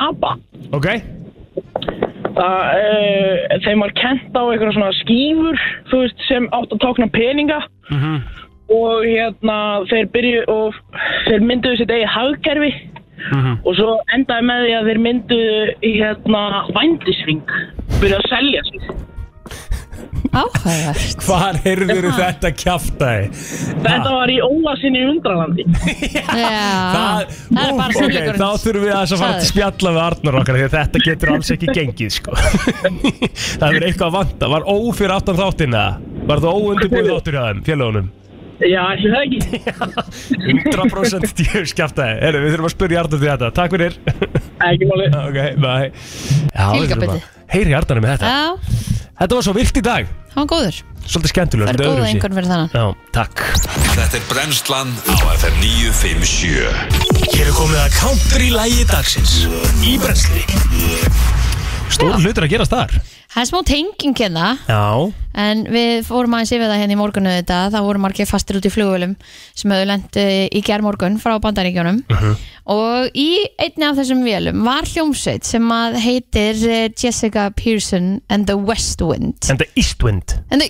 S17: ABBA
S1: Ok
S17: Það, uh, þeim var kent á einhverja svona skífur, þú veist, sem átt að tákna peninga og hérna þeir byrju og þeir mynduðu sitt eigið hagkerfi og svo endaði með því að þeir mynduðu hérna vændisving, byrjuðu að selja sig.
S2: Áhægast
S1: Hvar heyrður
S2: Hérna.
S1: þetta kjaftaði?
S17: Þetta var í óvasinni
S2: [LAUGHS]
S17: undralandi.
S2: Já, það er bara
S1: Ah, Ok,
S2: sannleikurinn
S1: þá þurfum við aðeins að fara að
S2: Sagði.
S1: spjalla við Arnar okkar því að þetta getur alls ekki gengið sko. [LAUGHS] það er eitthvað að vanda Var ó fyrir aftan þáttina Var það óundibúið þáttur hjá þeim, félagunum
S17: Já, ætli það ekki.
S1: 100% djöfus kjaftaði Heru, Við þurfum að spyrja Arnar því þetta, takk fyrir
S17: Ekki máli
S1: [LAUGHS] Ok, bye Já, við
S2: Fylgja
S1: þurfum
S2: betur.
S1: að Heyri Arnar með þetta
S2: Já,
S1: Þetta var svo vilt í dag
S2: hann var góður
S1: Svolítið skemmtilega
S2: Það er góða einhvern fyrir þannan
S1: Já, takk
S3: Þetta er Brennslan á FM 957
S1: Hér er komið að counter í lægi dagsins Í brensli Stór hlutur að gerast þar
S2: Það er smá tenging hérna
S1: Já
S2: En við fórum aðeins yfir það hérna í morgunu þetta Það voru margir fastir út í flugvölum sem höfðu lent eh, í germorgun frá bandaríkjónum Og í einni af þessum vélum var hljómsveit sem að heitir eh, Jessica Pearson and the West Wind
S1: En það Eastwind
S2: En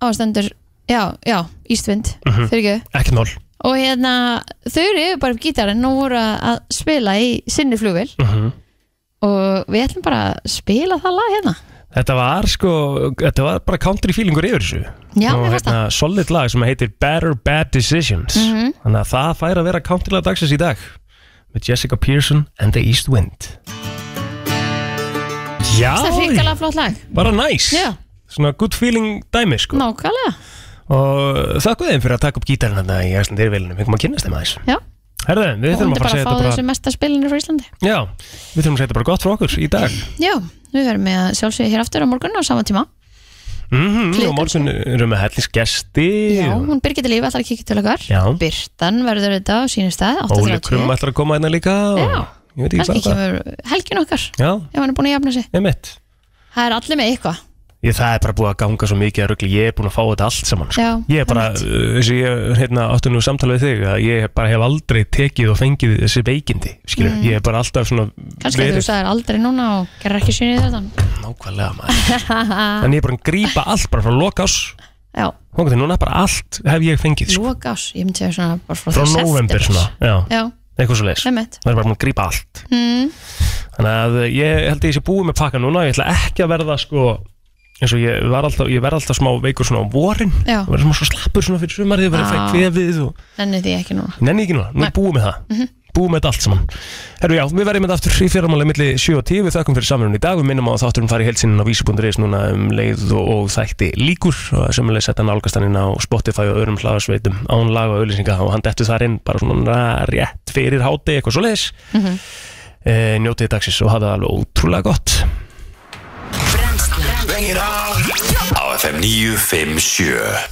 S2: þau ástendur, já, já, Ístvind mm
S1: Mhm.
S2: -hmm. Fyrirgjöðu
S1: Ekki nól
S2: Og hérna, þau eru bara upp gítarinn og voru að að spila í sinni flugvél og við ætlum bara að spila það lag hérna
S1: Þetta var sko, þetta var bara country feelingur yfir þessu
S2: Já,
S1: Og
S2: mér fannst
S1: hérna, solid lag sem heitir Better Bad Decisions
S2: Mhm.
S1: Þannig að það fær að vera country lag dagsins í dag Með Jessica Pearson and the East Wind Já,
S2: Það er hrikalega flott lag
S1: bara næs
S2: Já.
S1: Svona good feeling dæmi sko
S2: Nákvæmlega
S1: Og þakkuð þeim fyrir að taka upp gítarinn hérna í Æsland Eirvélinu Við komum að kynnast þeim aðeins
S2: Já.
S1: Herðu, við
S2: og hún er
S1: þurfum að fara að
S2: bara
S1: segja
S2: að fá
S1: þetta
S2: þessu
S1: bara
S2: mesta spilinir frá Íslandi
S1: Já, við þurfum að segja þetta bara gott frá okkur í dag
S2: Já, við verum með að sjálfsögja hér aftur á morgun á sama tíma
S1: mm -hmm, Og morgun erum við hellingsgesti
S2: Já, hún Birgitta Líf ætlar að kíkja til okkar
S1: Já.
S2: Birtan verður þetta á sínu stað
S1: Óli
S2: 8.30
S1: Krum ætlar að koma hérna líka og...
S2: Já,
S1: Ég veit
S2: kannski
S1: ekki hvað það
S2: kemur helgin okkar
S1: Já,
S2: ef hann er búin að jafna sig
S1: einmitt
S2: Það er allir með eitthvað
S1: ég, Það er bara búið að ganga svo mikið að ruggli Ég er búin að fá þetta allt saman sko.
S2: Já,
S1: Ég er bara, uh, eins og ég hérna, áttu nú samtala við þig að Ég bara hef aldrei tekið og fengið þessi veikindi skilur.
S2: Mm.
S1: Ég er bara alltaf svona
S2: Kannski að þú sagðir aldrei núna og gerir ekki sinni í
S1: Nákvæmlega maður
S2: þetta
S1: En ég er bara að grípa allt bara frá lokás
S2: Ah. Já.
S1: Hókandi, núna bara allt hef ég fengið sko.
S2: Lóka ás, ég myndi segja svona bara frá,
S1: Frá
S2: því
S1: november
S2: september.
S1: svona Já,
S2: Já,
S1: eitthvað svo leis
S2: Einmitt.
S1: Það er bara búin að grípa allt
S2: mm,
S1: Þannig að eh, ég held að ég sé búið með pakka núna Ég ætla ekki að verða sko eins og ég, var alltaf, ég verð alltaf smá veikur svona á vorin
S2: Já.
S1: og verð smá svo slappur svona fyrir sumar þegar verð
S2: Já.
S1: fæk kvefið og
S2: nenni því ekki núna
S1: ég nenni ekki núna, nú er búið með það búið með þetta allt saman Herru já, við verðum með þetta aftur í fyrramála milli 7 og 10 við þökkum fyrir samverðun í dag, við minnum á að þátturum fari helsinn á vísu.is núna um leið og, og þætti líkur og semulega setja nálgastaninn á Spotify og öðrum hlaðarsveitum án laga og auðlýsinga og hann dettur þar inn bara svona rétt fyrir háti eitthvað svo leiðis mm -hmm. e, njótið dagsins og hafa það alveg ótrúlega gott
S3: Á FM 957